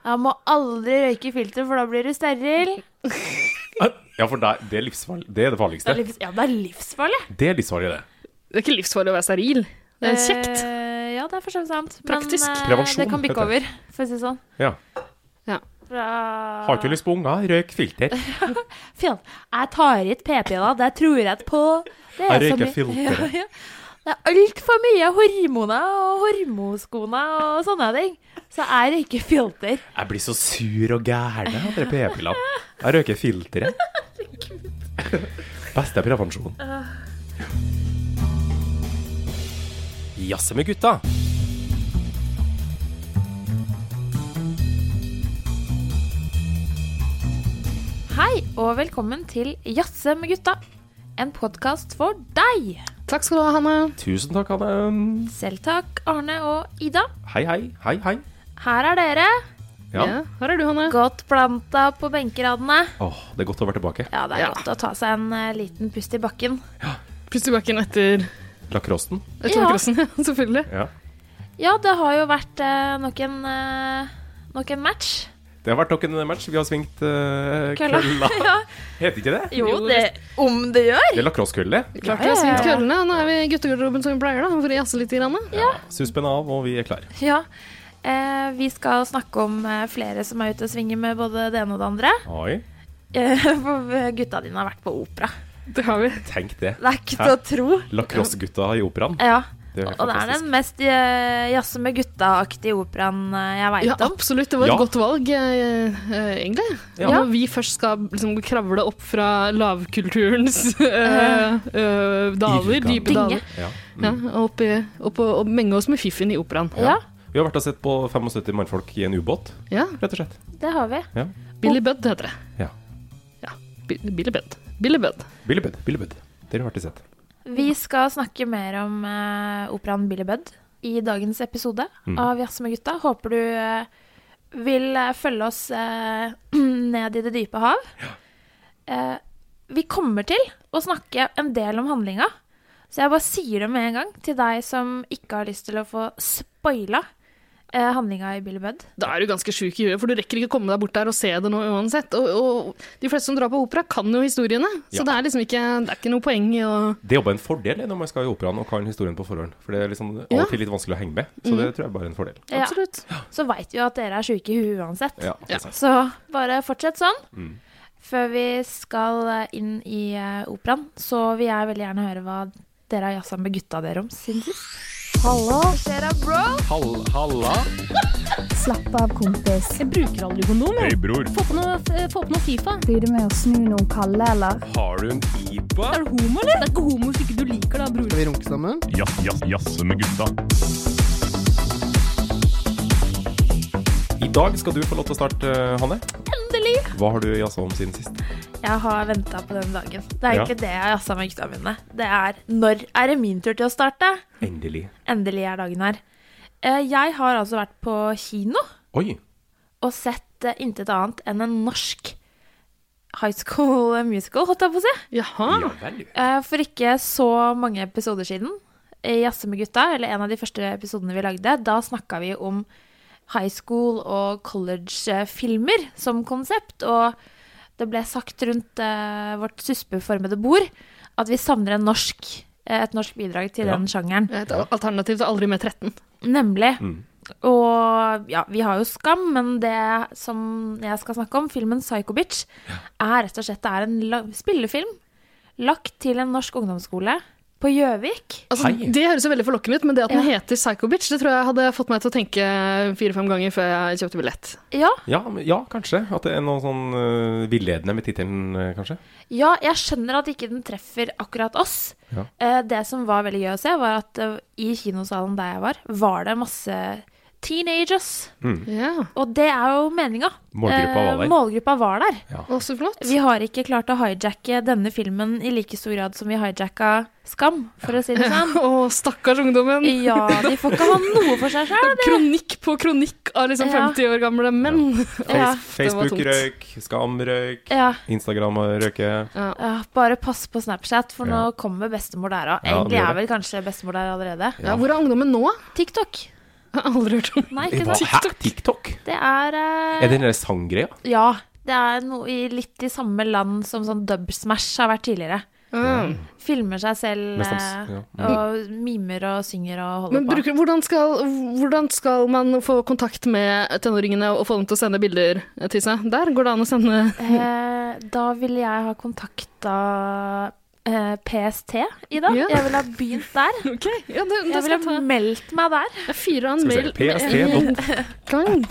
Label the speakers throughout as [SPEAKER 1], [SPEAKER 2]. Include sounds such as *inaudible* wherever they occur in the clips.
[SPEAKER 1] Jeg må aldri røyke filter, for da blir du steril.
[SPEAKER 2] Ja, for det, det, er livsfarlig, det er det
[SPEAKER 1] Det
[SPEAKER 2] farligste.
[SPEAKER 1] er Eh, livs, ja, det er livsfarlig.
[SPEAKER 2] Det er livsfarlig, det.
[SPEAKER 3] Det er ikke livsfarlig å være steril. Det er kjekt.
[SPEAKER 1] Eh, ja, det er for så vidt sant.
[SPEAKER 3] Praktisk.
[SPEAKER 1] Men eh,
[SPEAKER 2] Prevensjon,
[SPEAKER 1] det kan bikke
[SPEAKER 2] heter
[SPEAKER 1] over, for å si det sånn.
[SPEAKER 2] Ja.
[SPEAKER 3] Ja.
[SPEAKER 1] Fra...
[SPEAKER 2] Har ikke lyst på unger, røyk
[SPEAKER 1] *laughs*
[SPEAKER 2] filter.
[SPEAKER 1] Fjell. Jeg tar ikke p-piller, det tror jeg ikke på. Det
[SPEAKER 2] Jeg
[SPEAKER 1] så
[SPEAKER 2] røyker
[SPEAKER 1] mye-
[SPEAKER 2] filter.
[SPEAKER 1] Ja, ja. Det er altfor mye hormoner og hormoskoner og sånne ting. Så jeg røyker filter.
[SPEAKER 2] Jeg blir så sur og gæren av dere p-pillene. Jeg røyker
[SPEAKER 1] *laughs*
[SPEAKER 2] filteret. Beste prevensjon. Jazze med gutta.
[SPEAKER 1] Hei, og velkommen til Jazze med gutta. En podkast for deg.
[SPEAKER 3] Takk skal du ha, Hanne.
[SPEAKER 2] Tusen takk, Hanne.
[SPEAKER 1] Selv takk, Arne og Ida.
[SPEAKER 2] Hei, hei. Hei, hei.
[SPEAKER 1] Her er dere.
[SPEAKER 2] Ja.
[SPEAKER 3] her er du, Hanne.
[SPEAKER 1] Godt planta på benkeradene.
[SPEAKER 2] Åh, det er godt å være tilbake.
[SPEAKER 1] Ja, det er
[SPEAKER 3] Ja.
[SPEAKER 1] godt å ta seg en eh, liten pust i bakken.
[SPEAKER 3] Pust i bakken etter,
[SPEAKER 2] Lacrossen.
[SPEAKER 3] etter
[SPEAKER 1] Ja.
[SPEAKER 3] lacrossen, ja. *laughs* Selvfølgelig.
[SPEAKER 2] Ja.
[SPEAKER 1] Ja, det har jo vært eh, nok en eh, Nok en match.
[SPEAKER 2] Det har vært nok en match. Vi har svingt eh,
[SPEAKER 1] Kølla.
[SPEAKER 2] kølla.
[SPEAKER 1] *laughs* Ja.
[SPEAKER 2] Heter ikke det?
[SPEAKER 1] Jo, det Om det gjør!
[SPEAKER 2] Det er lacrossekølle.
[SPEAKER 3] Klart vi har
[SPEAKER 1] Ja, ja, ja.
[SPEAKER 3] svingt køllene. Nå er vi i guttegarderoben som vi pleier, da, for å jazze litt. Grann. da.
[SPEAKER 2] Ja. Suspenn Eh, av, og vi er klare.
[SPEAKER 1] Ja. Eh, vi skal snakke om eh, flere som er ute og svinger med både det ene og det andre. *laughs*
[SPEAKER 2] Oi,
[SPEAKER 1] Eh, for gutta dine har vært på opera.
[SPEAKER 3] Det har vi.
[SPEAKER 2] tenk det.
[SPEAKER 1] Det er ikke til å tro.
[SPEAKER 2] Lacrossegutta i operaen.
[SPEAKER 1] Ja.
[SPEAKER 2] Det er
[SPEAKER 1] Og det er
[SPEAKER 2] fantastisk.
[SPEAKER 1] den mest eh, jazze med gutta-aktige operaen eh, jeg
[SPEAKER 3] Ja,
[SPEAKER 1] veit om.
[SPEAKER 3] absolutt. Det var et
[SPEAKER 2] Ja.
[SPEAKER 3] godt valg, eh, eh, egentlig.
[SPEAKER 2] Ja.
[SPEAKER 3] Når vi først skal liksom, kravle opp fra lavkulturens *laughs* eh, eh, daler,
[SPEAKER 2] Irrgang.
[SPEAKER 1] Dynge.
[SPEAKER 3] dype daler,
[SPEAKER 2] Ja. Mm.
[SPEAKER 3] ja, og opp, i, opp og, og menge oss med fiffen i operaen.
[SPEAKER 1] Ja,
[SPEAKER 2] Vi har vært og sett på 75 mannfolk i en ubåt,
[SPEAKER 3] Ja.
[SPEAKER 2] rett og slett.
[SPEAKER 1] det har vi.
[SPEAKER 3] Billy Budd heter det.
[SPEAKER 2] Ja.
[SPEAKER 3] Ja, Bi- Billy Budd. Billy Budd.
[SPEAKER 2] Billy Budd, Billy Budd. Dere har vært og sett.
[SPEAKER 1] Vi skal snakke mer om eh, operaen Billy Budd i dagens episode
[SPEAKER 2] Mm.
[SPEAKER 1] av Jazz med gutta. Håper du eh, vil eh, følge oss eh, *clears throat* ned i det dype hav. Eh, vi kommer til å snakke en del om handlinga, så jeg bare sier det med en gang til deg som ikke har lyst til å få spoila eh, handlinga i Billy Budd.
[SPEAKER 3] Da er du ganske sjuk i huet, for du rekker ikke komme deg bort der og se det nå uansett. Og, og de fleste som drar på opera, kan jo historiene, så
[SPEAKER 2] Ja.
[SPEAKER 3] det er liksom ikke, det er ikke noe poeng i å
[SPEAKER 2] Det er jo bare en fordel når man skal i operaen og kan historien på forhånd. For det er liksom av
[SPEAKER 3] Ja.
[SPEAKER 2] og til litt vanskelig å henge med. Så
[SPEAKER 4] Mm.
[SPEAKER 2] det tror jeg bare er en fordel.
[SPEAKER 1] Ja,
[SPEAKER 3] Absolutt.
[SPEAKER 1] så veit vi jo at dere er sjuke i huet uansett.
[SPEAKER 2] Ja, det er
[SPEAKER 3] Ja.
[SPEAKER 2] sant.
[SPEAKER 1] Så bare fortsett sånn.
[SPEAKER 2] Mm.
[SPEAKER 1] Før vi skal eh, inn i eh, operaen, så vil jeg veldig gjerne høre hva dere har jazza med gutta dere om siden sist. Hallo. Hva skjer da, bro?
[SPEAKER 2] Hall, halla.
[SPEAKER 5] Slapp av, kompis.
[SPEAKER 4] Jeg bruker aldri kondom. jeg.
[SPEAKER 2] bror,
[SPEAKER 4] Få på noe, eh, få på noe Fifa.
[SPEAKER 5] Blir du med å snu noen kalde, eller?
[SPEAKER 2] har du en pipa?
[SPEAKER 4] Er du homo, eller? Det er ikke homo hvis ikke du liker det, da, bror.
[SPEAKER 6] Skal vi runke sammen?
[SPEAKER 2] I dag skal du få lov til å starte, eh, Hanne.
[SPEAKER 1] Endelig!
[SPEAKER 2] Hva har du jazza om siden sist?
[SPEAKER 1] Jeg har venta på den dagen. Det er
[SPEAKER 2] Ja.
[SPEAKER 1] egentlig det jeg har jazza med gutta mine. Det er når er det min tur til å starte?
[SPEAKER 2] Endelig.
[SPEAKER 1] Endelig er dagen her. Eh, Jeg har altså vært på kino
[SPEAKER 2] Oi.
[SPEAKER 1] og sett eh, intet annet enn en norsk high school musical, holdt jeg på å si.
[SPEAKER 3] Jaha.
[SPEAKER 2] Ja vel.
[SPEAKER 1] Eh, For ikke så mange episoder siden, i Jazze med gutta, eller en av de første episodene vi lagde, da snakka vi om high school og college-filmer som konsept. Og det ble sagt rundt eh, vårt suspeformede bord at vi savner en norsk, eh, et norsk bidrag til
[SPEAKER 2] Ja.
[SPEAKER 1] den sjangeren.
[SPEAKER 3] Et alternativ til Aldri med 13.
[SPEAKER 1] Nemlig.
[SPEAKER 2] Mm.
[SPEAKER 1] Og ja, vi har jo Skam, men det som jeg skal snakke om, filmen Psycho Bitch, er rett og slett det er en la spillefilm lagt til en norsk ungdomsskole på Gjøvik.
[SPEAKER 3] Altså,
[SPEAKER 2] Hei.
[SPEAKER 3] det høres jo veldig forlokkende ut, men det at den
[SPEAKER 1] Ja.
[SPEAKER 3] heter Psycho Bitch, det tror jeg hadde fått meg til å tenke fire-fem ganger før jeg kjøpte billett.
[SPEAKER 1] Ja,
[SPEAKER 2] Ja, men- ja, kanskje. At det er noe sånn eh, villedende med tittelen, eh, kanskje.
[SPEAKER 1] ja, jeg skjønner at ikke den treffer akkurat oss.
[SPEAKER 2] Ja.
[SPEAKER 1] Eh, det som var veldig gøy å se, var at eh, i kinosalen der jeg var, var det masse teenagers.
[SPEAKER 3] Ja,
[SPEAKER 1] Og det er jo meninga. Eh,
[SPEAKER 2] Målgruppa var der.
[SPEAKER 1] målgruppa var der.
[SPEAKER 3] Å, så flott.
[SPEAKER 1] Vi har ikke klart å hijacke denne filmen i like stor grad som vi hijacka Skam, for å si det sånn.
[SPEAKER 3] Å, stakkars ungdommen.
[SPEAKER 1] *laughs* Ja, de får ikke ha noe for seg sjøl.
[SPEAKER 3] Kronikk på kronikk av liksom
[SPEAKER 1] Ja.
[SPEAKER 3] 50 år gamle menn.
[SPEAKER 1] Ja.
[SPEAKER 3] Det var
[SPEAKER 2] Facebook
[SPEAKER 3] tungt.
[SPEAKER 2] røyk, Skam røyk,
[SPEAKER 1] Ja.
[SPEAKER 2] Instagram røyker.
[SPEAKER 1] ja, bare pass på Snapchat, for nå
[SPEAKER 2] Ja.
[SPEAKER 1] kommer bestemor der òg.
[SPEAKER 2] Ja, det
[SPEAKER 1] Egentlig
[SPEAKER 2] gjør
[SPEAKER 1] er vel kanskje bestemor der allerede.
[SPEAKER 3] Ja, hvor er ungdommen nå?
[SPEAKER 1] TikTok.
[SPEAKER 3] Jeg har aldri hørt om
[SPEAKER 1] Nei, ikke
[SPEAKER 2] Hva?
[SPEAKER 1] sant?
[SPEAKER 2] Hæ? TikTok?
[SPEAKER 1] Det er eh,
[SPEAKER 2] Er det den der sanggreia?
[SPEAKER 1] Ja. Det er noe i litt i samme land som sånn Dub Smash har vært tidligere.
[SPEAKER 3] Mm.
[SPEAKER 1] Filmer seg selv
[SPEAKER 2] Med stans,
[SPEAKER 1] eh,
[SPEAKER 2] ja.
[SPEAKER 1] og mimer og synger og holder
[SPEAKER 3] Men
[SPEAKER 1] på.
[SPEAKER 3] bruker, hvordan, skal, hvordan skal man få kontakt med tenåringene og få dem til å sende bilder til seg? Der går det an å sende
[SPEAKER 1] Eh, da ville jeg ha kontakta eh, PST, Ida.
[SPEAKER 3] Ja.
[SPEAKER 1] Jeg ville ha begynt *laughs* der.
[SPEAKER 3] Ok, ja,
[SPEAKER 1] Jeg
[SPEAKER 3] det, det skal
[SPEAKER 1] ville
[SPEAKER 3] jeg ta.
[SPEAKER 1] ha meldt meg der.
[SPEAKER 3] Jeg fyrer av en
[SPEAKER 2] Skal vi
[SPEAKER 3] mail
[SPEAKER 2] se. PST. dot
[SPEAKER 1] *laughs*
[SPEAKER 3] gang.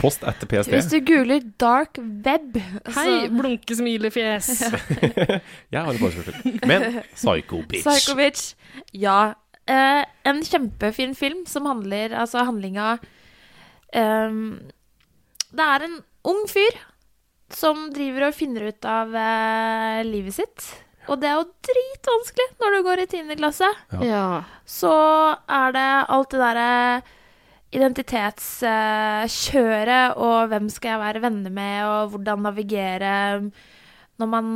[SPEAKER 2] Post etter
[SPEAKER 1] Hvis
[SPEAKER 2] PST.
[SPEAKER 1] du googler dark web,
[SPEAKER 3] Hei,
[SPEAKER 1] Altså-
[SPEAKER 3] blunkesmilefjes.
[SPEAKER 2] Jeg har jo bare spørsmål. Men Psycho Bitch.
[SPEAKER 1] Psycho-bitch. Ja. Eh, en kjempefin film som handler Altså handlinga ehm, Det er en ung fyr som driver og finner ut av eh, livet sitt. Og det er jo dritvanskelig når du går i 10. klasse.
[SPEAKER 3] Ja.
[SPEAKER 1] Så er det alt det derre identitetskjøret og hvem skal jeg være venner med, og hvordan navigere når man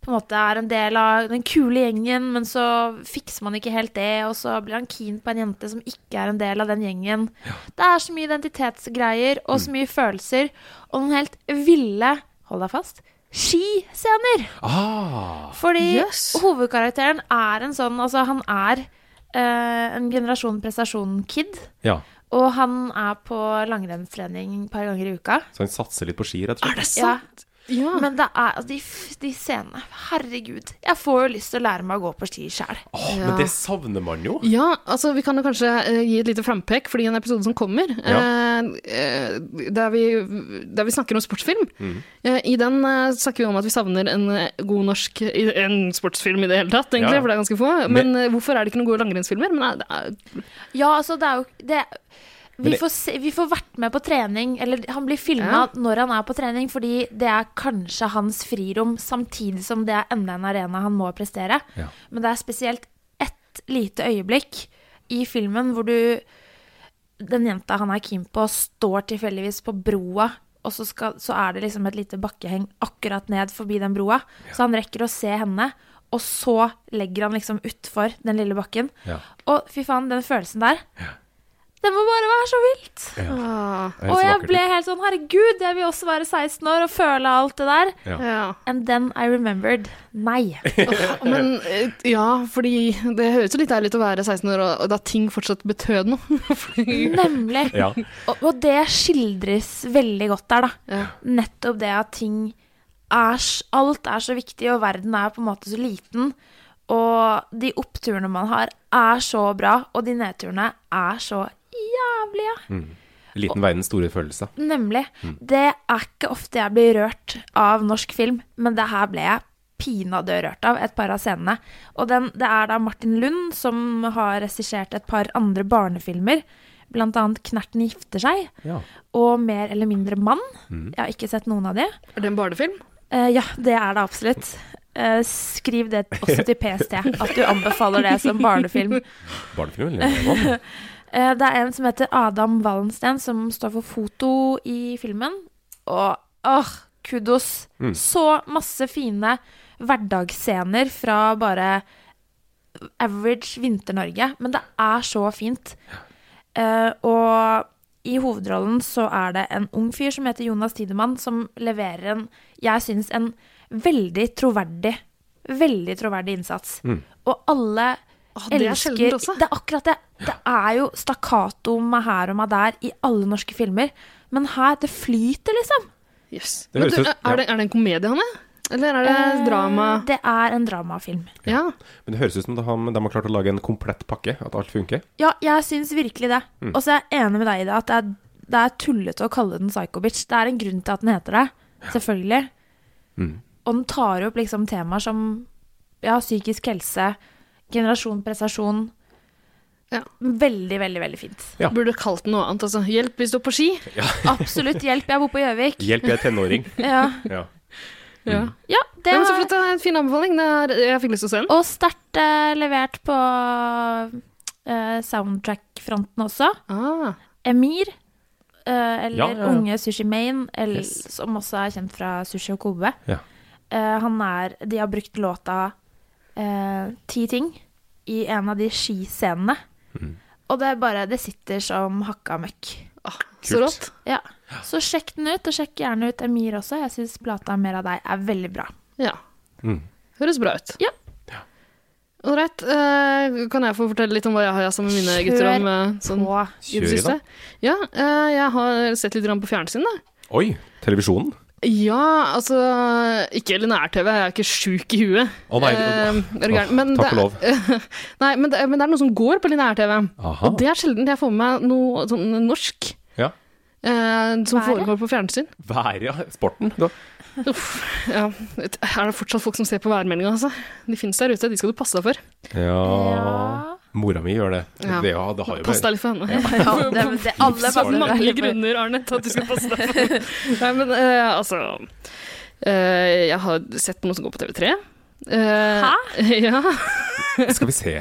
[SPEAKER 1] på en måte er en del av den kule gjengen, men så fikser man ikke helt det, og så blir han keen på en jente som ikke er en del av den gjengen. Det er så mye identitetsgreier og så mye følelser, og noen helt ville Hold deg fast skiscener!
[SPEAKER 2] Ah,
[SPEAKER 1] Fordi
[SPEAKER 3] Yes.
[SPEAKER 1] hovedkarakteren er en sånn Altså, han er eh, en generasjon prestasjon-kid.
[SPEAKER 2] ja.
[SPEAKER 1] Og han er på langrennstrening et par ganger i uka.
[SPEAKER 2] Så han satser litt på ski, rett og slett.
[SPEAKER 3] Er det
[SPEAKER 1] Ja,
[SPEAKER 3] sant? Ja. Ah.
[SPEAKER 1] men det er altså, de, f- de scenene Herregud. Jeg får jo lyst til å lære meg å gå på ski sjæl.
[SPEAKER 2] Åh,
[SPEAKER 3] Ja.
[SPEAKER 2] Men det savner man jo.
[SPEAKER 3] Ja, altså vi kan jo kanskje eh, gi et lite frampek, fordi en episode som kommer,
[SPEAKER 2] Ja.
[SPEAKER 3] eh, eh, der, vi, der vi snakker om sportsfilm,
[SPEAKER 2] Mhm.
[SPEAKER 3] eh, i den eh, snakker vi om at vi savner en eh, god norsk i- en sportsfilm i det hele tatt, egentlig,
[SPEAKER 2] Ja.
[SPEAKER 3] for det er ganske få. Men eh, hvorfor er det ikke noen gode langrennsfilmer? Men eh, det er,
[SPEAKER 1] Ja, altså, det er jo det, vi,
[SPEAKER 2] Men det-
[SPEAKER 1] får se, vi får vært med på trening, eller han blir filma
[SPEAKER 3] Ja.
[SPEAKER 1] når han er på trening, fordi det er kanskje hans frirom, samtidig som det er enda en arena han må prestere.
[SPEAKER 2] Ja.
[SPEAKER 1] Men det er spesielt ett lite øyeblikk i filmen hvor du Den jenta han er keen på, står tilfeldigvis på broa, og så, skal, så er det liksom et lite bakkeheng akkurat ned forbi den broa. Så han rekker å se henne, og så legger han liksom utfor den lille bakken.
[SPEAKER 2] Ja.
[SPEAKER 1] Og fy faen, den følelsen der. Det må bare være så vilt!
[SPEAKER 3] ah,
[SPEAKER 2] Det er helt
[SPEAKER 1] Og
[SPEAKER 2] så
[SPEAKER 1] jeg
[SPEAKER 2] vakkert.
[SPEAKER 1] ble helt sånn Herregud, jeg vil også være 16 år og føle alt det der.
[SPEAKER 3] ja.
[SPEAKER 1] And then I remembered. Nei.
[SPEAKER 3] Men eh, ja, fordi det høres jo litt ærlig ut å være 16 år, og- og da ting fortsatt betød noe. *laughs* Fordi,
[SPEAKER 1] Nemlig.
[SPEAKER 2] Ja.
[SPEAKER 1] Og, og det skildres veldig godt der, da.
[SPEAKER 3] ja.
[SPEAKER 1] Nettopp det at ting er s- Alt er så viktig, og verden er på en måte så liten. Og de oppturene man har, er så bra, og de nedturene er så jævlige.
[SPEAKER 2] Liten verdens store følelse.
[SPEAKER 1] Nemlig. Det er ikke ofte jeg blir rørt av norsk film, men det her ble jeg pinadø rørt av et par av scenene. Og den, det er da Martin Lund som har regissert et par andre barnefilmer, blant annet 'Knerten gifter seg'
[SPEAKER 2] Ja.
[SPEAKER 1] og 'Mer eller mindre mann'. Jeg har ikke sett noen av de.
[SPEAKER 3] Er det en barnefilm?
[SPEAKER 1] Eh, ja, det er det absolutt. Eh, skriv det også til PST, at du anbefaler det som barnefilm.
[SPEAKER 2] Barnefilm eller
[SPEAKER 1] Eh, Det er en som heter Adam Wallensten, som står for foto i filmen. Og åh, kudos!
[SPEAKER 2] Mm.
[SPEAKER 1] Så masse fine hverdagsscener fra bare average Vinter-Norge. Men det er så fint. Eh, og i hovedrollen så er det en ung fyr som heter Jonas Tidemann, som leverer en, jeg syns, en veldig troverdig, veldig troverdig innsats.
[SPEAKER 2] Mm.
[SPEAKER 1] Og alle
[SPEAKER 3] Ah, det er
[SPEAKER 1] elsker-
[SPEAKER 3] sjeldent også.
[SPEAKER 1] Det er akkurat det. Det er jo stakkato meg her og meg der i alle norske filmer. Men her, det flyter, liksom.
[SPEAKER 3] Yes.
[SPEAKER 2] Det
[SPEAKER 3] Men
[SPEAKER 2] høres
[SPEAKER 3] du,
[SPEAKER 2] ut-
[SPEAKER 3] er, er det, er det en komedie, Hanne? Eller er det drama?
[SPEAKER 1] Eh, Det er en dramafilm.
[SPEAKER 3] Ja.
[SPEAKER 2] Men det høres ut som de, de har klart å lage en komplett pakke, at alt funker.
[SPEAKER 1] Ja, jeg syns virkelig det. Og så er jeg enig med deg i det, at det er, det er tullete å kalle den psycho-bitch. Det er en grunn til at den heter det. Selvfølgelig.
[SPEAKER 2] Mm.
[SPEAKER 1] Og den tar opp liksom temaer som ja, psykisk helse, generasjon, prestasjon.
[SPEAKER 3] Ja.
[SPEAKER 1] Veldig, veldig, veldig fint.
[SPEAKER 2] Ja.
[SPEAKER 3] Burde kalt den noe annet. Altså, hjelp hvis du er på ski.
[SPEAKER 1] Absolutt. Hjelp, jeg bor på
[SPEAKER 2] *laughs*
[SPEAKER 1] Gjøvik.
[SPEAKER 2] Hjelp, jeg er tenåring.
[SPEAKER 1] Ja.
[SPEAKER 2] Ja.
[SPEAKER 3] Ja.
[SPEAKER 1] ja, det
[SPEAKER 3] Nei, men så
[SPEAKER 1] har-
[SPEAKER 3] flott, det er en fin anbefaling. Det er, jeg fikk lyst til å se den.
[SPEAKER 1] Og sterkt eh, levert på eh, soundtrack-fronten også.
[SPEAKER 3] Ah,
[SPEAKER 1] Emir, eh, eller
[SPEAKER 2] Ja, ja, ja.
[SPEAKER 1] unge Sushi Main, eller,
[SPEAKER 2] Yes.
[SPEAKER 1] som også er kjent fra Sushi og Kobe.
[SPEAKER 2] Ja.
[SPEAKER 1] Eh, han er, de har brukt
[SPEAKER 2] Mm.
[SPEAKER 1] låta eh, Ti ting i en av de skiscenene. Og det, er bare, det sitter som hakka møkk.
[SPEAKER 3] Ah, så
[SPEAKER 2] Kult.
[SPEAKER 3] rått.
[SPEAKER 1] Ja. Så sjekk den ut, og sjekk gjerne ut Emir også. Jeg syns plata Mer av deg er veldig bra.
[SPEAKER 3] Ja.
[SPEAKER 2] Mm.
[SPEAKER 3] Høres bra ut.
[SPEAKER 1] Ja.
[SPEAKER 2] Ja.
[SPEAKER 3] Ålreit. eh, kan jeg få fortelle litt om hva jeg har sammen med mine
[SPEAKER 1] Kjør
[SPEAKER 3] gutter om eh, sånn,
[SPEAKER 1] På
[SPEAKER 3] i det
[SPEAKER 2] Kjør i
[SPEAKER 3] siste?
[SPEAKER 2] gang.
[SPEAKER 3] Ja, eh, jeg har sett litt grann på fjernsyn, da.
[SPEAKER 2] Oi, televisjonen?
[SPEAKER 3] Ja, altså Ikke linær-TV, jeg er ikke sjuk i huet.
[SPEAKER 2] Å nei,
[SPEAKER 3] Eh, er du gæren?
[SPEAKER 2] Åh,
[SPEAKER 3] Men
[SPEAKER 2] takk
[SPEAKER 3] det-
[SPEAKER 2] og lov.
[SPEAKER 3] *laughs* Nei, men det, men det er noe som går på linær-TV.
[SPEAKER 2] Aha.
[SPEAKER 3] Og det er sjelden jeg får med meg noe sånn norsk
[SPEAKER 2] Ja.
[SPEAKER 3] eh, som
[SPEAKER 1] Været?
[SPEAKER 3] foregår på fjernsyn.
[SPEAKER 2] Været, ja. Sporten. Da.
[SPEAKER 3] Uff, ja. Er det fortsatt folk som ser på værmeldinga, altså? De finnes der ute, de skal du passe deg for.
[SPEAKER 2] Ja.
[SPEAKER 1] Ja.
[SPEAKER 2] Mora mi gjør det.
[SPEAKER 3] Ja.
[SPEAKER 2] Det, ja, det har jo
[SPEAKER 3] Pass deg litt for henne.
[SPEAKER 1] *laughs* Ja, det, det, alle
[SPEAKER 3] Så
[SPEAKER 1] passer
[SPEAKER 3] mange
[SPEAKER 1] seg.
[SPEAKER 3] grunner, Arne, til at du skal passe deg
[SPEAKER 1] *laughs*
[SPEAKER 3] for Nei, men eh, altså eh, Jeg har sett noe som går på TV3. Hæ? Eh, *laughs* Ja.
[SPEAKER 2] Skal vi se.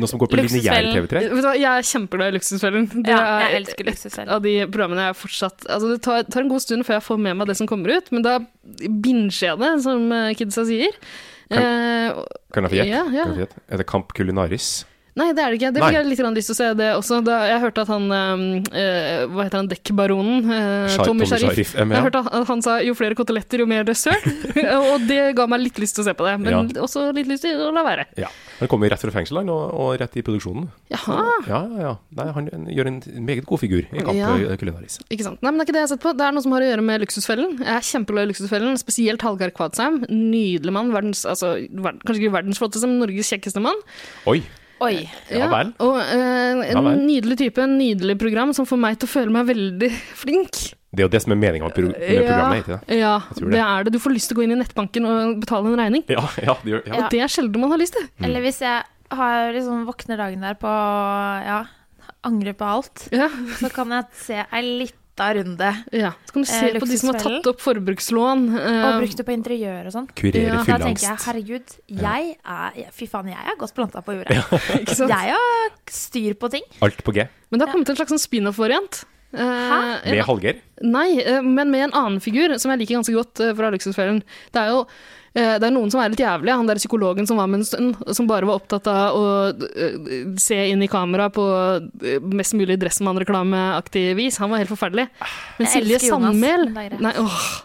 [SPEAKER 2] Noe som går på lineær
[SPEAKER 1] Luksusfellen.
[SPEAKER 2] TV3?
[SPEAKER 3] Vet du hva, jeg er kjempeglad i Luksusfellen. Det
[SPEAKER 1] Ja,
[SPEAKER 3] er
[SPEAKER 1] jeg elsker
[SPEAKER 3] et
[SPEAKER 1] luksusfellen.
[SPEAKER 3] av de programmene jeg fortsatt Altså, det tar, tar en god stund før jeg får med meg det som kommer ut, men da binger jeg det, som eh, kidsa sier.
[SPEAKER 2] Kan-
[SPEAKER 3] Eh, og-
[SPEAKER 2] Kan jeg få gjette?
[SPEAKER 3] Ja, ja.
[SPEAKER 2] Kan jeg få gjette? Er det Kamp Kulinaris?
[SPEAKER 3] Nei, det er det ikke. Det
[SPEAKER 2] Nei.
[SPEAKER 3] fikk jeg litt grann lyst til å se det også. Da jeg hørte at han eh, eh, Hva heter han? Dekkbaronen? eh,
[SPEAKER 2] Shai-
[SPEAKER 3] Tommy
[SPEAKER 2] Tommy
[SPEAKER 3] Sharif.
[SPEAKER 2] Sharif, eh, men
[SPEAKER 3] Jeg
[SPEAKER 2] ja.
[SPEAKER 3] hørte at- at han sa 'jo flere koteletter, jo
[SPEAKER 2] *laughs*
[SPEAKER 3] mer dessert'. og det ga meg litt lyst til å se på det, men også litt lyst til å la være.
[SPEAKER 2] Ja. Han kommer rett fra fengsel han, og, og rett i produksjonen.
[SPEAKER 3] Jaha.
[SPEAKER 2] Ja, ja, ja. Nei, han gjør en meget god figur i Kamp
[SPEAKER 3] Ja.
[SPEAKER 2] Kulinaris.
[SPEAKER 3] Ikke sant. Nei, men det er ikke det jeg har sett på. Det er noe som har å gjøre med Luksusfellen. Jeg er kjempeglad i Luksusfellen, spesielt Hallgeir Kvadsheim. Nydelig mann. Verdens, altså, ver kanskje ikke verdens flotteste, men Norges kjekkeste mann.
[SPEAKER 2] Oi.
[SPEAKER 1] Oi.
[SPEAKER 2] Ja vel.
[SPEAKER 3] Og eh,
[SPEAKER 2] Ja
[SPEAKER 3] en
[SPEAKER 2] vel.
[SPEAKER 3] nydelig type, en nydelig program som får meg til å føle meg veldig *laughs* flink.
[SPEAKER 2] Det er jo det som er meninga med, pro med programmet, ikke det?
[SPEAKER 3] ja
[SPEAKER 2] tror
[SPEAKER 3] det.
[SPEAKER 2] det.
[SPEAKER 3] er det. Du får lyst til å gå inn i nettbanken og betale en regning.
[SPEAKER 2] Ja, ja, det gjør ja.
[SPEAKER 1] Ja.
[SPEAKER 3] Og det er sjelden man har lyst til.
[SPEAKER 2] Mm.
[SPEAKER 1] Eller hvis jeg har liksom våkner dagen der på Ja, angrer på alt,
[SPEAKER 3] Ja.
[SPEAKER 1] så kan jeg se ei lita runde.
[SPEAKER 3] ja. Så kan du se
[SPEAKER 1] Eh,
[SPEAKER 3] på de som har
[SPEAKER 1] Luksusfellen.
[SPEAKER 3] tatt opp forbrukslån. eh,
[SPEAKER 1] Og
[SPEAKER 3] *laughs*
[SPEAKER 1] brukt det på interiør og sånn.
[SPEAKER 2] Kurere
[SPEAKER 3] Ja, da
[SPEAKER 1] Da tenker jeg
[SPEAKER 2] fylleangst.
[SPEAKER 1] herregud, jeg er jeg- Fy faen, jeg er godt planta på jorda. *laughs* Jeg har styr på ting.
[SPEAKER 2] Alt på G.
[SPEAKER 3] Men det har kommet en slags sånn spin-off-variant. Eh,
[SPEAKER 1] Hæ?
[SPEAKER 2] Med Hallgeir.
[SPEAKER 3] Nei, eh, men med en annen figur som jeg liker ganske godt eh, fra Luksusfellen. Det er jo eh, det er noen som er litt jævlige. Han der psykologen som var med en stund, som bare var opptatt av å eh, se inn i kamera på eh, mest mulig Dressmann-reklameaktig vis. Han var helt forferdelig. Men
[SPEAKER 1] Ah, Jeg
[SPEAKER 3] Silje
[SPEAKER 1] elsker Jonas,
[SPEAKER 3] Sandmæl
[SPEAKER 1] men det er greit.
[SPEAKER 3] Nei, åh.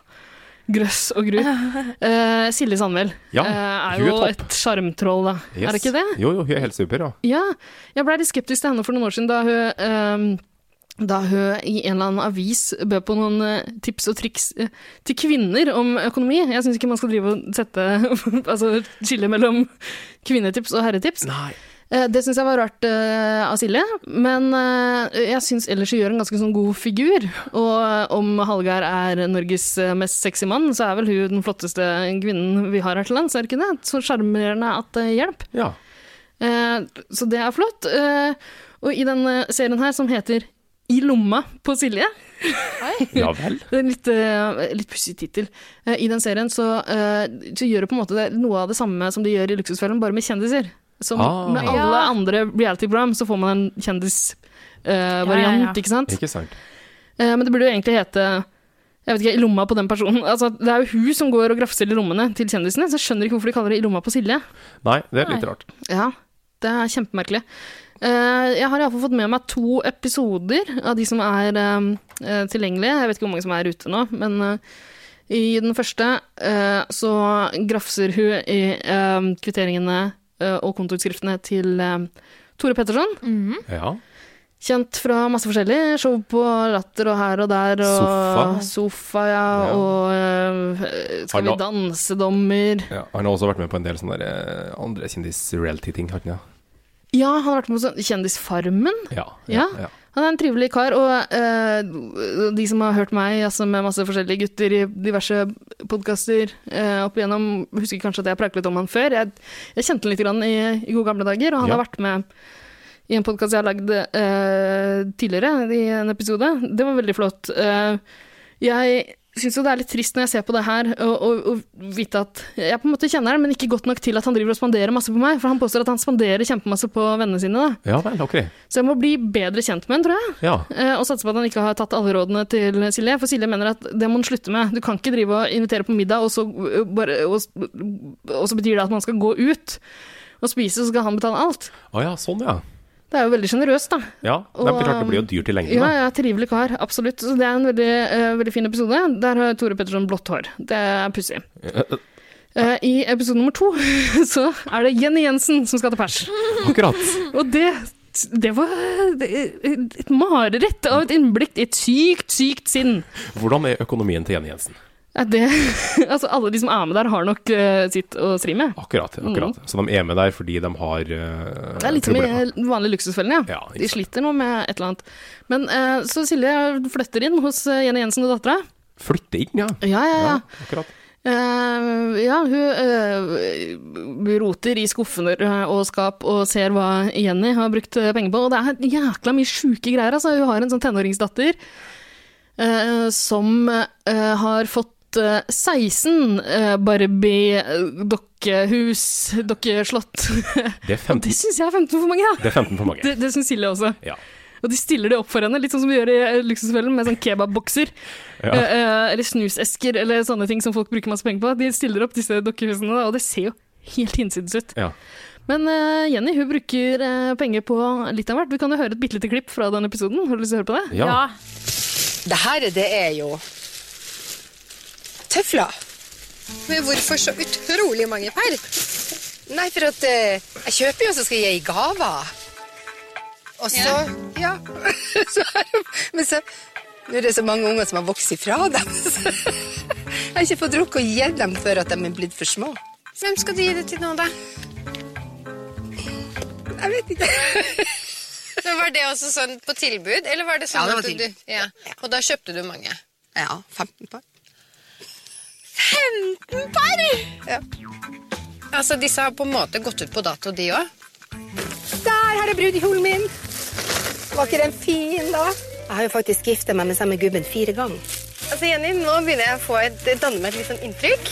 [SPEAKER 3] Grøss og
[SPEAKER 1] *laughs*
[SPEAKER 3] gru. Eh, Silje Sandmæl
[SPEAKER 2] Ja,
[SPEAKER 3] eh, er
[SPEAKER 2] hun er
[SPEAKER 3] jo
[SPEAKER 2] topp.
[SPEAKER 3] et sjarmtroll, da. Er det ikke det?
[SPEAKER 2] Jo, jo, hun er helt super, ja.
[SPEAKER 3] Ja, jeg ble litt skeptisk til henne for noen år siden da hun, ehm, da hun i en eller annen avis bød på noen eh, tips og triks eh, til kvinner om økonomi. Jeg syns ikke man skal drive og sette *laughs* Altså skille mellom kvinnetips og herretips.
[SPEAKER 2] Nei.
[SPEAKER 3] Eh, Det syns jeg var rart eh, av Silje, men eh, jeg syns ellers hun gjør en ganske sånn god figur. Og eh, om Hallgeir er Norges eh, mest sexy mann, så er vel hun den flotteste kvinnen vi har her til lands, er det ikke det? Så sjarmerende at det hjelper.
[SPEAKER 2] Ja.
[SPEAKER 3] Eh, Så det er flott. Eh, Og i denne serien her, som heter I lomma på Silje
[SPEAKER 2] ja vel.
[SPEAKER 3] det er en Litt, eh, litt pussig tittel. Eh, I den serien så, eh, så gjør det på en måte det- noe av det samme som de gjør i Luksusfellen, bare med kjendiser. Som
[SPEAKER 2] Ah.
[SPEAKER 3] med alle
[SPEAKER 1] Ja.
[SPEAKER 3] andre reality-program, så får man en kjendisvariant,
[SPEAKER 1] Ja, ja, ja.
[SPEAKER 3] variant, ikke sant?
[SPEAKER 2] *laughs* Ikke sant.
[SPEAKER 3] Eh, Men det burde jo egentlig hete jeg vet ikke, I lomma på den personen. Altså, det er jo hun som går og grafser i lommene til kjendisene, så jeg skjønner ikke hvorfor de kaller det I lomma på Silje.
[SPEAKER 2] Nei, det er litt
[SPEAKER 1] Nei.
[SPEAKER 2] rart.
[SPEAKER 3] Ja, det er kjempemerkelig. Eh, jeg har iallfall fått med meg to episoder av de som er eh, eh, tilgjengelige. Jeg vet ikke hvor mange som er ute nå, men eh, i den første eh, så grafser hun i eh, kvitteringene eh, og kontoutskriftene til eh, Tore Petterson.
[SPEAKER 2] Ja.
[SPEAKER 3] Kjent fra masse forskjellig. Show på Latter og her og der. Og
[SPEAKER 2] Sofa.
[SPEAKER 3] sofa ja,
[SPEAKER 2] Ja.
[SPEAKER 3] Og eh, Skal vi
[SPEAKER 2] Har
[SPEAKER 3] danse-dommer.
[SPEAKER 2] ja. Han har også vært med på en del sånne der, eh, andre kjendis-reality-ting, har han ikke?
[SPEAKER 3] Ja, han har vært med på sånn Kjendisfarmen.
[SPEAKER 2] Ja.
[SPEAKER 3] Ja. Han er en trivelig kar, og eh, de som har hørt meg altså med masse forskjellige gutter i diverse podkaster eh, opp igjennom, husker kanskje at jeg har pratet litt om han før. Jeg, jeg kjente han litt grann i, i gode gamle dager, og han
[SPEAKER 2] Ja.
[SPEAKER 3] har vært med i en podkast jeg har lagd eh, tidligere, i en episode. Det var veldig flott. Eh, jeg syns jo det er litt trist når jeg ser på det her, og, og, og vite at jeg på en måte kjenner han, men ikke godt nok til at han driver og spanderer masse på meg, for han påstår at han spanderer kjempemasse på vennene sine. Da.
[SPEAKER 2] Ja vel, ok.
[SPEAKER 3] Så jeg må bli bedre kjent med han, tror jeg.
[SPEAKER 2] Ja.
[SPEAKER 3] Eh, Og satse på at han ikke har tatt alle rådene til Silje, for Silje mener at det må han slutte med. Du kan ikke drive og invitere på middag, og så, eh, bare, og, s- og så betyr det at man skal gå ut og spise, så skal han betale alt.
[SPEAKER 2] Å ja, sånn ja.
[SPEAKER 3] Det er jo veldig sjenerøst, da.
[SPEAKER 2] Ja, det er
[SPEAKER 3] Og,
[SPEAKER 2] klart det blir jo dyrt i lengden.
[SPEAKER 3] Ja,
[SPEAKER 2] da.
[SPEAKER 3] ja, trivelig kar, absolutt. Så det er en veldig, eh, veldig fin episode. Der har Tore Petterson blått hår. Det er pussig. Eh, I episode nummer to *laughs* så er det Jenny Jensen som skal til pers.
[SPEAKER 2] Akkurat.
[SPEAKER 3] Og det, det var det- et mareritt av et innblikk i et sykt, sykt sinn.
[SPEAKER 2] Hvordan er økonomien til Jenny Jensen?
[SPEAKER 3] Er Det, *laughs* altså alle de som er med der, har nok eh, sitt å stri med.
[SPEAKER 2] Akkurat. akkurat. Så de er med der fordi de har eh,
[SPEAKER 3] Mm. Det er litt som i
[SPEAKER 2] problemer.
[SPEAKER 3] vanlige luksusfellen, ja.
[SPEAKER 2] Ja, ikke
[SPEAKER 3] De sliter nå med et eller annet. Men eh, så Silje flytter inn hos eh, Jenny Jensen og dattera.
[SPEAKER 2] Flytte inn, ja.
[SPEAKER 3] Ja, ja, ja.
[SPEAKER 2] ja akkurat.
[SPEAKER 3] Eh, ja, hun eh, roter i skuffer og skap og ser hva Jenny har brukt eh, penger på. Og det er jækla mye sjuke greier. Altså. Hun har en sånn tenåringsdatter eh, som eh, har fått eh, 16 eh, Barbie-dokkehus, dokkeslott. *laughs*
[SPEAKER 2] Det er
[SPEAKER 3] Det
[SPEAKER 2] 15,
[SPEAKER 3] syns jeg er 15 for mange, da.
[SPEAKER 2] det er 15 for mange.
[SPEAKER 3] Det, det syns Silje også.
[SPEAKER 2] Ja.
[SPEAKER 3] Og de stiller det opp for henne, litt sånn som vi gjør i eh, Luksusfellen, med sånn kebabbokser.
[SPEAKER 2] Ja.
[SPEAKER 3] Eh, eh, eller snusesker, eller sånne ting som folk bruker masse penger på. De stiller opp disse dokkehusene, da, og det ser jo helt hinsides ut.
[SPEAKER 2] Ja.
[SPEAKER 3] Men eh, Jenny hun bruker eh, penger på litt av hvert. Vi kan jo høre et bitte lite klipp fra den episoden. Har du lyst til å høre på det?
[SPEAKER 2] ja.
[SPEAKER 6] Det her, det er jo tøfler. Men hvorfor så utrolig mange per? Nei, for at eh, jeg kjøper jo, så skal jeg gi gaver. Og så Ja. *laughs* så er det, men så Nå er det så mange unger som har vokst ifra dem. *laughs* så jeg har ikke fått rukket å gi dem før at de er blitt for små. Hvem skal du gi det til nå, da? Jeg vet ikke.
[SPEAKER 7] *laughs* Men var det også sånn på tilbud, eller var det
[SPEAKER 6] Ja,
[SPEAKER 7] sånn
[SPEAKER 6] det var
[SPEAKER 7] at du
[SPEAKER 6] tilbud.
[SPEAKER 7] ja. Og da kjøpte du mange?
[SPEAKER 6] Ja, 15 par. 15 par? Ja.
[SPEAKER 7] Altså, disse har på en måte gått ut på dato, de òg?
[SPEAKER 6] Der har jeg brudekjolen min! Var ikke den fin, da? Jeg har jo faktisk gifta meg med samme gubben fire ganger.
[SPEAKER 7] Altså, Jenny, nå begynner jeg å få et, danne meg et litt sånn inntrykk.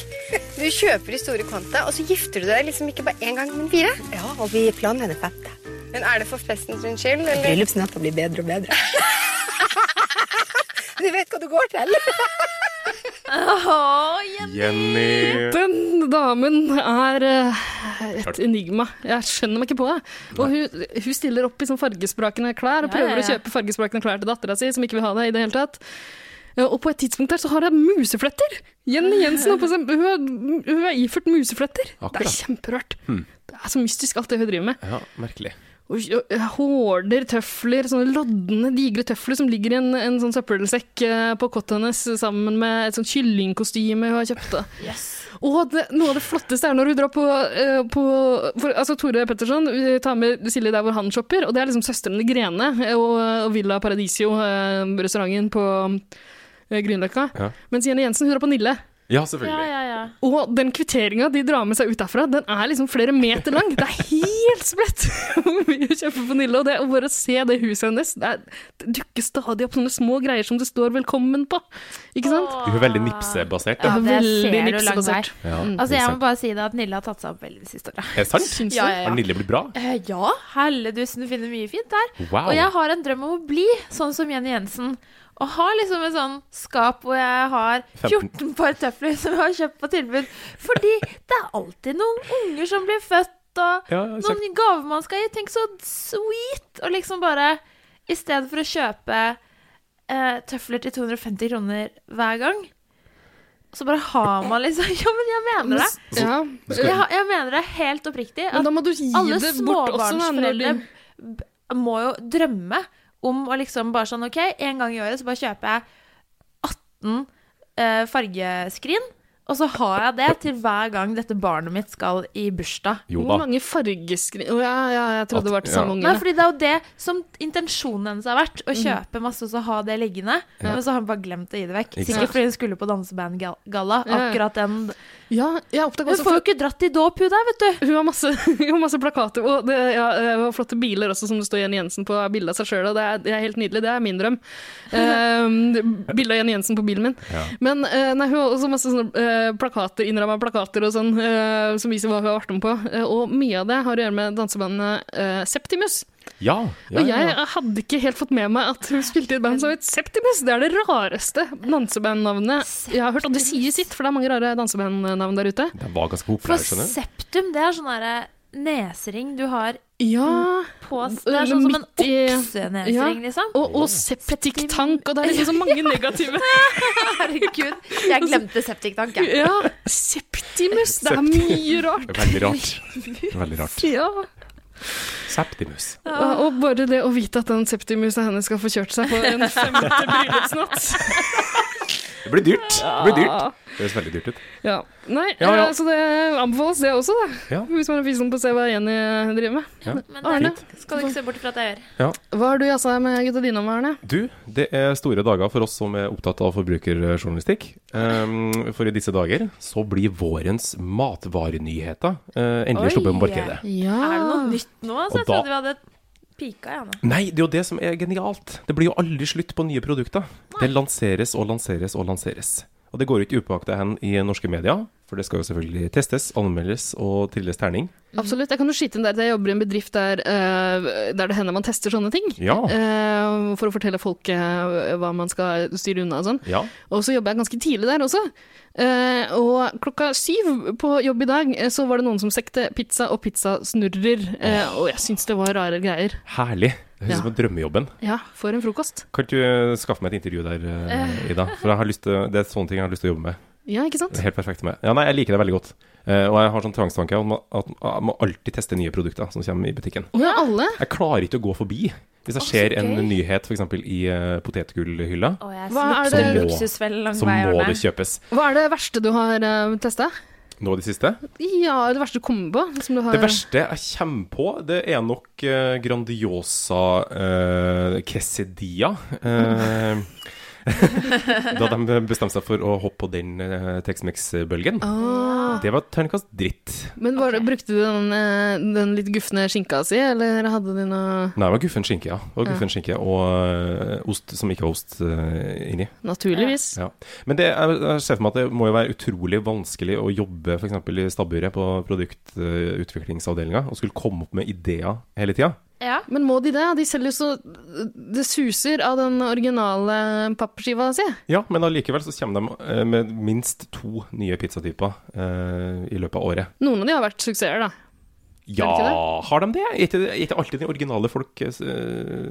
[SPEAKER 7] Du kjøper i store kvanta, og så gifter du deg liksom ikke bare én gang, men fire.
[SPEAKER 6] Ja, Og vi planlegger det fette.
[SPEAKER 7] Men er det for festens sin skyld, eller?
[SPEAKER 6] Bryllupsnatta blir bedre og
[SPEAKER 7] *laughs*
[SPEAKER 6] bedre. du vet hva du går til.
[SPEAKER 1] *laughs* Åh, Jenny.
[SPEAKER 2] Jenny
[SPEAKER 3] Den damen er eh,
[SPEAKER 2] Klart.
[SPEAKER 3] et enigma. Jeg skjønner meg ikke på det. Og hun, hun stiller opp i sånn fargesprakende klær og
[SPEAKER 1] Ja, ja,
[SPEAKER 3] prøver
[SPEAKER 1] ja.
[SPEAKER 3] å kjøpe fargesprakende klær til dattera si, som ikke vil ha det i det hele tatt. Eh, Og på et tidspunkt der så har hun musefletter! Jenny Jensen har på seg Hun er, hun er iført musefletter! Det er
[SPEAKER 2] Akkurat.
[SPEAKER 3] kjemperart. Det er så mystisk, alt det hun driver med.
[SPEAKER 2] Ja, merkelig.
[SPEAKER 3] Og og Hårder, tøfler, sånne loddende, digre tøfler som ligger i en, en sånn søppelsekk eh, på kottet hennes sammen med et sånt kyllingkostyme hun har kjøpt. Da. Og det, noe av det flotteste er når hun drar på, eh, på for, altså Tore Petterson eh, tar med Silje der hvor han shopper, og det er liksom Søstrene Grene eh, og, og Villa Paradisio, eh, restauranten på eh, Grünerløkka.
[SPEAKER 2] Ja.
[SPEAKER 3] Mens Jenny Jensen hun drar på Nille.
[SPEAKER 2] Ja,
[SPEAKER 1] Ja,
[SPEAKER 2] selvfølgelig.
[SPEAKER 1] ja, ja.
[SPEAKER 3] Og den kvitteringa de drar med seg ut derfra, den er liksom flere meter lang. Det er helt spredt hvor mye hun kjøper på Nille. Og det å bare se det huset hennes Det, er, det dukker stadig opp sånne små greier som det står 'velkommen' på. Ikke sant?
[SPEAKER 2] Du er veldig nipsebasert,
[SPEAKER 1] Ja,
[SPEAKER 2] da.
[SPEAKER 1] det
[SPEAKER 3] Veldig
[SPEAKER 1] ser du lang vei.
[SPEAKER 3] nipsebasert.
[SPEAKER 2] Ja,
[SPEAKER 1] Ah. Altså, jeg må
[SPEAKER 2] sant.
[SPEAKER 1] bare si det at Nille har tatt seg opp veldig det siste året.
[SPEAKER 2] Er det sant?
[SPEAKER 3] Syns
[SPEAKER 1] Ja,
[SPEAKER 3] du?
[SPEAKER 1] ja, ja.
[SPEAKER 2] Har Nille blitt bra?
[SPEAKER 1] Eh, ja, helledussen, du finner mye fint der.
[SPEAKER 2] Wow.
[SPEAKER 1] Og jeg har en drøm om å bli sånn som Jenny Jensen. Og har liksom et sånn skap hvor jeg har 14 par tøfler som jeg har kjøpt på tilbud. Fordi det er alltid noen unger som blir født, og
[SPEAKER 2] Ja, kjekt.
[SPEAKER 1] noen gaver man skal gi. Tenk så sweet! Og liksom bare I stedet for å kjøpe eh, tøfler til 250 kroner hver gang, så bare har man liksom *laughs* Ja, men jeg mener det.
[SPEAKER 3] Ja.
[SPEAKER 1] Jeg, har- jeg mener det helt oppriktig.
[SPEAKER 3] Men
[SPEAKER 1] at
[SPEAKER 3] da må du gi
[SPEAKER 1] alle
[SPEAKER 3] det bort også. da, når
[SPEAKER 1] småbarnsforeldre
[SPEAKER 3] du-
[SPEAKER 1] b- må jo drømme om å liksom bare sånn OK, en gang i året så bare kjøper jeg 18 eh, fargeskrin, og så har jeg det til hver gang dette barnet mitt skal i bursdag.
[SPEAKER 2] Jo
[SPEAKER 3] Hvor
[SPEAKER 2] da.
[SPEAKER 3] mange fargeskrin Å ja, ja, jeg trodde det var til samme
[SPEAKER 1] Nei,
[SPEAKER 3] unge.
[SPEAKER 1] fordi det er jo det som intensjonen hennes har vært. Å
[SPEAKER 3] Mhm.
[SPEAKER 1] kjøpe masse og så ha det liggende. Men så har hun bare glemt å gi det vekk.
[SPEAKER 2] Ikke sant.
[SPEAKER 1] Sikkert fordi hun skulle på dansebandgalla.
[SPEAKER 3] Ja.
[SPEAKER 1] Akkurat den.
[SPEAKER 3] Ja, jeg oppdaga
[SPEAKER 1] Hun
[SPEAKER 3] også
[SPEAKER 1] får jo ikke dratt i dåp, hun der, vet du.
[SPEAKER 3] Hun har masse, *laughs* hun har masse plakater og det, ja, eh, og flotte biler også, som det står Jenny Jensen på bildet av seg sjøl. Det, er- det er helt nydelig. Det er
[SPEAKER 1] *laughs*
[SPEAKER 3] min drøm. Um, bildet av Jenny Jensen på bilen min.
[SPEAKER 2] Ja.
[SPEAKER 3] Men eh, nei, hun har også masse sånne eh, plakater, innramma plakater og sånn, eh, som viser hva hun har vært med på. Eh, og mye av det har å gjøre med dansebandet eh, Septimus.
[SPEAKER 2] Ja. ja,
[SPEAKER 3] og
[SPEAKER 2] ja,
[SPEAKER 3] jeg
[SPEAKER 2] ja.
[SPEAKER 3] hadde ikke helt fått med meg at hun spilte i et band som het Septimus. Det er det rareste dansebandnavnet jeg har hørt. Og det sier sitt, for det er mange rare dansebandnavn der ute.
[SPEAKER 2] Den var ganske populær,
[SPEAKER 1] For
[SPEAKER 2] skjønner du.
[SPEAKER 1] septum, det er sånn derre nesering du har
[SPEAKER 3] Ja,
[SPEAKER 1] på Det er sånn som en
[SPEAKER 3] Midt i-
[SPEAKER 1] oksenesering, liksom. *laughs*
[SPEAKER 3] og, og septiktank, og det er liksom så *laughs* mange negative.
[SPEAKER 1] Herregud, jeg glemte septiktank, jeg.
[SPEAKER 3] Ja, septimus, det er mye rart.
[SPEAKER 2] Det er veldig rart. Det er Veldig rart.
[SPEAKER 3] Ja,
[SPEAKER 2] Septimus.
[SPEAKER 3] og, og bare det å vite at den septimusa hennes skal få kjørt seg på en *laughs* femte bryllupsnatt.
[SPEAKER 2] Det blir dyrt. Det blir dyrt. Det høres veldig dyrt ut.
[SPEAKER 3] Ja. Nei,
[SPEAKER 2] Ja, ja.
[SPEAKER 3] eh, så det anbefales det også, da.
[SPEAKER 2] Ja.
[SPEAKER 3] Hvis man er fysen på å se hva Jenny driver med.
[SPEAKER 2] Ja.
[SPEAKER 1] Men
[SPEAKER 3] Arne.
[SPEAKER 1] det skal du ikke se bort ifra at jeg gjør.
[SPEAKER 3] Hva har du jazza med gutta dine om, Arne?
[SPEAKER 2] Du, det er store dager for oss som er opptatt av forbrukerjournalistikk. Ehm, for i disse dager så blir vårens matvarenyheter eh, endelig
[SPEAKER 1] Oi.
[SPEAKER 2] sluppet på markedet.
[SPEAKER 3] Ja.
[SPEAKER 1] Er det noe nytt nå? Så jeg
[SPEAKER 2] da-
[SPEAKER 1] trodde vi hadde pika, jeg nå.
[SPEAKER 2] Nei, det er jo det som er genialt. Det blir jo aldri slutt på nye produkter. Det lanseres og lanseres og lanseres. Og det går jo ikke upåakta hen i norske medier, for det skal jo selvfølgelig testes, anmeldes og tilles terning.
[SPEAKER 3] Absolutt. Jeg kan jo skyte inn der at jeg jobber i en bedrift der, eh, der det hender man tester sånne ting.
[SPEAKER 2] Ja.
[SPEAKER 3] Eh, for å fortelle folk eh, hva man skal styre unna og sånn.
[SPEAKER 2] Ja.
[SPEAKER 3] Og så jobber jeg ganske tidlig der også. Eh, og klokka syv på jobb i dag eh, så var det noen som sekte pizza og pizzasnurrer. Eh, og jeg syns det var rare greier.
[SPEAKER 2] Herlig. Det høres
[SPEAKER 3] Ja.
[SPEAKER 2] ut som drømmejobben.
[SPEAKER 3] Ja, for en frokost.
[SPEAKER 2] Kan du skaffe meg et intervju der, eh, Ida? For jeg har lyst til, det er sånne ting jeg har lyst til å jobbe med.
[SPEAKER 3] Ja, ikke sant?
[SPEAKER 2] Det er Helt perfekt med. Ja, nei, jeg liker det veldig godt. Eh, og jeg har sånn tvangstanke om at jeg må alltid teste nye produkter som kommer i butikken.
[SPEAKER 3] Å ja, alle.
[SPEAKER 2] Jeg klarer ikke å gå forbi. Hvis jeg ser en nyhet f.eks. i eh, potetgullhylla,
[SPEAKER 1] Å, jeg
[SPEAKER 3] Hva er
[SPEAKER 1] snakket
[SPEAKER 2] det-
[SPEAKER 1] luksusfelle lang
[SPEAKER 2] så
[SPEAKER 1] vei,
[SPEAKER 2] må
[SPEAKER 1] Arne.
[SPEAKER 2] det kjøpes.
[SPEAKER 3] Hva er det verste du har uh, testa?
[SPEAKER 2] Nå det siste.
[SPEAKER 3] Ja, det verste du kommer på? Som du har...
[SPEAKER 2] Det verste jeg kommer på, det er nok eh, Grandiosa eh, quesadilla. Eh, *laughs* da de bestemte seg for å hoppe på den eh, Tex-Mex-bølgen.
[SPEAKER 3] Ah,
[SPEAKER 2] Det var terningkast dritt.
[SPEAKER 3] men var det, Brukte du den, eh, den litt gufne skinka si, eller hadde du noe
[SPEAKER 2] Nei, det var guffen skinke, ja. Det var guffen skinke Og eh, ost som ikke var ost eh, inni.
[SPEAKER 3] Naturligvis.
[SPEAKER 2] Ja. Men det, jeg, jeg ser for meg at det må jo være utrolig vanskelig å jobbe f.eks. i stabburet på produktutviklingsavdelinga og skulle komme opp med ideer hele tida.
[SPEAKER 1] Ja.
[SPEAKER 3] Men må de det? De selger jo så Det suser av den originale pappskiva si.
[SPEAKER 2] Ja, men allikevel så kommer de eh, med minst to nye pizzatyper eh, i løpet av året.
[SPEAKER 3] Noen av de har vært suksesser, da.
[SPEAKER 2] Ja,
[SPEAKER 3] ikke
[SPEAKER 2] har de det? Er ikke, er ikke alltid de originale folk eh, s- eh,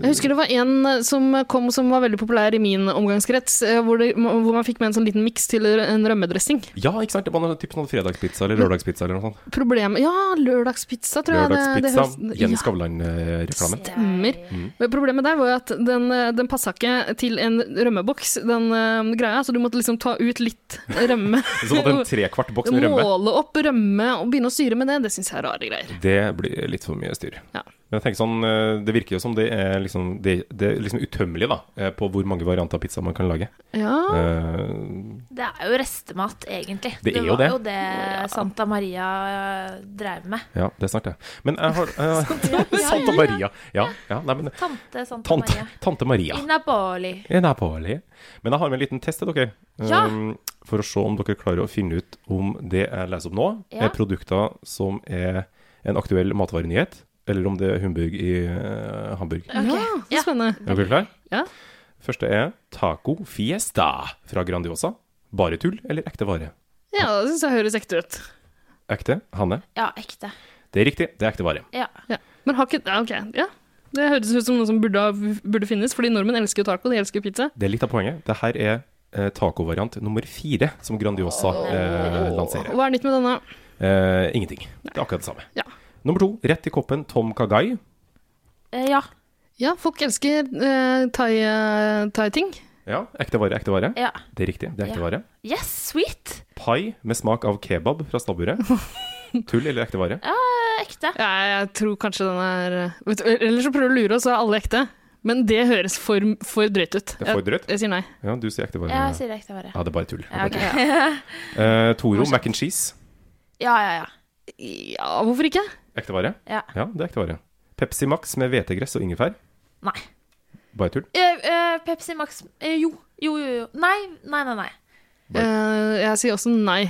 [SPEAKER 3] Jeg husker det var en eh, som kom som var veldig populær i min omgangskrets, eh, hvor, det, hvor man fikk med en sånn liten miks til en rømmedressing.
[SPEAKER 2] Ja, ikke sant? Det var noe, typ sånn fredagspizza eller lørdagspizza eller noe sånt.
[SPEAKER 3] Problemet Ja, lørdagspizza, tror jeg.
[SPEAKER 2] Lørdagspizza, Mm.
[SPEAKER 3] høres-
[SPEAKER 2] Jenny
[SPEAKER 3] Ja.
[SPEAKER 2] Skavlan-reklame.
[SPEAKER 3] Stemmer. Men problemet der var jo at den, eh, den passa ikke til en rømmeboks, den eh, greia, så du måtte liksom ta ut litt rømme.
[SPEAKER 2] Så måtte en trekvart boks med rømme.
[SPEAKER 3] Måle opp rømme og begynne å styre med det, det syns jeg er rare greier.
[SPEAKER 2] Det blir litt for mye styr.
[SPEAKER 3] Ja.
[SPEAKER 2] Men jeg tenker sånn, eh, det virker jo som det er liksom, det, det er liksom utømmelig da, eh, på hvor mange varianter av pizza man kan lage.
[SPEAKER 3] Ja,
[SPEAKER 2] Eh,
[SPEAKER 1] Det er jo restemat, egentlig.
[SPEAKER 2] Det er jo
[SPEAKER 1] var
[SPEAKER 2] det.
[SPEAKER 1] jo det Santa Maria eh, drev med.
[SPEAKER 2] ja, det er snart det. Men jeg har eh, Santa Maria. Ja, ja nei, men,
[SPEAKER 1] Tante Santa
[SPEAKER 2] tante,
[SPEAKER 1] Maria.
[SPEAKER 2] tante Maria.
[SPEAKER 1] I Napoli.
[SPEAKER 2] I Napoli. Men jeg har med en liten test til dere.
[SPEAKER 1] Ja.
[SPEAKER 2] eh, for å se om dere klarer å finne ut om det jeg leser opp nå,
[SPEAKER 1] Ja.
[SPEAKER 2] er produkter som er en aktuell matvarenyhet, eller om det er humbug i eh, Hamburg.
[SPEAKER 1] Ok.
[SPEAKER 3] ja så
[SPEAKER 1] Ja.
[SPEAKER 3] spennende.
[SPEAKER 2] Er dere klare?
[SPEAKER 3] Ja.
[SPEAKER 2] Første er taco fiesta fra Grandiosa. Bare tull eller ekte vare?
[SPEAKER 3] Ja, det syns jeg høres ekte ut.
[SPEAKER 2] Ekte, Hanne.
[SPEAKER 1] Ja, ekte.
[SPEAKER 2] Det er riktig, det er ekte vare.
[SPEAKER 1] Ja.
[SPEAKER 3] Ja. Men har ikke Ja, OK. Ja. Det høres ut som noe som burde, ha- burde finnes, fordi nordmenn elsker jo taco, de elsker jo pizza.
[SPEAKER 2] Det er litt av poenget. Det her er eh, tacovariant nummer fire som Grandiosa eh, lanserer.
[SPEAKER 3] Hva er nytt med denne?
[SPEAKER 2] Eh, ingenting. Det er akkurat det samme.
[SPEAKER 3] Ja.
[SPEAKER 2] Nummer to, rett i koppen Tom Kagai.
[SPEAKER 1] Eh, ja.
[SPEAKER 3] Ja, folk elsker eh, thai- thai-ting.
[SPEAKER 2] Ja, ekte vare, ekte vare.
[SPEAKER 1] ja.
[SPEAKER 2] Det er riktig, det er ekte vare.
[SPEAKER 1] Yes, sweet!
[SPEAKER 2] Pai med smak av kebab fra
[SPEAKER 1] *laughs*
[SPEAKER 2] stabburet. Tull eller ekte vare?
[SPEAKER 1] Eh, Ekte.
[SPEAKER 3] Ja, jeg tror kanskje den er eh, vet du, Eller så prøver du å lure oss, så er alle ekte. Men det høres for, for drøyt ut.
[SPEAKER 2] Det er for drøyt.
[SPEAKER 3] Jeg, jeg sier nei.
[SPEAKER 2] Ja, du sier ekte vare.
[SPEAKER 1] Ja, jeg sier ekte vare.
[SPEAKER 2] Ja, det er bare tull. Det er
[SPEAKER 1] Ja,
[SPEAKER 2] bare
[SPEAKER 1] ok.
[SPEAKER 2] tull. Eh, Toro mac and cheese.
[SPEAKER 1] ja, ja, ja.
[SPEAKER 3] Ja, hvorfor ikke?
[SPEAKER 2] Ekte vare?
[SPEAKER 1] Ja.
[SPEAKER 2] det er ekte vare. Pepsi Max med hvetegress og ingefær.
[SPEAKER 1] Nei.
[SPEAKER 2] Bare tull.
[SPEAKER 1] Eh, eh, Pepsi Max eh, Jo, jo, jo. jo. Nei, nei, nei. nei.
[SPEAKER 2] Bare-
[SPEAKER 3] Eh, jeg sier også nei.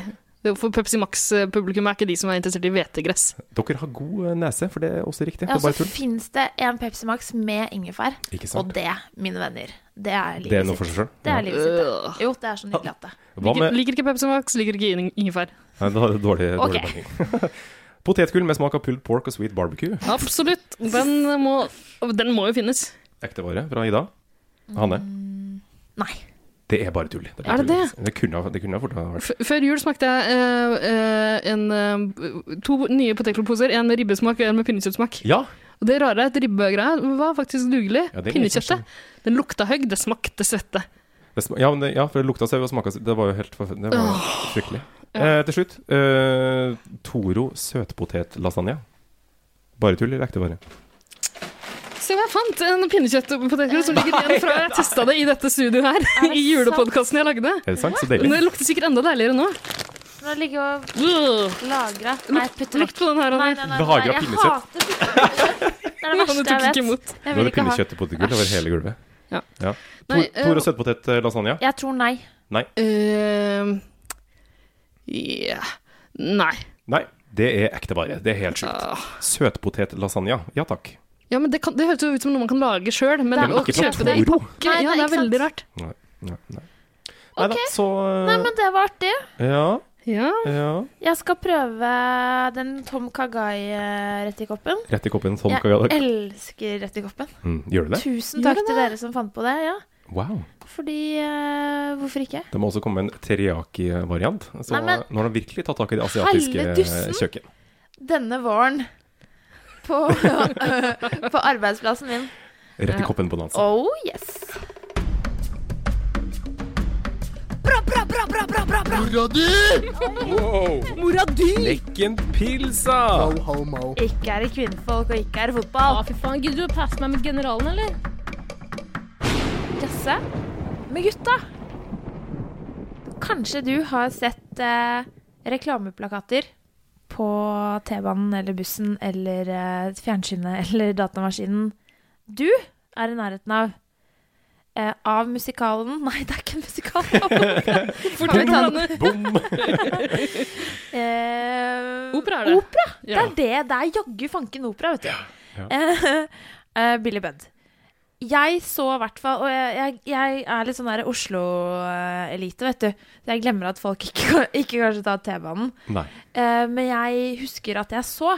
[SPEAKER 3] Det- For Pepsi Max-publikum er ikke de som er interessert i hvetegress.
[SPEAKER 2] Dere har god eh, nese, for det er også riktig.
[SPEAKER 1] Ja,
[SPEAKER 2] det er
[SPEAKER 1] så
[SPEAKER 2] bare tull.
[SPEAKER 1] fins det en Pepsi Max med ingefær.
[SPEAKER 2] Ikke
[SPEAKER 1] Og
[SPEAKER 2] sant?
[SPEAKER 1] det, mine venner, det er
[SPEAKER 2] Det er
[SPEAKER 1] livet
[SPEAKER 2] noe for
[SPEAKER 1] sitt.
[SPEAKER 2] seg sjøl.
[SPEAKER 1] Det er livet sitt. det. Jo, det er så nydelig at det.
[SPEAKER 2] Hva
[SPEAKER 3] Liker,
[SPEAKER 2] med
[SPEAKER 3] liker ikke Pepsi Max, liker ikke ing- ingefær.
[SPEAKER 2] Nei, det var dårlig, dårlig
[SPEAKER 1] Ok.
[SPEAKER 2] blanding. *laughs* Potetgull med smak av pulled pork og sweet barbecue.
[SPEAKER 3] Absolutt. Den må, den må jo finnes.
[SPEAKER 2] Ektevare fra Ida. Hanne.
[SPEAKER 1] Nei.
[SPEAKER 2] Det er bare tull. bare
[SPEAKER 3] Mm. Er det
[SPEAKER 2] tull. Det kunne, ha- det kunne ha fort ha vært
[SPEAKER 3] F før jul smakte jeg eh, eh, en, eh, to nye potetgullposer. En med ribbesmak og en med pinnekjøttsmak.
[SPEAKER 2] Ja!
[SPEAKER 3] Og det rare er at ribbegreia var faktisk dugelig.
[SPEAKER 2] Ja, det er litt
[SPEAKER 3] Pinnekjøttet. Den lukta høgg, det smakte svette.
[SPEAKER 2] Det sma- ja, men det, ja, for det lukta sau og smaka sau. Det var jo helt forfe- Det var jo fryktelig. Eh, til slutt eh, Toro søtpotetlasagne. Bare tull eller ekte vare?
[SPEAKER 3] Se hva jeg fant! En pinnekjøttpotetgull
[SPEAKER 2] *laughs*
[SPEAKER 3] som ligger igjen fra jeg testa det i dette studioet her. I julepodkasten jeg lagde.
[SPEAKER 2] Er det sant? Så
[SPEAKER 3] Men
[SPEAKER 2] deilig.
[SPEAKER 3] det lukter sikkert enda deiligere nå.
[SPEAKER 1] Nå ligger jeg og
[SPEAKER 3] Ugh.
[SPEAKER 1] lagrer. Nei, putter
[SPEAKER 3] Lukt på den her.
[SPEAKER 1] Nei, nei,
[SPEAKER 3] Anne.
[SPEAKER 1] nei,
[SPEAKER 2] Lagra
[SPEAKER 1] nei, jeg
[SPEAKER 2] pinnekjøtt.
[SPEAKER 1] hater pinnekjøtt. *laughs* Det er det
[SPEAKER 3] Anne
[SPEAKER 1] verste
[SPEAKER 3] tok
[SPEAKER 1] jeg
[SPEAKER 3] ikke
[SPEAKER 1] vet.
[SPEAKER 3] imot.
[SPEAKER 1] Jeg
[SPEAKER 2] Nå er
[SPEAKER 1] vil
[SPEAKER 2] det
[SPEAKER 1] ikke ha
[SPEAKER 2] pinnekjøtt og potetgull over hele gulvet.
[SPEAKER 3] Ja.
[SPEAKER 2] Tor,
[SPEAKER 3] Nei, eh,
[SPEAKER 2] Toro søtpotetlasagne.
[SPEAKER 1] Jeg tror nei.
[SPEAKER 3] Eh, ja. Nei.
[SPEAKER 2] Nei, det er ekte vare. Det er helt sjukt.
[SPEAKER 3] Ah.
[SPEAKER 2] Søtpotetlasagne. Ja takk.
[SPEAKER 3] Ja, men det, kan, det høres jo ut som noe man kan lage sjøl, men
[SPEAKER 2] Ja, men
[SPEAKER 3] å
[SPEAKER 2] ikke fra
[SPEAKER 3] kjøpe det i
[SPEAKER 2] Toro.
[SPEAKER 3] pakke
[SPEAKER 1] Nei,
[SPEAKER 3] Ja, det
[SPEAKER 1] det er
[SPEAKER 3] er veldig rart.
[SPEAKER 2] Nei, nei. Nei da, så eh,
[SPEAKER 1] Nei, men det var artig.
[SPEAKER 2] Ja,
[SPEAKER 3] Ja.
[SPEAKER 2] ja.
[SPEAKER 1] Jeg skal prøve den Tom eh, Kagai-rettikoppen.
[SPEAKER 2] Rett i koppen sånn Tom
[SPEAKER 1] Jeg
[SPEAKER 2] Kagalak.
[SPEAKER 1] elsker rettikoppen.
[SPEAKER 2] Mm, gjør du det?
[SPEAKER 1] Tusen
[SPEAKER 3] Gjør
[SPEAKER 1] takk til dere som fant på det. ja.
[SPEAKER 2] Wow.
[SPEAKER 1] Fordi eh, hvorfor ikke?
[SPEAKER 2] Det må også komme en teriyaki-variant. Så
[SPEAKER 1] Nei, men-
[SPEAKER 2] nå har de virkelig tatt tak i det asiatiske
[SPEAKER 1] Helle dussen.
[SPEAKER 2] eh, kjøkken.
[SPEAKER 1] Denne våren på, *laughs* på arbeidsplassen min.
[SPEAKER 2] Rett i koppen bonanza.
[SPEAKER 1] Oh yes!
[SPEAKER 4] Mora di!
[SPEAKER 2] Lekken pilsa!
[SPEAKER 1] Ikke er det kvinnfolk, og ikke er
[SPEAKER 4] Ja,
[SPEAKER 1] det fotball.
[SPEAKER 4] fy faen. Gidder du å passe meg med generalen, eller?
[SPEAKER 1] Jazze med gutta. Kanskje du har sett eh, reklameplakater på T-banen eller bussen eller eh, fjernsynet *laughs* eller datamaskinen du er i nærheten av. Eh, av musikalen *laughs* Nei, det er ikke en musikal. Kan vi ta den?
[SPEAKER 2] Bom!
[SPEAKER 1] Eh,
[SPEAKER 3] Opera er det.
[SPEAKER 1] Opera.
[SPEAKER 3] Ja.
[SPEAKER 1] Det er det. Det er jaggu fanken opera, vet du.
[SPEAKER 2] ja.
[SPEAKER 1] Eh, *laughs* eh, Billy Budd. Jeg så i hvert fall Og jeg, jeg, jeg er litt sånn der Oslo-elite, vet du. Så jeg glemmer at folk ikke, ikke kanskje tar T-banen.
[SPEAKER 2] Nei.
[SPEAKER 1] Eh, men jeg husker at jeg så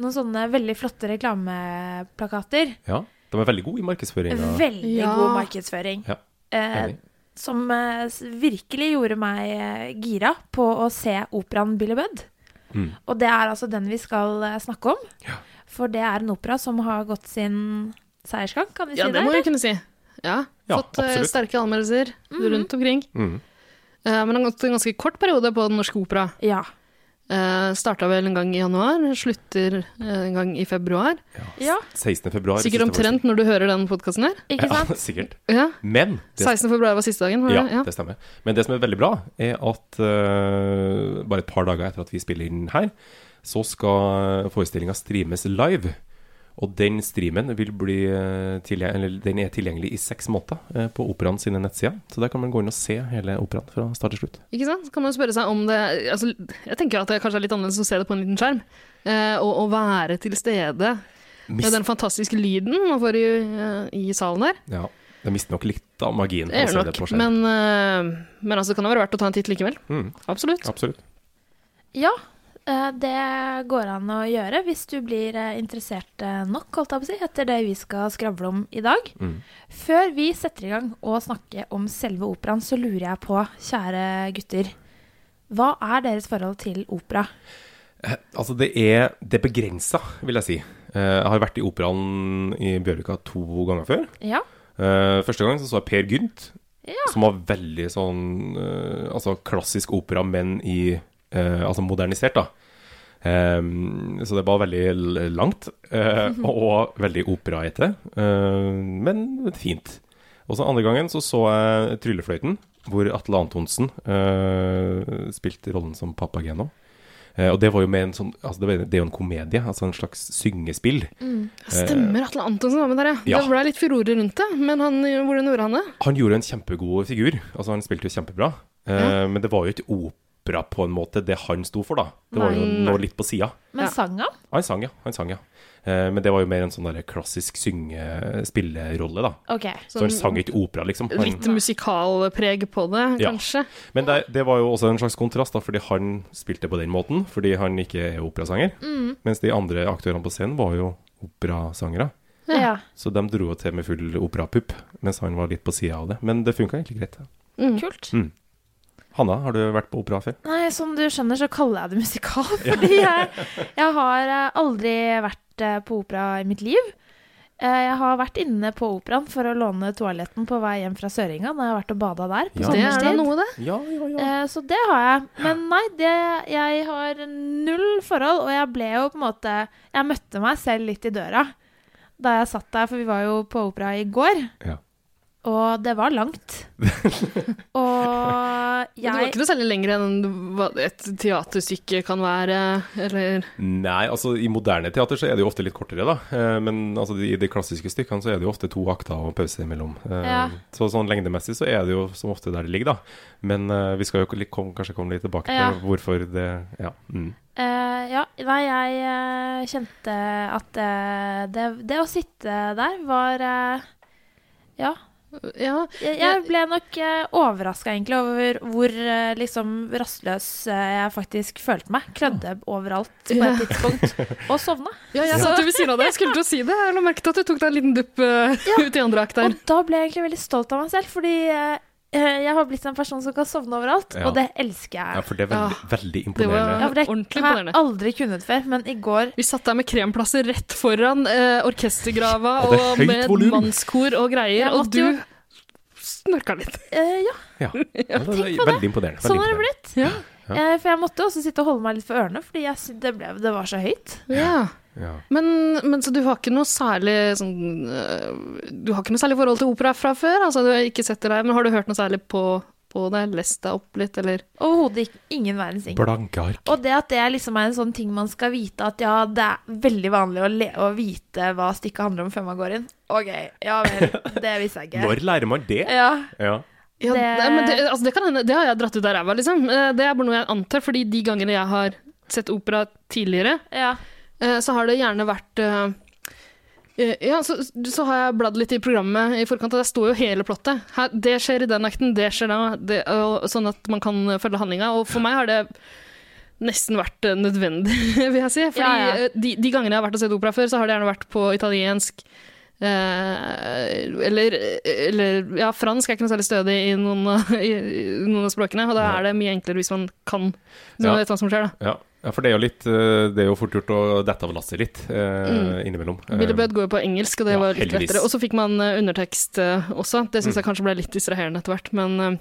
[SPEAKER 1] noen sånne veldig flotte reklameplakater.
[SPEAKER 2] Ja. De er veldig gode i markedsføringa.
[SPEAKER 1] Veldig
[SPEAKER 3] Ja.
[SPEAKER 1] god markedsføring.
[SPEAKER 2] Ja,
[SPEAKER 1] Eh,
[SPEAKER 2] enig.
[SPEAKER 1] som eh, s- virkelig gjorde meg eh, gira på å se operaen Billy Budd.
[SPEAKER 2] Mm.
[SPEAKER 1] Og det er altså den vi skal eh, snakke om.
[SPEAKER 2] Ja.
[SPEAKER 1] For det er en opera som har gått sin seiersgang, kan vi si
[SPEAKER 3] Ja, det
[SPEAKER 1] det?
[SPEAKER 3] må
[SPEAKER 1] eller?
[SPEAKER 3] vi kunne si. Ja.
[SPEAKER 2] Ja,
[SPEAKER 3] Fått eh,
[SPEAKER 2] absolutt.
[SPEAKER 3] sterke anmeldelser rundt omkring.
[SPEAKER 2] Mhm.
[SPEAKER 3] Eh, men det har gått en ganske kort periode på Den norske opera.
[SPEAKER 1] Ja.
[SPEAKER 3] Uh, Starta vel en gang i januar, slutter eh, en gang i februar.
[SPEAKER 1] ja.
[SPEAKER 2] 16. februar.
[SPEAKER 3] Sikkert
[SPEAKER 2] siste
[SPEAKER 3] omtrent når du hører den podkasten her.
[SPEAKER 1] Ikke
[SPEAKER 2] forestilling.
[SPEAKER 1] sant?
[SPEAKER 2] Ja, sikkert.
[SPEAKER 3] Ja.
[SPEAKER 2] Men det
[SPEAKER 3] 16. februar var siste dagen. Var det?
[SPEAKER 2] Ja, det stemmer. Men det som er veldig bra, er at eh, bare et par dager etter at vi spiller inn her, så skal forestillinga streames live. Og den streamen vil bli eh, tilgje- eller den er tilgjengelig i seks måneder eh, på Operaen sine nettsider. Så der kan man gå inn og se hele operaen fra start til slutt.
[SPEAKER 3] Ikke sant? Så kan man jo spørre seg om det altså, Jeg tenker at det kanskje er litt annerledes å se det på en liten skjerm. Eh, og å være til stede med den fantastiske lyden man får i, eh, i salen der.
[SPEAKER 2] Ja, det mister nok litt av magien. å
[SPEAKER 3] Det gjør
[SPEAKER 2] se
[SPEAKER 3] det nok.
[SPEAKER 2] på skjerm.
[SPEAKER 3] Men, eh, men altså, det kan det være verdt å ta en titt likevel.
[SPEAKER 2] Mm.
[SPEAKER 3] Absolutt.
[SPEAKER 2] Absolutt.
[SPEAKER 1] *laughs* Ja, eh, det går an å gjøre hvis du blir eh, interessert eh, nok, holdt jeg på å si, etter det vi skal skravle om i dag.
[SPEAKER 2] Mm.
[SPEAKER 1] Før vi setter i gang å snakke om selve operaen, så lurer jeg på, kjære gutter, hva er deres forhold til opera?
[SPEAKER 2] Eh, Altså, det er, det er begrensa, vil jeg si. Eh, Jeg har vært i Operaen i Bjørvika to ganger før.
[SPEAKER 1] Ja,
[SPEAKER 2] Eh, første gang så, så jeg Per Gynt,
[SPEAKER 1] Ja.
[SPEAKER 2] som var veldig sånn eh, Altså klassisk opera, men i eh, Altså modernisert, da. Ehm, så det var veldig l- langt, eh, og veldig operaete, eh, men fint. Og så andre gangen så så jeg Tryllefløyten, hvor Atle Antonsen eh, spilte rollen som Papageno. Eh, og det var jo med en sånn altså det, var, det er jo en komedie, altså en slags syngespill.
[SPEAKER 3] Stemmer Atle Antonsen var med der, ja.
[SPEAKER 2] Ja.
[SPEAKER 3] Det ble litt furore rundt det. Men han, hvordan gjorde han det?
[SPEAKER 2] Han gjorde en kjempegod figur. Altså, han spilte jo kjempebra. Eh, Men det var jo ikke opera på en måte det han sto for, da. Det var jo
[SPEAKER 3] Nei.
[SPEAKER 2] noe litt på sida.
[SPEAKER 1] Men
[SPEAKER 3] Ja.
[SPEAKER 1] sang han?
[SPEAKER 2] Han sang, ja. Han sang, ja. Eh, Men det var jo mer en sånn der klassisk synge-spillerolle, da.
[SPEAKER 1] OK.
[SPEAKER 2] Så han sang ikke opera, liksom. Han,
[SPEAKER 3] Sånn Litt musikalpreg på det,
[SPEAKER 2] Ja.
[SPEAKER 3] kanskje.
[SPEAKER 2] Men det, det var jo også en slags kontrast, da, fordi han spilte på den måten, fordi han ikke er operasanger.
[SPEAKER 3] Mm.
[SPEAKER 2] Mens de andre aktørene på scenen var jo operasangere.
[SPEAKER 1] Ja.
[SPEAKER 2] Så de dro jo til med full operapupp, mens han var litt på sida av det. Men det funka egentlig greit.
[SPEAKER 3] Mm.
[SPEAKER 1] Kult.
[SPEAKER 2] Hanna, har du vært på opera før?
[SPEAKER 1] Nei, som du skjønner, så kaller jeg det musikal. *laughs* Fordi jeg, jeg har eh, aldri vært eh, på opera i mitt liv. Eh, Jeg har vært inne på operaen for å låne toaletten på vei hjem fra Søringa. Da jeg har vært og bada der på
[SPEAKER 2] Ja.
[SPEAKER 3] Det er da
[SPEAKER 1] sommerstid.
[SPEAKER 3] noe, det.
[SPEAKER 2] Ja, ja,
[SPEAKER 1] Eh, Så det har jeg. Men nei, det, jeg har null forhold, og jeg ble jo på en måte Jeg møtte meg selv litt i døra da jeg satt der, for vi var jo på opera i går.
[SPEAKER 2] Ja.
[SPEAKER 1] Og det var langt.
[SPEAKER 2] *laughs*
[SPEAKER 1] og
[SPEAKER 3] Men Det var
[SPEAKER 1] jeg
[SPEAKER 3] ikke noe særlig lenger enn hva et teaterstykke kan være, eller
[SPEAKER 2] Nei, altså i moderne teater så er det jo ofte litt kortere, da. Eh, Men altså, i de klassiske stykkene så er det jo ofte to akter og pause imellom. Eh,
[SPEAKER 1] Ja.
[SPEAKER 2] Så sånn lengdemessig så er det jo som ofte der det ligger, da. Men eh, vi skal jo litt, kom, kanskje komme litt tilbake til
[SPEAKER 1] Ja.
[SPEAKER 2] hvorfor det Ja. Mm.
[SPEAKER 1] Eh, ja, nei, jeg eh, kjente at eh, det, det å sitte der var eh, Ja.
[SPEAKER 3] Ja.
[SPEAKER 1] Jeg, jeg ble nok uh, overraska egentlig over hvor eh, liksom rastløs eh, jeg faktisk følte meg. Klødde overalt på
[SPEAKER 3] Ja.
[SPEAKER 1] et tidspunkt. Og
[SPEAKER 3] *laughs*
[SPEAKER 1] sovna.
[SPEAKER 3] ja, jeg satt jo ved siden av deg, jeg skulle til å si det. Jeg la merke til at du tok deg en liten dupp eh, ut i andre akt der.
[SPEAKER 1] Og da ble jeg egentlig veldig stolt av meg selv, fordi eh, jeg har blitt en person som kan sovne overalt,
[SPEAKER 2] Ja.
[SPEAKER 1] og det elsker
[SPEAKER 2] ja,
[SPEAKER 1] jeg.
[SPEAKER 2] for det er veldig, veldig
[SPEAKER 3] Det
[SPEAKER 2] imponerende.
[SPEAKER 3] var
[SPEAKER 1] Ja, for Ah, det
[SPEAKER 3] ordentlig
[SPEAKER 1] har jeg
[SPEAKER 3] imponerende.
[SPEAKER 1] aldri kunnet før, men i går
[SPEAKER 3] Vi satt der med kremplasser rett foran eh, orkestergrava
[SPEAKER 2] Og det er
[SPEAKER 3] og
[SPEAKER 2] høyt
[SPEAKER 3] med
[SPEAKER 2] volum.
[SPEAKER 3] mannskor og greier,
[SPEAKER 1] Jeg
[SPEAKER 3] og
[SPEAKER 1] måtte
[SPEAKER 3] du
[SPEAKER 1] jo-
[SPEAKER 3] snorka litt.
[SPEAKER 1] eh, Ja,
[SPEAKER 2] Ja, Ja, det,
[SPEAKER 1] tenk
[SPEAKER 2] er
[SPEAKER 1] på det.
[SPEAKER 2] veldig imponerende.
[SPEAKER 1] sånn har
[SPEAKER 2] veldig
[SPEAKER 1] det
[SPEAKER 2] imponerende.
[SPEAKER 1] blitt. Eh, for jeg måtte også sitte og holde meg litt for ørene, fordi jeg, sy- det, ble, det var så høyt.
[SPEAKER 3] Ja.
[SPEAKER 2] Ja.
[SPEAKER 3] Men, men så du har ikke noe særlig sånn øh, Du har ikke noe særlig forhold til opera fra før? Altså, du har ikke sett det der, men har du hørt noe særlig på, på det? Lest deg opp litt, eller
[SPEAKER 1] Overhodet ikke- ingen verdens ting.
[SPEAKER 2] Blanke ark.
[SPEAKER 1] Og det at det liksom er en sånn ting man skal vite, at ja, det er veldig vanlig å, le å vite hva stykket handler om før man går inn. OK, ja vel. Det visste jeg ikke.
[SPEAKER 2] Når lærer man det?
[SPEAKER 1] Ja.
[SPEAKER 2] Ja.
[SPEAKER 3] ja, det...
[SPEAKER 1] Det-
[SPEAKER 3] Men det, altså, det kan hende, det har jeg dratt ut av ræva, liksom. Eh, Det er bare noe jeg antar, fordi de gangene jeg har sett opera tidligere,
[SPEAKER 1] ja.
[SPEAKER 3] eh, så har det gjerne vært eh, eh, ja, så, så har jeg bladd litt i programmet i forkant, og der står jo hele plottet. Her, det skjer i den akten, det skjer da, det, og, sånn at man kan følge handlinga. Og for meg har det nesten vært eh, nødvendig, *laughs* vil jeg si. Fordi
[SPEAKER 1] Ja, ja.
[SPEAKER 3] eh, De, de gangene jeg har vært og sett opera før, så har det gjerne vært på italiensk. eh, eller, eller ja, fransk er ikke noe særlig stødig i noen, av- *laughs* i, i noen av språkene, og da er det mye enklere hvis man kan
[SPEAKER 2] Ja.
[SPEAKER 3] så man vet hva som skjer. da.
[SPEAKER 2] Ja. ja, for det er jo litt eh, Det er jo fort gjort å dette av lasset litt eh,
[SPEAKER 1] Mm.
[SPEAKER 2] innimellom.
[SPEAKER 3] Billy Budd går jo på engelsk, og det
[SPEAKER 2] Eh, ja,
[SPEAKER 3] var litt
[SPEAKER 2] heldigvis. Mm.
[SPEAKER 3] lettere. Og så fikk man eh, undertekst eh, også. Det syns jeg kanskje ble litt distraherende etter hvert. Men eh,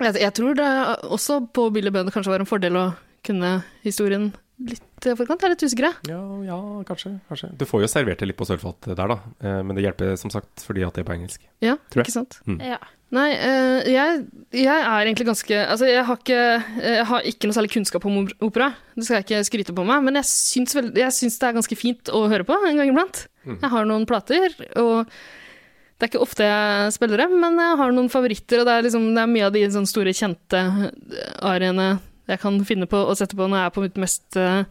[SPEAKER 3] jeg, jeg tror det også på Billy Budd kanskje var en fordel å kunne historien litt i forkant. Jeg er litt usikker. jeg.
[SPEAKER 2] Ja, ja, kanskje, kanskje. Du får jo servert det litt på sølvfat der, da. Eh, Men det hjelper som sagt fordi at det er på engelsk.
[SPEAKER 3] Ja,
[SPEAKER 2] Tror jeg.
[SPEAKER 3] ikke sant?
[SPEAKER 1] ja.
[SPEAKER 3] Nei, eh, jeg, jeg er egentlig ganske Altså, jeg har, ikke, jeg har ikke noe særlig kunnskap om op- opera. Det skal jeg ikke skryte på meg, men jeg syns, vel, jeg syns det er ganske fint å høre på en gang iblant.
[SPEAKER 2] Mm.
[SPEAKER 3] Jeg har noen plater, og det er ikke ofte jeg spiller dem, men jeg har noen favoritter, og det er, liksom, det er mye av de sånne store, kjente ariene jeg kan finne på å sette på når jeg er på mitt mest eh,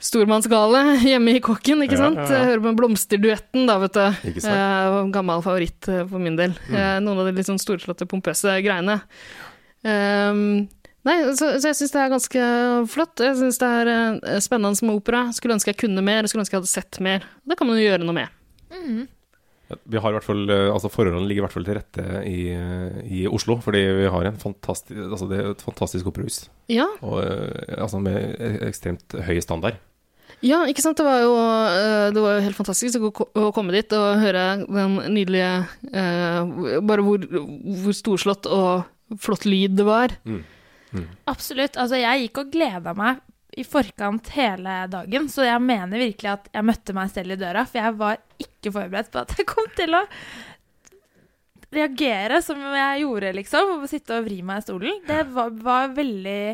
[SPEAKER 3] stormannsgale hjemme i kåken, ikke
[SPEAKER 2] Ja,
[SPEAKER 3] sant?
[SPEAKER 2] ja, ja.
[SPEAKER 3] Jeg hører på Blomsterduetten, da, vet du.
[SPEAKER 2] Ikke sant? Mm.
[SPEAKER 3] Eh, gammel favoritt eh, for min del. Eh, noen av de litt sånn storslåtte, pompøse greiene. Ehm, nei, så, så jeg syns det er ganske flott. Jeg syns det er eh, spennende med opera. Skulle ønske jeg kunne mer, skulle ønske jeg hadde sett mer. Det kan man jo gjøre noe med.
[SPEAKER 2] Ja, Vi har i hvert fall, eh, altså Forholdene ligger i hvert fall til rette i, eh, i Oslo, fordi vi har en fantastisk, altså det er et fantastisk operahus.
[SPEAKER 3] Ja,
[SPEAKER 2] Og, eh, altså med e- ekstremt høy standard.
[SPEAKER 3] ja ikke sant. Det var jo, eh, det var jo helt fantastisk å ko- å komme dit og høre den nydelige eh, Bare hvor, hvor storslått og flott lyd det var.
[SPEAKER 1] Absolutt. Altså, jeg gikk og gleda meg i forkant hele dagen, så jeg mener virkelig at jeg møtte meg selv i døra, for jeg var ikke forberedt på at jeg kom til å reagere som jeg gjorde, liksom, og sitte og vri meg i stolen. Det var, var veldig,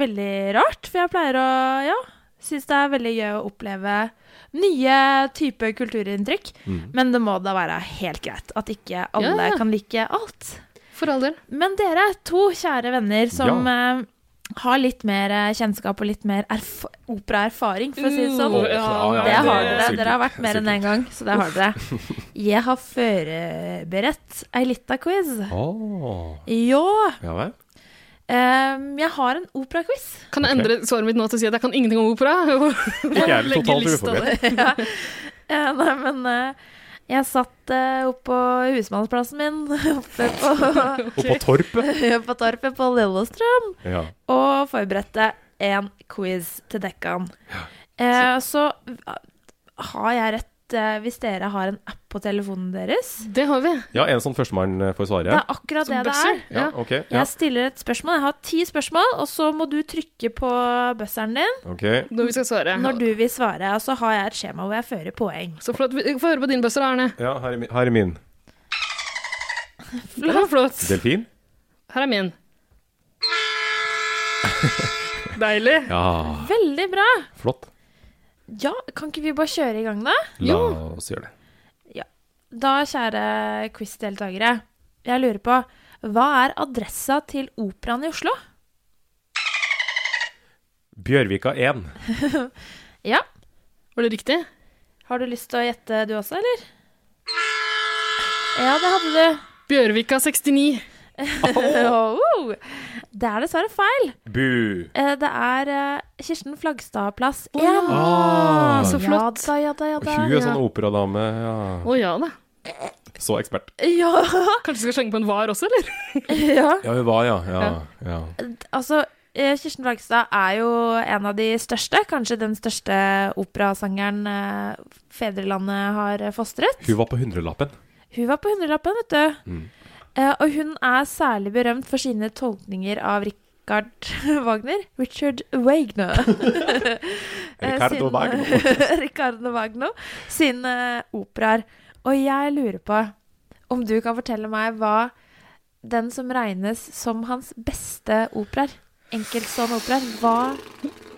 [SPEAKER 1] veldig rart, for jeg pleier å, ja, synes det er veldig gøy å oppleve nye typer kulturinntrykk, men det må da være helt greit at ikke alle
[SPEAKER 3] Mm. Ja, ja.
[SPEAKER 1] kan like alt.
[SPEAKER 3] For all del.
[SPEAKER 1] Men dere to kjære venner som eh, har litt mer eh, kjennskap og litt mer erf operaerfaring, for å si det sånn.
[SPEAKER 2] Åh, Uh, ja, ja,
[SPEAKER 1] Det
[SPEAKER 2] ja,
[SPEAKER 1] har
[SPEAKER 2] ja,
[SPEAKER 1] dere.
[SPEAKER 2] sikkert.
[SPEAKER 1] Dere har vært mer enn én
[SPEAKER 2] Sikkert.
[SPEAKER 1] gang, så det har
[SPEAKER 2] *laughs*
[SPEAKER 1] dere. Jeg har forberedt ei lita quiz.
[SPEAKER 2] Åh,
[SPEAKER 1] Ja.
[SPEAKER 2] Ah, ja vel.
[SPEAKER 1] em, jeg har en operaquiz.
[SPEAKER 2] *laughs*
[SPEAKER 1] *laughs*
[SPEAKER 3] Kan jeg endre svaret mitt nå til å si at jeg kan ingenting om opera? *laughs*
[SPEAKER 2] Ikke jeg er
[SPEAKER 3] Legge
[SPEAKER 2] totalt
[SPEAKER 3] lista
[SPEAKER 2] uforberedt.
[SPEAKER 1] Eh, nei, men eh, jeg satt eh, oppe på husmannsplassen min, *laughs* oppe
[SPEAKER 2] *laughs*
[SPEAKER 1] på,
[SPEAKER 2] Og på torpet.
[SPEAKER 1] *laughs* på torpet på Lillestrøm,
[SPEAKER 2] Ja.
[SPEAKER 1] og forberedte en quiz til dekkan. Eh, så har jeg rett eh, hvis dere har en app på telefonen deres.
[SPEAKER 3] Det har vi.
[SPEAKER 2] ja, en sånn førstemann eh, får
[SPEAKER 1] Det
[SPEAKER 2] svaret.
[SPEAKER 1] er akkurat
[SPEAKER 3] Som
[SPEAKER 1] det det
[SPEAKER 3] bøsser.
[SPEAKER 1] er.
[SPEAKER 2] Ja, ok. Ja,
[SPEAKER 1] Jeg stiller et spørsmål. Jeg har ti spørsmål, og så må du trykke på bøsseren din
[SPEAKER 2] ok.
[SPEAKER 3] Når vi skal svare.
[SPEAKER 1] når du vil svare. Og så har jeg et skjema hvor jeg fører poeng.
[SPEAKER 3] Så flott. Vi- Få høre på din bøsser, Arne.
[SPEAKER 2] Ja, her er min. Her er min.
[SPEAKER 3] Det var flott.
[SPEAKER 2] Delfin?
[SPEAKER 3] Her er min. Deilig.
[SPEAKER 2] Ja,
[SPEAKER 1] Veldig bra.
[SPEAKER 2] flott.
[SPEAKER 1] Ja, kan ikke vi bare kjøre i gang, da?
[SPEAKER 2] La oss gjøre det.
[SPEAKER 1] Da, kjære quiz-deltakere, jeg lurer på hva er adressa til Operaen i Oslo?
[SPEAKER 2] Bjørvika 1.
[SPEAKER 1] Ja.
[SPEAKER 3] Var det riktig?
[SPEAKER 1] Har du lyst til å gjette du også, eller? Ja, det hadde du.
[SPEAKER 3] Bjørvika 69.
[SPEAKER 1] *laughs* Oh. Det er dessverre feil.
[SPEAKER 2] Bu.
[SPEAKER 1] Eh, Det er eh, Kirsten Flagstad plass 1.
[SPEAKER 2] Ah,
[SPEAKER 3] så flott.
[SPEAKER 1] Ja da, ja da, ja
[SPEAKER 2] Og
[SPEAKER 1] da.
[SPEAKER 2] Hun er
[SPEAKER 3] ja.
[SPEAKER 2] sånn operadame. Ja.
[SPEAKER 3] Å ja da.
[SPEAKER 2] Så ekspert.
[SPEAKER 1] *laughs* Ja,
[SPEAKER 3] Kanskje vi skal slenge på en var også, eller?
[SPEAKER 1] ja.
[SPEAKER 2] Ja, hun var, ja. ja, ja.
[SPEAKER 1] Altså, eh, Kirsten Flagstad er jo en av de største, kanskje den største operasangeren eh, fedrelandet har fostret.
[SPEAKER 2] Hun var på hundrelappen.
[SPEAKER 1] Hun var på hundrelappen, vet du.
[SPEAKER 2] Mm.
[SPEAKER 1] Eh, Og hun er særlig berømt for sine tolkninger av Richard *laughs* Wagner. Richard Wagner. Eh,
[SPEAKER 2] *laughs* Ricardo
[SPEAKER 1] sin-
[SPEAKER 2] Wagner.
[SPEAKER 1] *laughs* Ricardo Wagner sine operaer. Og jeg lurer på om du kan fortelle meg hva den som regnes som hans beste operaer, enkeltstående operaer, hva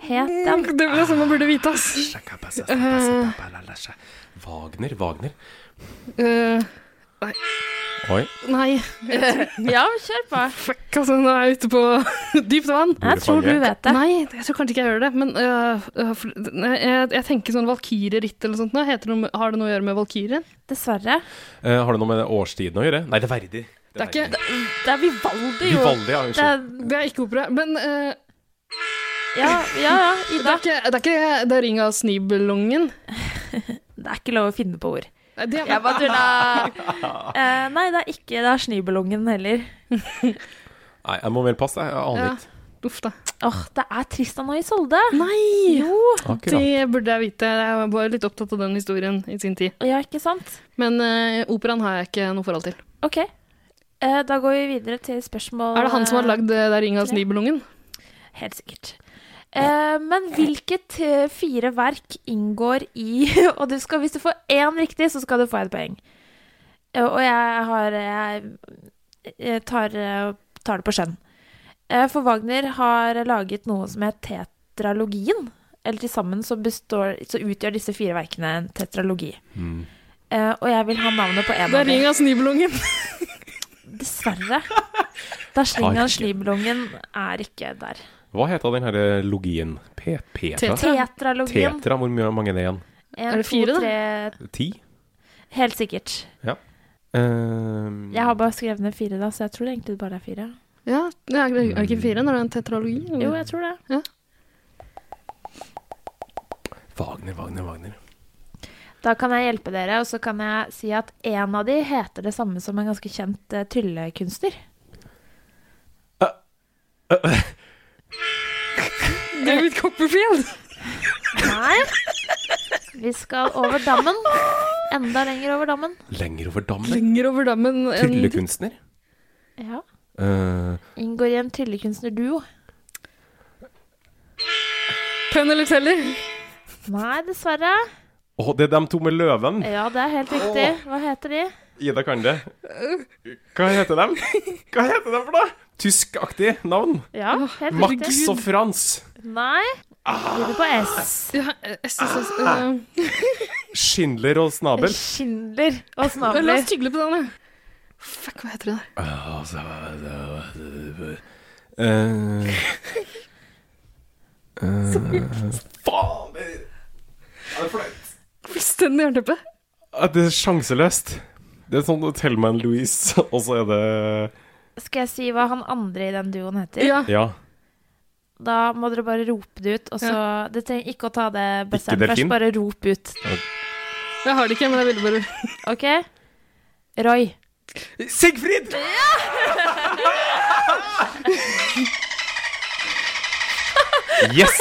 [SPEAKER 1] het den?
[SPEAKER 3] *laughs* Det er sånn man burde vite, ass.
[SPEAKER 1] Eh.
[SPEAKER 2] Wagner, Wagner.
[SPEAKER 3] Eh,
[SPEAKER 2] Oi.
[SPEAKER 3] nei,
[SPEAKER 1] Ja, kjør på.
[SPEAKER 3] fuck, altså. Nå er jeg ute på *laughs* dypt vann.
[SPEAKER 1] Jeg tror du vet det.
[SPEAKER 3] Nei, jeg tror kanskje ikke jeg gjør det. Men øh, øh, for, nei, jeg, jeg tenker sånn valkyrjeritt eller sånt. nå. Heter det, noe- har det noe å gjøre med valkyrien?
[SPEAKER 1] Dessverre.
[SPEAKER 2] Eh, har det noe med årstiden å gjøre? Nei, det er Verdi.
[SPEAKER 3] Det er ikke,
[SPEAKER 1] Det er Vivaldi, jo.
[SPEAKER 2] Vivaldi,
[SPEAKER 1] Det
[SPEAKER 2] ja. Unnskyld.
[SPEAKER 1] er,
[SPEAKER 3] det er ikke opera. Men øh,
[SPEAKER 1] ja, ja, ja,
[SPEAKER 3] det,
[SPEAKER 1] Ida.
[SPEAKER 3] er ikke, det er ikke Det er Ring av Snibelungen.
[SPEAKER 1] Det er ikke lov å finne på ord.
[SPEAKER 3] Nei, det-
[SPEAKER 1] Jeg bare tulla. Eh, nei, det er ikke Det er Snibelungen heller.
[SPEAKER 2] Nei, jeg må vel passe. Jeg aner
[SPEAKER 3] Ja.
[SPEAKER 2] ikke.
[SPEAKER 3] Uff da.
[SPEAKER 1] Åh, det er Tristan og Isolde.
[SPEAKER 3] Nei!
[SPEAKER 1] Jo.
[SPEAKER 2] Akkurat.
[SPEAKER 3] Det burde jeg vite. Jeg var litt opptatt av den historien i sin tid.
[SPEAKER 1] Ja, ikke sant?
[SPEAKER 3] Men øh, operaen har jeg ikke noe forhold til.
[SPEAKER 1] Ok. Eh, da går vi videre til spørsmål
[SPEAKER 3] Er det han som har
[SPEAKER 1] eh,
[SPEAKER 3] lagd det der Ring av Snibelungen?
[SPEAKER 1] Helt sikkert. Eh, men hvilket eh, fire verk inngår i *laughs* Og du skal, hvis du får én riktig, så skal du få et poeng. Eh, og jeg har Jeg, jeg tar, eh, tar det på skjønn. Eh, for Wagner har laget noe som het tetralogien. Eller til sammen så, består, så utgjør disse fire verkene en tetralogi.
[SPEAKER 2] Mm.
[SPEAKER 1] Eh, og jeg vil ha navnet på én
[SPEAKER 3] Det
[SPEAKER 1] av
[SPEAKER 3] er
[SPEAKER 1] dem.
[SPEAKER 3] Ring av Snibelungen.
[SPEAKER 1] Dessverre. Da
[SPEAKER 2] Har
[SPEAKER 1] slenger han
[SPEAKER 2] ikke.
[SPEAKER 1] slibelongen er ikke der.
[SPEAKER 2] Hva heter den herre logien? P Petra?
[SPEAKER 3] Tetra.
[SPEAKER 1] Tetralogien.
[SPEAKER 2] Tetra, hvor mye mange er det igjen?
[SPEAKER 1] En,
[SPEAKER 3] Er det fire,
[SPEAKER 1] to,
[SPEAKER 3] da?
[SPEAKER 1] tre
[SPEAKER 2] Ti?
[SPEAKER 1] Helt sikkert.
[SPEAKER 2] Ehm,
[SPEAKER 1] Jeg har bare skrevet ned fire, da, så jeg tror det egentlig bare er fire.
[SPEAKER 3] Ja, det er er det ikke fire når det er en tetralogi? eller?
[SPEAKER 1] Jo, jeg tror det.
[SPEAKER 2] Wagner, Wagner, Wagner.
[SPEAKER 1] Da kan jeg hjelpe dere, og så kan jeg si at én av de heter det samme som en ganske kjent eh, tryllekunstner.
[SPEAKER 3] David Copperfield!
[SPEAKER 1] Nei. *laughs* Vi skal over dammen. Enda lenger over dammen.
[SPEAKER 2] Lenger over dammen.
[SPEAKER 3] Lenger over dammen enn
[SPEAKER 2] Tryllekunstner.
[SPEAKER 1] Ja.
[SPEAKER 2] Eh,
[SPEAKER 1] Inngår i en tryllekunstnerduo.
[SPEAKER 3] Penn eller Teller.
[SPEAKER 1] Nei, dessverre.
[SPEAKER 2] Å, det er dem to med løven.
[SPEAKER 1] Ja, det er helt riktig. Hva heter de?
[SPEAKER 2] Ida kan det. Hva heter dem? Hva heter dem for noe? Tyskaktig navn.
[SPEAKER 1] Ja, helt
[SPEAKER 2] Max
[SPEAKER 1] riktig.
[SPEAKER 2] og Frans.
[SPEAKER 1] Nei. Blir det på S?
[SPEAKER 3] Ja, eh, SSS uh,
[SPEAKER 2] Schindler og Snabel.
[SPEAKER 1] Schindler og
[SPEAKER 3] La
[SPEAKER 1] Snabler.
[SPEAKER 3] oss tygle på den, da. Fuck, hva heter det der?
[SPEAKER 2] Eh, eh, faen! Det er flaut.
[SPEAKER 3] Fullstendig jernteppe.
[SPEAKER 2] Ja, Det er sjanseløst. Det er sånn Tellman Louise, og så er det
[SPEAKER 1] Skal jeg si hva han andre i den duoen heter?
[SPEAKER 3] Ja.
[SPEAKER 2] Ja.
[SPEAKER 1] Da må dere bare rope det ut. Og så, Det trenger ikke å ta det
[SPEAKER 2] Ikke
[SPEAKER 1] bøsseren
[SPEAKER 2] delfin?
[SPEAKER 1] først. Bare rop ut.
[SPEAKER 3] Jeg har det ikke, men jeg ville bare
[SPEAKER 1] OK? Roy.
[SPEAKER 2] Sigfrid! Yes!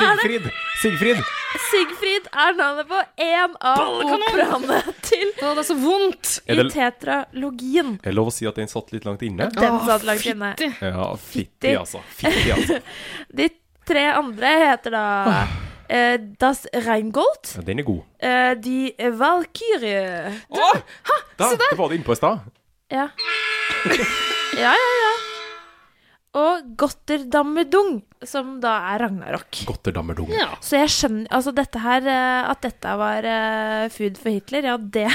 [SPEAKER 2] Sigfrid! Sigfrid!
[SPEAKER 1] Sigfrid er navnet på én av operaene til
[SPEAKER 3] Å, det er så vondt!
[SPEAKER 2] *laughs* Er
[SPEAKER 1] i
[SPEAKER 2] det-
[SPEAKER 1] tetralogien.
[SPEAKER 2] Er det lov å si at den satt litt langt inne?
[SPEAKER 1] Den
[SPEAKER 3] Å,
[SPEAKER 1] satt langt inne.
[SPEAKER 3] fitti.
[SPEAKER 2] Ja, fitti, altså. Fitti, altså.
[SPEAKER 1] De tre andre heter da eh, Das Reingold,
[SPEAKER 2] Ja, den er god.
[SPEAKER 1] eh, De Valkyrie
[SPEAKER 2] Da, det var det innpå i stad.
[SPEAKER 1] Ja. *laughs* Ja, ja, ja. Og Gotterdammedung, som da er Ragnarok.
[SPEAKER 2] Godterdammerdung.
[SPEAKER 3] Ja.
[SPEAKER 1] Så jeg skjønner Altså, dette her eh, At dette var eh, food for Hitler, ja, det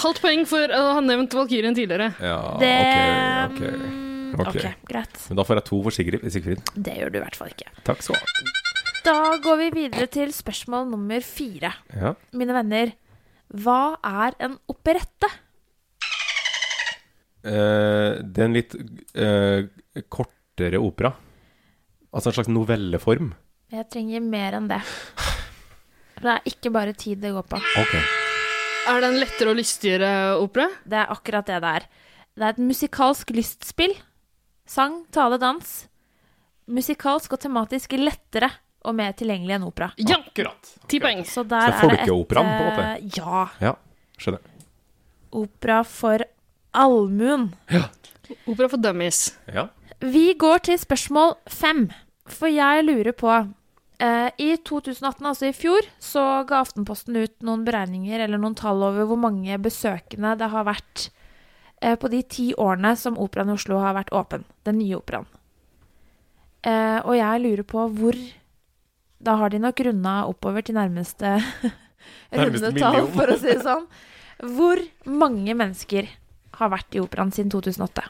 [SPEAKER 3] Halvt poeng for å ha nevnt Valkyrien tidligere.
[SPEAKER 2] Ja,
[SPEAKER 1] Det
[SPEAKER 2] Ah, ok, ok.
[SPEAKER 1] mm,
[SPEAKER 2] Ok.
[SPEAKER 1] OK, greit.
[SPEAKER 2] Men da får jeg to for Sigrid. Sigfrid.
[SPEAKER 1] Det gjør du i hvert fall ikke.
[SPEAKER 2] Takk skal du ha.
[SPEAKER 1] Da går vi videre til spørsmål nummer fire.
[SPEAKER 2] Ja.
[SPEAKER 1] Mine venner, hva er en operette?
[SPEAKER 2] Eh, det er en litt eh, kortere opera. Altså en slags novelleform.
[SPEAKER 1] Jeg trenger mer enn det. For det er ikke bare tid det går på.
[SPEAKER 2] Ok.
[SPEAKER 3] Er det en lettere og lystigere opera?
[SPEAKER 1] Det er akkurat det det er. Det er et musikalsk lystspill. Sang, tale, dans. Musikalsk og tematisk lettere og mer tilgjengelig enn opera.
[SPEAKER 3] Ja!
[SPEAKER 2] Akkurat.
[SPEAKER 3] Ti poeng.
[SPEAKER 1] Så der er
[SPEAKER 2] Så
[SPEAKER 1] det et
[SPEAKER 2] folkeoperaen, på en måte.
[SPEAKER 1] eh, Ja.
[SPEAKER 2] Ja, skjønner.
[SPEAKER 1] Opera for allmuen.
[SPEAKER 3] Opera for dummies.
[SPEAKER 2] Ja.
[SPEAKER 1] Vi går til spørsmål fem, for jeg lurer på eh, I 2018, altså i fjor, så ga Aftenposten ut noen beregninger eller noen tall over hvor mange besøkende det har vært eh, på de ti årene som Operaen i Oslo har vært åpen. Den nye operaen. Eh, og jeg lurer på hvor Da har de nok runda oppover til nærmeste *laughs* runde
[SPEAKER 2] Nærmeste
[SPEAKER 1] tall,
[SPEAKER 2] million.
[SPEAKER 1] for å si det sånn. Hvor mange mennesker har vært i Operaen siden 2008?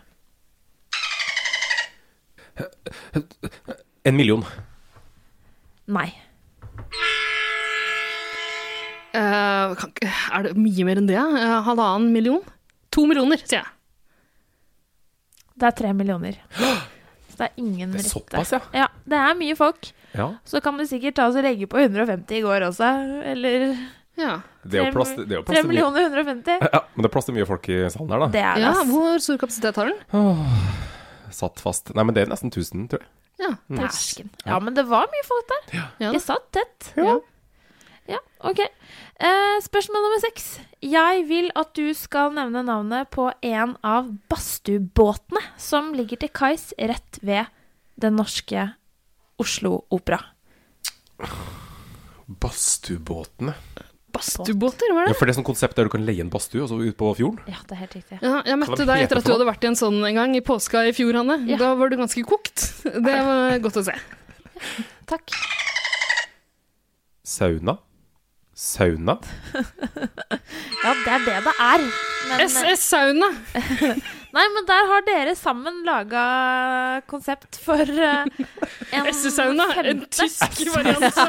[SPEAKER 2] En million.
[SPEAKER 1] Nei.
[SPEAKER 3] Eh, kan, ikke- er det mye mer enn det? Eh, halvannen million? To millioner, sier jeg.
[SPEAKER 1] Det er tre millioner. Så det er ingen
[SPEAKER 2] Det er
[SPEAKER 1] rette.
[SPEAKER 2] såpass, ja.
[SPEAKER 1] Ja, det er mye folk.
[SPEAKER 2] Ja.
[SPEAKER 1] Så kan du sikkert ta oss og legge på 150 i går også. Eller
[SPEAKER 3] Ja.
[SPEAKER 2] Det er jo plass, til- det er jo
[SPEAKER 1] 3
[SPEAKER 2] plass til mye.
[SPEAKER 1] millioner 150.
[SPEAKER 2] Ja, men det er plass til mye folk i salen her, da.
[SPEAKER 1] Det er det.
[SPEAKER 3] ja,
[SPEAKER 1] ass.
[SPEAKER 3] hvor stor kapasitet har den?
[SPEAKER 2] Satt fast. Nei, men det er nesten 1000, tror jeg.
[SPEAKER 3] Mm. Ja,
[SPEAKER 1] Dæsken. Ja, men det var mye folk der.
[SPEAKER 3] Ja da.
[SPEAKER 1] Jeg satt tett.
[SPEAKER 3] Ja.
[SPEAKER 1] Ja, ok. Eh, spørsmål nummer seks. Jeg vil at du skal nevne navnet på en av badstuebåtene som ligger til kais rett ved den norske Oslo Opera.
[SPEAKER 2] Badstuebåtene.
[SPEAKER 3] Badstuebåter,
[SPEAKER 2] Ja,
[SPEAKER 3] var det?
[SPEAKER 2] for det er sånn konsept der du kan leie en badstue, og så ut på fjorden.
[SPEAKER 1] Ja, det er helt riktig.
[SPEAKER 3] Ja, jeg møtte
[SPEAKER 2] Hva
[SPEAKER 3] deg
[SPEAKER 2] heter
[SPEAKER 3] etter at du
[SPEAKER 2] det for
[SPEAKER 3] hadde vært i en sånn en gang, i påska i fjor, Hanne.
[SPEAKER 1] Ja.
[SPEAKER 3] Da var du ganske kokt. Det var godt å se.
[SPEAKER 1] Takk.
[SPEAKER 2] Sauna. Sauna.
[SPEAKER 1] Ja, det er det det er. Men, eh,
[SPEAKER 3] SS Sauna!
[SPEAKER 1] nei, men der har dere sammen laga konsept for
[SPEAKER 2] *laughs*
[SPEAKER 1] eh, en
[SPEAKER 3] SS Sauna, en
[SPEAKER 1] femte.
[SPEAKER 3] tysk variant.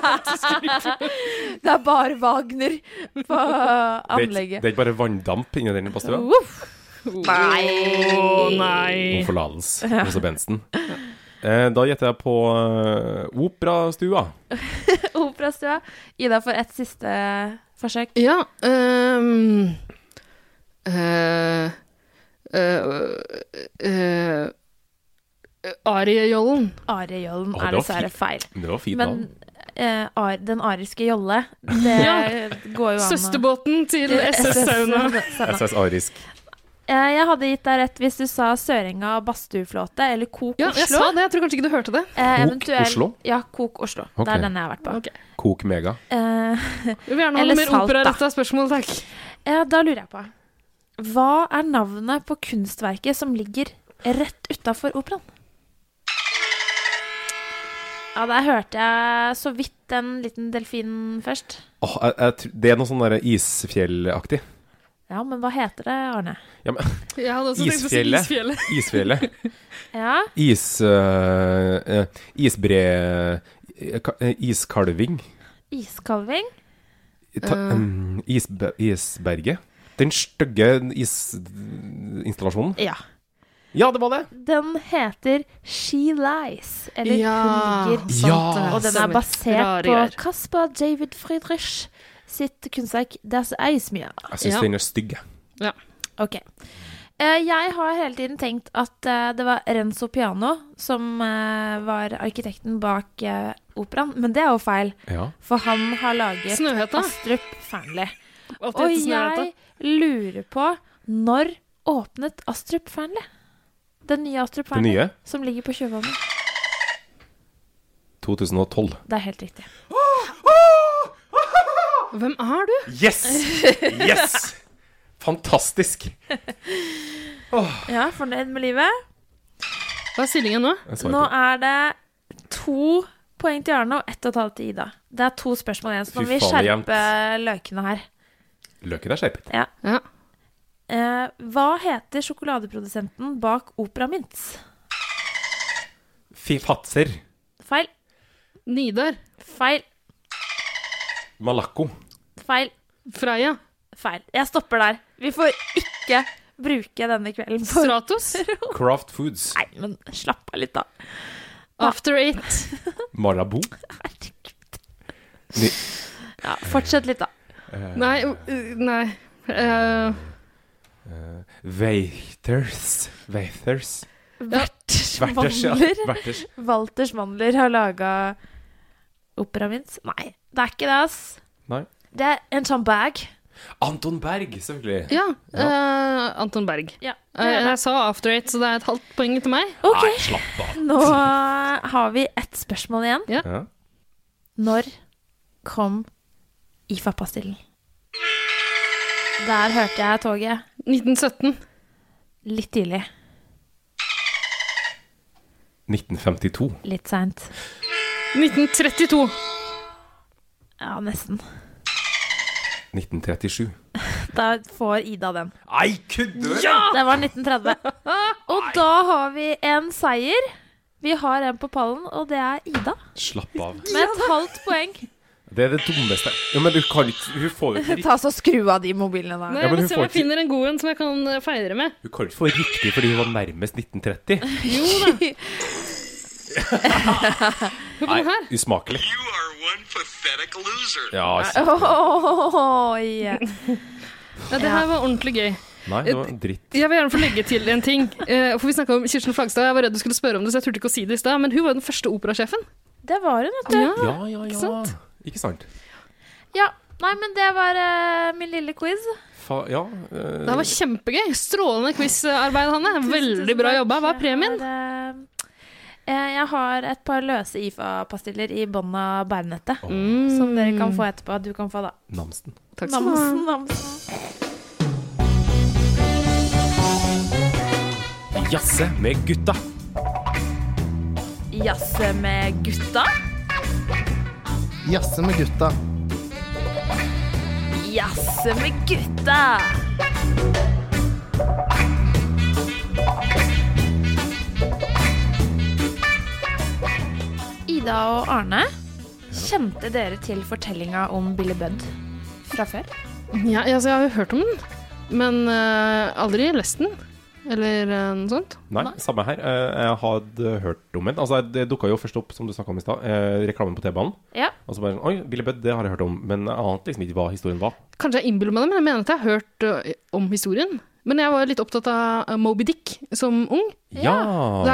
[SPEAKER 1] Det er bare Wagner på
[SPEAKER 2] *laughs* Det er, ikke,
[SPEAKER 1] anlegget.
[SPEAKER 2] det er ikke bare vanndamp inni den badstua.
[SPEAKER 1] Uff.
[SPEAKER 3] Å
[SPEAKER 2] Om
[SPEAKER 3] nei.
[SPEAKER 2] forlatelse hos Bensen. Eh, da gjetter jeg på eh, operastua.
[SPEAKER 1] Operastua. Ida får et siste forsøk.
[SPEAKER 3] Ja ehm, eh, eh, eh, Ariejollen.
[SPEAKER 1] Ariejollen
[SPEAKER 2] Å, det
[SPEAKER 1] er
[SPEAKER 2] var
[SPEAKER 1] dessverre feil.
[SPEAKER 2] Det var fint
[SPEAKER 1] Men
[SPEAKER 2] navn.
[SPEAKER 1] eh, ar, den ariske jolle,
[SPEAKER 2] *laughs*
[SPEAKER 1] det
[SPEAKER 3] Ja.
[SPEAKER 1] går jo an å
[SPEAKER 3] Søsterbåten til SS Sauna.
[SPEAKER 1] Sauna.
[SPEAKER 2] SS Arisk.
[SPEAKER 1] Eh, Jeg hadde gitt deg rett hvis du sa Sørenga badstueflåte eller Kok
[SPEAKER 3] Ja, jeg
[SPEAKER 1] Oslo.
[SPEAKER 3] sa det. Jeg tror kanskje ikke du hørte det.
[SPEAKER 1] Eh,
[SPEAKER 2] Kok
[SPEAKER 1] eventuell-
[SPEAKER 2] Oslo?
[SPEAKER 1] Ja, Kok Oslo.
[SPEAKER 2] Ok.
[SPEAKER 1] Det er den jeg har vært på.
[SPEAKER 3] Ok.
[SPEAKER 2] Kok mega.
[SPEAKER 1] Eh,
[SPEAKER 3] Vi vil gjerne ha
[SPEAKER 1] Eller
[SPEAKER 3] noe mer
[SPEAKER 1] salt, da.
[SPEAKER 3] operaretta spørsmål, takk.
[SPEAKER 1] ja, da lurer jeg på Hva er navnet på kunstverket som ligger rett utafor operaen? Ja, der hørte jeg så vidt en liten delfin først.
[SPEAKER 2] Åh, jeg, jeg, tr- det er noe sånn der isfjellaktig.
[SPEAKER 1] Ja, men hva heter det, Arne?
[SPEAKER 2] Ja, men,
[SPEAKER 3] Jeg hadde også tenkt å si
[SPEAKER 2] Isfjellet.
[SPEAKER 3] Isfjellet.
[SPEAKER 2] *laughs* isfjellet.
[SPEAKER 1] Ja,
[SPEAKER 2] Is... eh, eh, isbre... eh, ka- eh, iskalving.
[SPEAKER 1] iskalving.
[SPEAKER 2] Ta, em, isbe, isberget. Den stygge isinstallasjonen.
[SPEAKER 1] Ja.
[SPEAKER 2] Ja, det var det!
[SPEAKER 1] Den heter She Lies, eller Hun lyver.
[SPEAKER 2] Ja.
[SPEAKER 3] det
[SPEAKER 1] Og den er
[SPEAKER 3] stemmer. Rare
[SPEAKER 1] basert på
[SPEAKER 3] greier.
[SPEAKER 1] Caspar David Friedrich sitt kunstverk Das Eismyr.
[SPEAKER 2] Jeg syns
[SPEAKER 3] Ja.
[SPEAKER 2] den er stygg. jeg.
[SPEAKER 1] Ok. Eh, Jeg har hele tiden tenkt at eh, det var Renzo Piano som eh, var arkitekten bak eh, operaen, men det er jo feil,
[SPEAKER 2] Ja.
[SPEAKER 1] for han har laget
[SPEAKER 3] Snøhetta.
[SPEAKER 1] Astrup Fearnley.
[SPEAKER 3] Alltid
[SPEAKER 1] Og
[SPEAKER 3] etter Snøhetta.
[SPEAKER 1] jeg lurer på når åpnet Astrup Fearnley? Den nye Astrup
[SPEAKER 2] Den
[SPEAKER 1] Fearnley
[SPEAKER 2] nye
[SPEAKER 1] som ligger på Tjuvholmen.
[SPEAKER 2] 2012.
[SPEAKER 1] Det er helt riktig.
[SPEAKER 3] Hvem er du?
[SPEAKER 2] Yes! Yes! Fantastisk!
[SPEAKER 1] Ja, fornøyd med livet?
[SPEAKER 3] Hva er stillingen nå?
[SPEAKER 2] Jeg svarer
[SPEAKER 1] Nå
[SPEAKER 2] på det.
[SPEAKER 1] er det to poeng til Arne og ett og et halvt til Ida. Det er to spørsmål igjen, så nå
[SPEAKER 2] Fy
[SPEAKER 1] må vi
[SPEAKER 2] faen, det er
[SPEAKER 1] skjerpe løkene her.
[SPEAKER 2] Løken er skjerpet.
[SPEAKER 3] Ja.
[SPEAKER 1] Eh, hva heter sjokoladeprodusenten bak Opera Mints?
[SPEAKER 2] Fifatser.
[SPEAKER 1] Feil,
[SPEAKER 3] Nidar.
[SPEAKER 1] feil,
[SPEAKER 2] Malaco.
[SPEAKER 1] feil,
[SPEAKER 3] Freya.
[SPEAKER 1] feil. Jeg stopper der. Vi får ikke bruke denne kvelden på
[SPEAKER 3] Stratos.
[SPEAKER 1] *laughs*
[SPEAKER 2] Craft Foods.
[SPEAKER 1] Nei, men slapp av litt, da.
[SPEAKER 3] After Eight.
[SPEAKER 2] Marabou.
[SPEAKER 1] Herregud.
[SPEAKER 2] Ni-
[SPEAKER 1] Ja, fortsett litt, da.
[SPEAKER 3] Nei, uh, nei. Eh,
[SPEAKER 2] Waiters. Waiters.
[SPEAKER 1] Werthers
[SPEAKER 2] Verters, ja.
[SPEAKER 1] Mandler.
[SPEAKER 2] Verters.
[SPEAKER 1] Walters Mandler har laga Opera Mints. Nei, det er ikke det, ass.
[SPEAKER 2] Nei.
[SPEAKER 1] Det er en sånn bag.
[SPEAKER 2] Anton Berg, selvfølgelig.
[SPEAKER 3] ja. eh, Anton Berg.
[SPEAKER 1] Ja,
[SPEAKER 3] Eh, jeg sa After Eight, så det er et halvt poeng til meg.
[SPEAKER 1] OK,
[SPEAKER 2] Nei, slapp av.
[SPEAKER 1] nå har vi ett spørsmål igjen.
[SPEAKER 2] Ja.
[SPEAKER 1] Når kom IFA-pastillen? Der hørte jeg toget
[SPEAKER 3] 1917.
[SPEAKER 1] litt tidlig,
[SPEAKER 2] 1952.
[SPEAKER 1] litt seint.
[SPEAKER 3] 1932.
[SPEAKER 1] Ja, nesten.
[SPEAKER 2] 1937.
[SPEAKER 1] Da får Ida den.
[SPEAKER 2] Nei, kødder du?!
[SPEAKER 1] Det var 1930. Og da har vi en seier. Vi har en på pallen, og det er Ida.
[SPEAKER 2] Slapp av.
[SPEAKER 1] Med et halvt poeng.
[SPEAKER 2] Det er det dummeste ja, Men du kan ikke Hun får jo ikke riktig,
[SPEAKER 1] *laughs* Ta så Skru av de mobilene
[SPEAKER 3] Nei,
[SPEAKER 1] der.
[SPEAKER 2] Ja,
[SPEAKER 3] jeg
[SPEAKER 2] men
[SPEAKER 3] må
[SPEAKER 2] hun
[SPEAKER 3] se
[SPEAKER 2] får
[SPEAKER 3] om jeg
[SPEAKER 2] ikke-
[SPEAKER 3] finner en god en som jeg kan eh, feire med.
[SPEAKER 2] hun kan ikke få riktig fordi hun var nærmest 1930.
[SPEAKER 3] Jo da. Hør på den her.
[SPEAKER 2] Usmakelig.
[SPEAKER 8] You are one pathetic loser.
[SPEAKER 2] Ja, s-
[SPEAKER 1] Oi.
[SPEAKER 3] Ja, det her var ordentlig gøy.
[SPEAKER 2] nei, det var dritt.
[SPEAKER 3] Jeg vil gjerne få legge til en ting. eh, For vi snakket om Kirsten Flagstad. Jeg var redd du skulle spørre om det, så jeg turte ikke å si det i stad. Men hun var jo den første operasjefen.
[SPEAKER 1] Det var hun, vet du.
[SPEAKER 3] Ja.
[SPEAKER 2] Ja, ja, ja.
[SPEAKER 3] sant?
[SPEAKER 2] Ikke sant?
[SPEAKER 1] Ja. Nei, men det var eh, min lille quiz.
[SPEAKER 2] Fa, ja eh,
[SPEAKER 3] Det her var kjempegøy. Strålende quizarbeid, Hanne. Veldig
[SPEAKER 1] Tusen
[SPEAKER 3] bra
[SPEAKER 1] takk.
[SPEAKER 3] jobba. Hva er premien?
[SPEAKER 1] Jeg har, eh, eh, Jeg har et par løse IFA-pastiller i bånn av bærenettet.
[SPEAKER 3] Mm.
[SPEAKER 1] Som dere kan få etterpå. Du kan få, da.
[SPEAKER 2] Namsen.
[SPEAKER 3] Takk skal du ha.
[SPEAKER 1] Namsen, namsen.
[SPEAKER 2] Jazze med gutta.
[SPEAKER 1] Jazze med gutta.
[SPEAKER 9] Jazze med gutta.
[SPEAKER 1] Jazze med gutta. Ida og Arne, kjente dere til fortellinga om Billy Budd fra før?
[SPEAKER 3] Ja, altså, jeg har jo hørt om den, men eh, aldri lest den. Eller eh, noe sånt.
[SPEAKER 2] Nei, samme her. Eh, Jeg hadde hørt om den. Altså, det dukka jo først opp, som du snakka om i stad, eh, reklamen på T-banen.
[SPEAKER 1] Ja.
[SPEAKER 2] Og så bare sånn, Oi, Billy Budd, det har jeg hørt om. Men jeg ante liksom ikke hva historien var.
[SPEAKER 3] Kanskje jeg innbiller meg det, men jeg mener at jeg har hørt eh, om historien. Men jeg var litt opptatt av eh, Moby Dick som ung.
[SPEAKER 2] Ja!
[SPEAKER 3] Det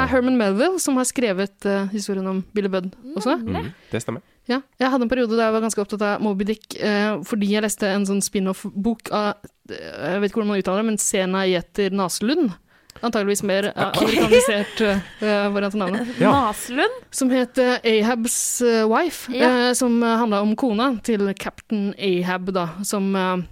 [SPEAKER 2] Ah.
[SPEAKER 3] er Herman Melville som har skrevet eh, historien om Billy Budd også.
[SPEAKER 2] Mm, det stemmer.
[SPEAKER 3] Ja, jeg hadde en periode der jeg var ganske opptatt av Moby Dick, eh, fordi jeg leste en sånn spin-off-bok av eh, Jeg vet ikke hvordan man uttaler det, men Sena Gjeter Naselund. Antageligvis mer eh, amerikanisert eh, variant av navnet.
[SPEAKER 2] Ja.
[SPEAKER 1] Naslund?
[SPEAKER 3] Som het eh, Ahab's eh, Wife,
[SPEAKER 1] Ja.
[SPEAKER 3] eh, som eh, handla om kona til captain Ahab, da, som eh,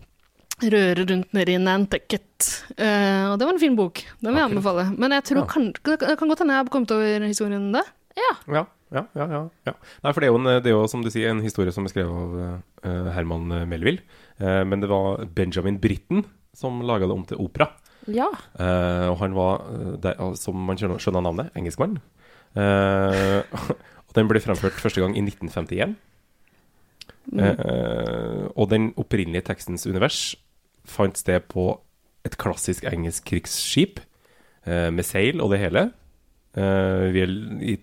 [SPEAKER 3] rører rundt nede i Nantucket. Eh, og det var en fin bok. Den vil jeg
[SPEAKER 2] Akkurat.
[SPEAKER 3] anbefale. Men jeg tror
[SPEAKER 2] Ja.
[SPEAKER 3] kan, det kan godt hende jeg har kommet over historien da.
[SPEAKER 2] Ja, ja, ja. ja, ja. Nei, for det er, jo en, det er jo, som du sier, Eh, en historie som er skrevet av eh, Herman Melville. Eh, men det var Benjamin Britten som laga det om til opera.
[SPEAKER 1] Ja.
[SPEAKER 2] Eh, og han var, eh, det, er, som man skjønner, skjønner navnet, engelskmann. Eh, *laughs* og den ble fremført første gang i 1951. Eh, og den opprinnelige tekstens univers fant sted på et klassisk engelsk krigsskip eh, med seil og det hele. Eh, vi har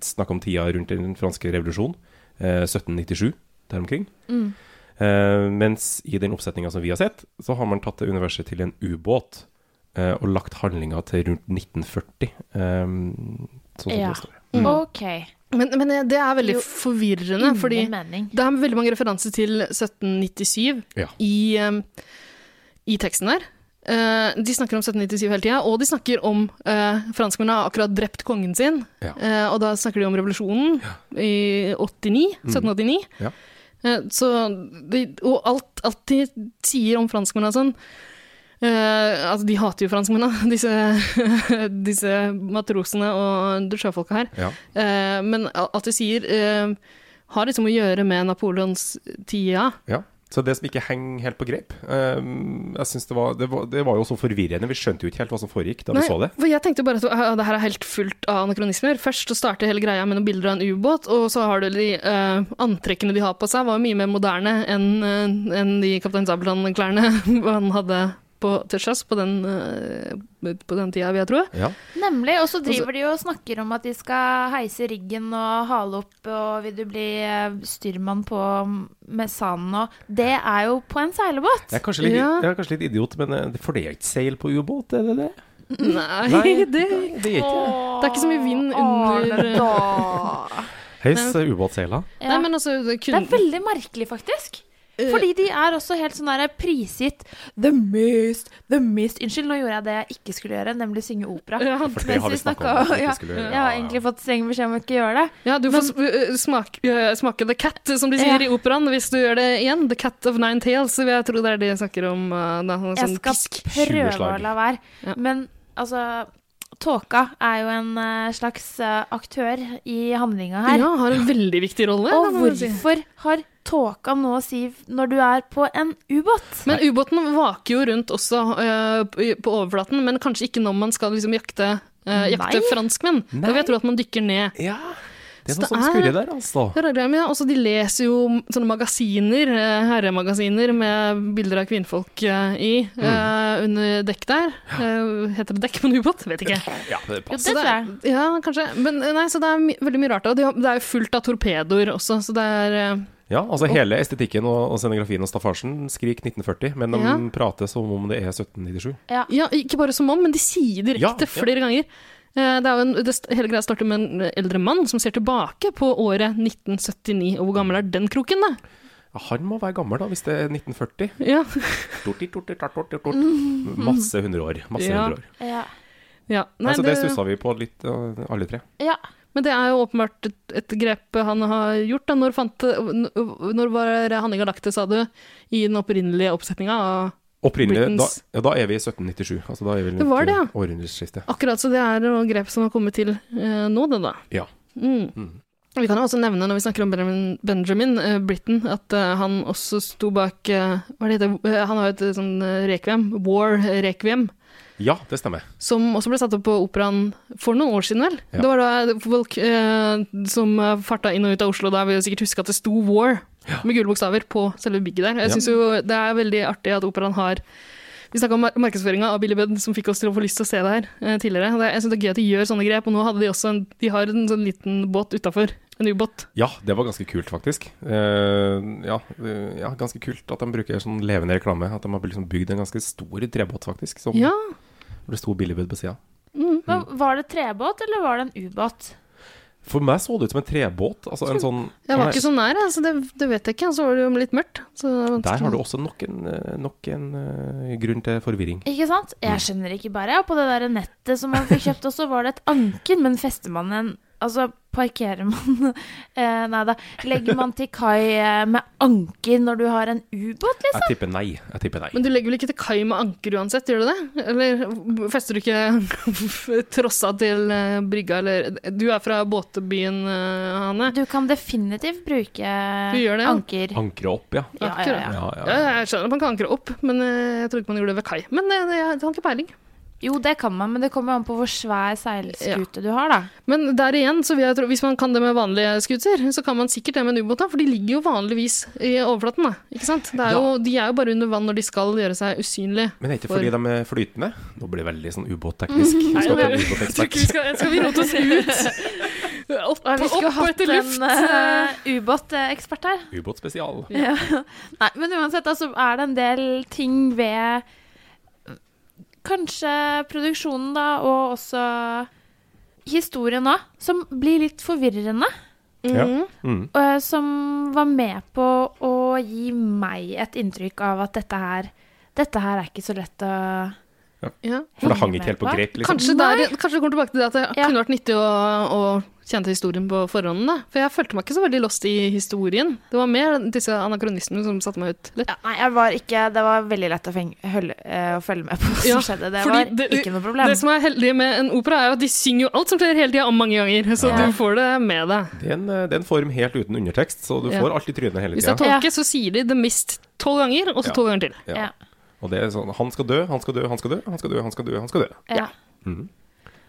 [SPEAKER 2] snakka om tida rundt den franske revolusjonen, eh, 1797 der omkring. Eh, mens i den oppsetninga som vi har sett, så har man tatt det universet til en ubåt eh, og lagt handlinga til rundt 1940. eh, sånn som
[SPEAKER 1] Ja.
[SPEAKER 2] det står.
[SPEAKER 1] Ok.
[SPEAKER 3] Men, men eh, det er veldig forvirrende, fordi
[SPEAKER 1] Ingen mening.
[SPEAKER 3] det er veldig mange referanser til 1797
[SPEAKER 2] Ja.
[SPEAKER 3] i, eh, i teksten der. Eh, de snakker om 1797 hele tida, og de snakker om uh, franskmennene har akkurat drept kongen sin.
[SPEAKER 2] Ja.
[SPEAKER 3] Eh, og da snakker de om revolusjonen i 89, 1789.
[SPEAKER 2] Mm. Ja.
[SPEAKER 3] Eh, så de, og alt, alt de sier om franskmennene og sånn eh, Altså, de hater jo franskmennene, *laughs* disse, disse matrosene og sjøfolka her.
[SPEAKER 2] Ja.
[SPEAKER 3] Eh, men alt de sier, eh, har liksom å gjøre med Napoleons tida.
[SPEAKER 2] Ja. Så det som ikke henger helt på greip ehm, Jeg synes det, var, det, var, det var jo så forvirrende. Vi skjønte jo ikke helt hva som foregikk da vi så det.
[SPEAKER 3] for jeg tenkte bare at «Å, det her er helt fullt av anakronismer. Først så starter hele greia med noen bilder av en ubåt, og så har du de eh, antrekkene de har på seg, var jo mye mer moderne enn eh, enn de Kaptein Sabeltann-klærne *laughs* han hadde på, til sjøs på, den, eh, på den tida, vil jeg tro.
[SPEAKER 2] Ja.
[SPEAKER 1] Nemlig. Og så driver de jo og snakker om at de skal heise ryggen og hale opp, og vil du bli eh, styrmann på mesanen og Det er jo på en seilbåt!
[SPEAKER 2] Jeg er kanskje litt,
[SPEAKER 3] Ja.
[SPEAKER 2] jeg er kanskje litt idiot, men eh, det- for det er ikke seil på ubåt, er det det?
[SPEAKER 3] Nei,
[SPEAKER 2] Nei,
[SPEAKER 3] *laughs* det,
[SPEAKER 2] det er ikke det.
[SPEAKER 3] det er ikke så mye vind under eh,
[SPEAKER 2] Heis eh, ubåtseila.
[SPEAKER 1] Ja.
[SPEAKER 3] Nei, men altså,
[SPEAKER 1] Det
[SPEAKER 3] kun,
[SPEAKER 1] er veldig merkelig, faktisk.
[SPEAKER 2] Eh.
[SPEAKER 1] Fordi de er også helt sånn der prisgitt The Mist, The Mist Unnskyld, nå gjorde jeg det jeg ikke skulle gjøre, nemlig synge opera.
[SPEAKER 3] Ja,
[SPEAKER 2] For det
[SPEAKER 1] Mens
[SPEAKER 2] har vi
[SPEAKER 1] vi
[SPEAKER 2] snakket
[SPEAKER 1] snakket
[SPEAKER 2] om at vi ikke
[SPEAKER 1] ja,
[SPEAKER 2] skulle gjøre.
[SPEAKER 1] Jeg har
[SPEAKER 2] Ja, ja.
[SPEAKER 1] egentlig fått streng beskjed om å ikke gjøre det.
[SPEAKER 3] Ja, du får sp- eh, smak, eh, smake The Cat, som de sier
[SPEAKER 1] Ja.
[SPEAKER 3] i operaen, hvis du gjør det igjen. The Cat of Nine Tales, vil jeg tro det er det de snakker om. eh, da, sånn
[SPEAKER 1] Jeg skal
[SPEAKER 3] pisk.
[SPEAKER 1] prøve å
[SPEAKER 2] Tjueslag.
[SPEAKER 1] la være.
[SPEAKER 3] Ja.
[SPEAKER 1] Men altså Tåka er jo en eh, slags eh, aktør i handlinga her.
[SPEAKER 3] Ja, har en veldig viktig rolle. da,
[SPEAKER 1] Og
[SPEAKER 3] må man si.
[SPEAKER 1] hvorfor har tåka noe å si når du er på en ubåt?
[SPEAKER 3] Men ubåten vaker jo rundt også eh, på- på overflaten, men kanskje ikke når man skal liksom jakte, eh, jakte
[SPEAKER 1] Nei.
[SPEAKER 3] franskmenn. Da vil jeg tro at man dykker ned.
[SPEAKER 2] Ja. Det
[SPEAKER 3] Så
[SPEAKER 2] var
[SPEAKER 3] det
[SPEAKER 2] sånn
[SPEAKER 3] er-
[SPEAKER 2] skurre der, altså.
[SPEAKER 3] Det er greia mi, ja. Også de leser jo sånne magasiner, eh, herremagasiner med bilder av kvinnfolk eh, i,
[SPEAKER 1] Mm.
[SPEAKER 3] eh, under dekk der. Eh, Heter det dekk på en ubåt? Vet ikke.
[SPEAKER 2] Ja, det
[SPEAKER 1] Jo,
[SPEAKER 2] passer.
[SPEAKER 1] det
[SPEAKER 3] det
[SPEAKER 1] tror jeg.
[SPEAKER 3] Ja, kanskje. Men eh, nei, så det er my veldig mye rart. Og det er- det er jo fullt av torpedoer også, så det er eh,
[SPEAKER 2] Ja, altså hele estetikken og, og scenografien og staffasjen skrik 1940, men de
[SPEAKER 3] Ja.
[SPEAKER 2] prater som om det er 1797.
[SPEAKER 3] Ja, ikke bare som om, men de sier direkte
[SPEAKER 2] Ja, ja.
[SPEAKER 3] flere ganger. Eh, Det er jo en, det, st- hele greia starter med en eldre mann som ser tilbake på året 1979. Og hvor gammel er den kroken, da?
[SPEAKER 2] Ja, han må være gammel, da, hvis det er 1940.
[SPEAKER 3] Ja,
[SPEAKER 2] Torti, torti, tart, torti,
[SPEAKER 3] *laughs*
[SPEAKER 2] tort. Masse hundre år. Masse
[SPEAKER 3] Ja.
[SPEAKER 2] hundre år.
[SPEAKER 1] Ja.
[SPEAKER 3] ja.
[SPEAKER 2] Nei,
[SPEAKER 3] Nei,
[SPEAKER 2] så Altså, det
[SPEAKER 3] det-
[SPEAKER 2] stussa vi på litt, eh, alle tre.
[SPEAKER 1] ja.
[SPEAKER 3] Men det er jo åpenbart et, et grep han har gjort. Da. Når, fant, n- når var handlinga lagt til, sa du? I den opprinnelige oppsetninga?
[SPEAKER 2] Opprinnelig, da,
[SPEAKER 3] Britons-
[SPEAKER 2] ja, da er vi i 1797. Altså, da er vi rundt
[SPEAKER 3] Det var det, ja.
[SPEAKER 2] eh, århundreskiftet.
[SPEAKER 3] Akkurat så det er noen grep som har kommet til eh, nå, det da.
[SPEAKER 2] Ja.
[SPEAKER 3] Mm.
[SPEAKER 2] Mm.
[SPEAKER 3] Vi kan jo også nevne, når vi snakker om Benjamin, Benjamin eh, Britten, at eh, han også sto bak eh, Hva er det heter Eh, Han har jo et eh, sånn eh, rekviem, War Rekviem,
[SPEAKER 2] ja, det stemmer.
[SPEAKER 3] som også ble satt opp på operaen for noen år siden, vel?
[SPEAKER 2] Ja.
[SPEAKER 3] Det var da folk eh, som eh, farta inn og ut av Oslo da, vil jo sikkert huske at det sto War med gule bokstaver på selve bygget der. Jeg
[SPEAKER 2] Ja.
[SPEAKER 3] synes jo det er veldig artig at operaen har vi snakka om mar- markedsføringa av Billy Budd, som fikk oss til å få lyst til å se det her eh, tidligere. Det, jeg synes det er gøy at de gjør sånne grep, og nå hadde de også en, de har en sånn liten båt utafor. En ubåt.
[SPEAKER 2] Ja, det var ganske kult, faktisk. Eh, ja, eh, ja, ganske kult at de bruker sånn levende reklame. At de har liksom bygd en ganske stor trebåt, faktisk. Som
[SPEAKER 3] Ja,
[SPEAKER 2] hvor det sto Billybud på sida.
[SPEAKER 1] Men
[SPEAKER 3] Mm.
[SPEAKER 1] var det trebåt, eller var det en ubåt?
[SPEAKER 2] For meg så det ut som en trebåt. Altså en sånn
[SPEAKER 3] jeg var
[SPEAKER 2] Nei,
[SPEAKER 3] ikke sånn så nær, jeg, så det, det vet jeg ikke. Og så var det jo litt mørkt. Så det var
[SPEAKER 2] Der har du
[SPEAKER 3] vanskelig.
[SPEAKER 2] også nok en, eh, nok en eh, grunn til forvirring.
[SPEAKER 1] Ikke sant?
[SPEAKER 3] Mm.
[SPEAKER 1] Jeg skjønner ikke bare. Og på det der nettet som man fikk kjøpt også, var det et anker, men fester man en Altså, Parkerer man *laughs* eh, Nei da. Legger man til kai eh, med anker når du har en ubåt, liksom?
[SPEAKER 2] Jeg tipper nei. Jeg tipper nei.
[SPEAKER 3] Men du legger vel ikke til kai med anker uansett, gjør du det? Eller fester du ikke *laughs* trossa til eh, brygga, eller Du er fra båtbyen, eh, Hanne.
[SPEAKER 1] Du kan definitivt bruke
[SPEAKER 3] gjør det, ja.
[SPEAKER 1] anker.
[SPEAKER 2] Ankre opp, ja.
[SPEAKER 1] Ja, ja, ja.
[SPEAKER 2] Ja, ja.
[SPEAKER 3] Ja, jeg skjønner at man kan ankre opp, men eh, jeg trodde ikke man gjorde det ved kai. Men eh, det- jeg har ikke peiling.
[SPEAKER 1] Jo, det kan man, men det kommer an på hvor svær seilskute du har, da.
[SPEAKER 3] Men der igjen, så vil jeg tro, hvis man kan det med vanlige skuter, så kan man sikkert det med en ubåt, da, for de ligger jo vanligvis i overflaten. Da. Ikke sant? Det er jo, De er jo bare under vann når de skal gjøre seg usynlige.
[SPEAKER 2] Men er det ikke
[SPEAKER 3] For-
[SPEAKER 2] fordi
[SPEAKER 3] Mhm.
[SPEAKER 2] de er flytende? Nå blir det veldig sånn ubåtteknisk. Vi skal
[SPEAKER 3] Nei,
[SPEAKER 2] til
[SPEAKER 3] men-
[SPEAKER 2] ubåtekspert.
[SPEAKER 3] skal, vi rote oss *laughs* ut? Opp,
[SPEAKER 1] Ja, Vi skulle hatt en eh, *laughs* ubåtekspert her.
[SPEAKER 2] Ubåtspesial.
[SPEAKER 1] Nei, men uansett, altså er det en del ting ved Kanskje produksjonen, da, og også historien òg, som blir litt forvirrende.
[SPEAKER 3] Mhm.
[SPEAKER 2] Ja. Mm.
[SPEAKER 1] og som var med på å gi meg et inntrykk av at dette her dette her er ikke så lett å
[SPEAKER 3] Ja.
[SPEAKER 2] For det hang ikke helt på grep, liksom.
[SPEAKER 3] Kanskje, det er- kanskje det kommer tilbake til det at det
[SPEAKER 1] Ja.
[SPEAKER 3] kunne vært nyttig å, å kjenne til historien på forhånd. Da. For jeg følte meg ikke så veldig lost i historien. Det var mer disse anakronismene som satte meg ut. litt.
[SPEAKER 1] Ja, nei, jeg var ikke Det var veldig lett å, feng, hølle, eh, å følge med på hva som
[SPEAKER 3] Ja,
[SPEAKER 1] skjedde. Det
[SPEAKER 3] fordi
[SPEAKER 1] var
[SPEAKER 3] det-
[SPEAKER 1] ikke noe problem.
[SPEAKER 3] Det som er heldig med en opera, er jo at de synger jo alt som skjer hele tida, om mange ganger. Så
[SPEAKER 1] Ja.
[SPEAKER 3] du får det med deg.
[SPEAKER 2] Det er, en, eh, det er en form helt uten undertekst, så du
[SPEAKER 3] Ja.
[SPEAKER 2] får alt i trynet hele
[SPEAKER 3] Hvis det er
[SPEAKER 2] tida.
[SPEAKER 3] tolke, så sier de 'The Mist' tolv ganger, og så
[SPEAKER 2] Ja.
[SPEAKER 3] tolv ganger til.
[SPEAKER 1] ja.
[SPEAKER 2] Og det er sånn Han skal dø, han skal dø, han skal dø, han skal dø, han skal dø. han skal dø.
[SPEAKER 1] Ja,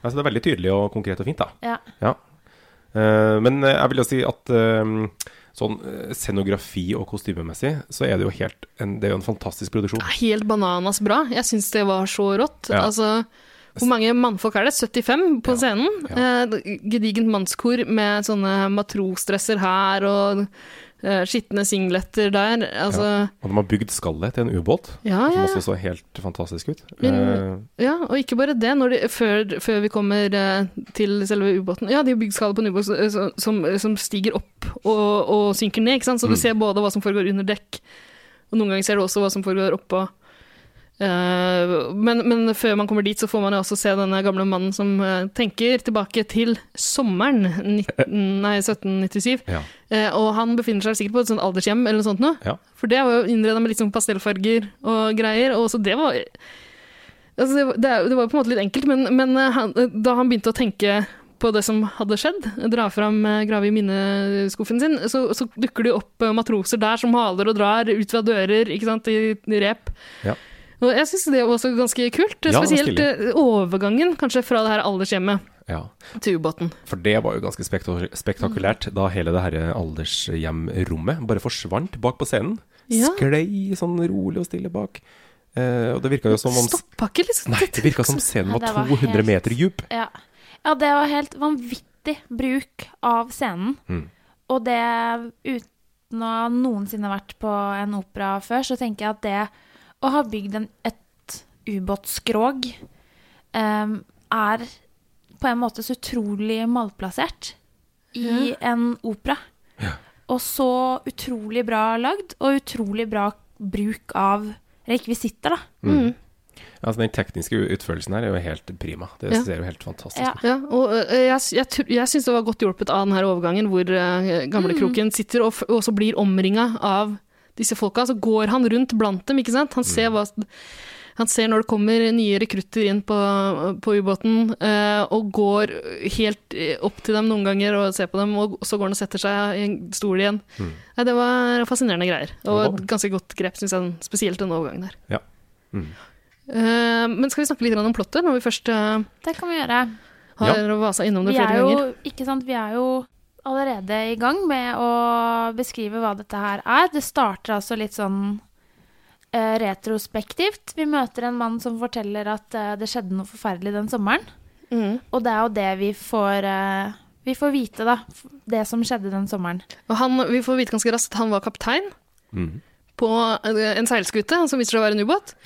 [SPEAKER 2] Altså, det er veldig tydelig og konkret og fint, da.
[SPEAKER 1] ja.
[SPEAKER 2] Ja. Eh, men eh, jeg vil jo si at eh, sånn eh, scenografi og kostymemessig, så er det jo helt en, Det er jo en fantastisk produksjon.
[SPEAKER 3] Helt bananas bra. Jeg syns det var så rått.
[SPEAKER 2] Ja.
[SPEAKER 3] Altså, hvor mange mannfolk er det? 75 på scenen. Eh, gedigent mannskor med sånne matrosdresser her og eh, skitne singletter der. Altså,
[SPEAKER 2] Og de har bygd skallet til en ubåt,
[SPEAKER 3] ja,
[SPEAKER 2] som
[SPEAKER 3] ja,
[SPEAKER 2] også så helt fantastisk ut.
[SPEAKER 3] Men-
[SPEAKER 2] Eh,
[SPEAKER 3] ja. Og ikke bare det, når de, før, før vi kommer eh, til selve ubåten. Ja, de har bygd skala på en ubåt eh, som- som, som stiger opp og, og synker ned, ikke sant? så du ser både hva som foregår under dekk, og noen ganger ser du også hva som foregår oppå. Eh, men, men før man kommer dit, så får man jo også se denne gamle mannen som eh, tenker tilbake til sommeren 19, nei, 1797.
[SPEAKER 2] Ja.
[SPEAKER 3] Eh, og han befinner seg sikkert på et sånt aldershjem eller noe sånt nå.
[SPEAKER 2] Ja.
[SPEAKER 3] For det var jo innreda med litt sånn pastellfarger og greier, og så det var altså det, var- det, er jo- det var jo på en måte litt enkelt, men, men eh, han, eh, da han begynte å tenke på det som hadde skjedd, dra fram eh, grave i minneskuffen sin, så, så dukker det jo opp eh, matroser der som haler og drar ut fra dører, ikke sant, i, i rep.
[SPEAKER 2] Ja.
[SPEAKER 3] Og jeg syns det var også ganske kult,
[SPEAKER 2] Ja, det var
[SPEAKER 3] spesielt eh, overgangen kanskje fra det her aldershjemmet
[SPEAKER 2] ja.
[SPEAKER 3] til ubåten.
[SPEAKER 2] For det var jo ganske spektak- spektakulært da hele det herre aldershjemrommet bare forsvant bak på scenen.
[SPEAKER 3] Ja.
[SPEAKER 2] Sklei sånn rolig og stille bak. Eh, og det virka jo som om
[SPEAKER 3] Stoppa ikke, liksom.
[SPEAKER 2] Nei, det virka som scenen
[SPEAKER 1] Nei,
[SPEAKER 2] var
[SPEAKER 1] det var
[SPEAKER 2] 200
[SPEAKER 1] helt-
[SPEAKER 2] meter dyp.
[SPEAKER 1] Ja. ja, det var helt vanvittig bruk av scenen.
[SPEAKER 2] Mm.
[SPEAKER 1] Og det uten å ha noensinne vært på en opera før, så tenker jeg at det å ha bygd en, et ubåtskrog em, er på en måte så utrolig malplassert i en opera. Og så utrolig bra lagd, og utrolig bra bruk av rekvisitter, da.
[SPEAKER 2] Altså, den tekniske utførelsen her er jo helt prima. Det
[SPEAKER 3] Ja.
[SPEAKER 2] ser jo helt fantastisk
[SPEAKER 1] Ja.
[SPEAKER 2] ut.
[SPEAKER 3] Ja, og ø, jeg, jeg, tr- jeg syns det var godt hjulpet av denne overgangen, hvor ø, gamlekroken sitter og, f- og så blir omringa av disse folka. Så går han rundt blant dem, ikke sant. Han ser, hva, han ser når det kommer nye rekrutter inn på, på ubåten, ø, og går helt ø, opp til dem noen ganger og ser på dem, og så går han og setter seg i en stol igjen. Nei, det var fascinerende greier, og et ganske godt grep, syns jeg, spesielt denne overgangen her.
[SPEAKER 2] Ja. Mm.
[SPEAKER 3] Eh, men skal vi snakke litt grann om plottet, når vi først ø,
[SPEAKER 1] Det kan vi gjøre.
[SPEAKER 3] har vasa innom det
[SPEAKER 1] Vi er
[SPEAKER 3] flere ganger?
[SPEAKER 1] jo, ikke sant, vi er jo allerede i gang med å beskrive hva dette her er. Det starter altså litt sånn eh, retrospektivt. Vi møter en mann som forteller at eh, det skjedde noe forferdelig den sommeren. Og det er jo det vi får eh, Vi får vite, da. f- Det som skjedde den sommeren.
[SPEAKER 3] Og han, vi får vite ganske raskt at han var kaptein
[SPEAKER 2] Mhm.
[SPEAKER 3] på eh, en seilskute, som viser seg å være en ubåt.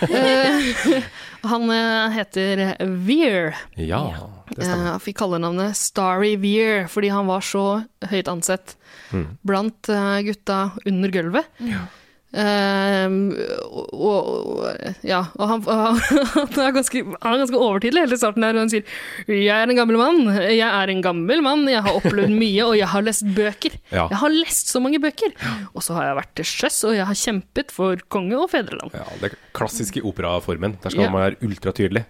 [SPEAKER 3] Eh, *laughs* han eh, heter Veer.
[SPEAKER 2] Ja, det
[SPEAKER 3] Eh,
[SPEAKER 2] stemmer.
[SPEAKER 3] Han fikk kallenavnet Starry Veer fordi
[SPEAKER 2] Mm.
[SPEAKER 3] han var så høyt ansett blant eh, gutta under gulvet. Ehm, og, og, og- ja, og han, *laughs* han, er ganske, han er ganske overtydelig helt i starten der, og han sier 'Jeg er en gammel mann, jeg er en gammel mann, jeg har
[SPEAKER 2] *laughs*
[SPEAKER 3] opplevd mye, og jeg har lest bøker'.
[SPEAKER 2] Ja.
[SPEAKER 3] Jeg har lest så mange bøker! Og så har jeg vært til sjøs, og jeg har kjempet for konge og fedreland.
[SPEAKER 2] Ja, det er klassiske operaformen. Der skal
[SPEAKER 3] Ja.
[SPEAKER 2] man være ultratydelig.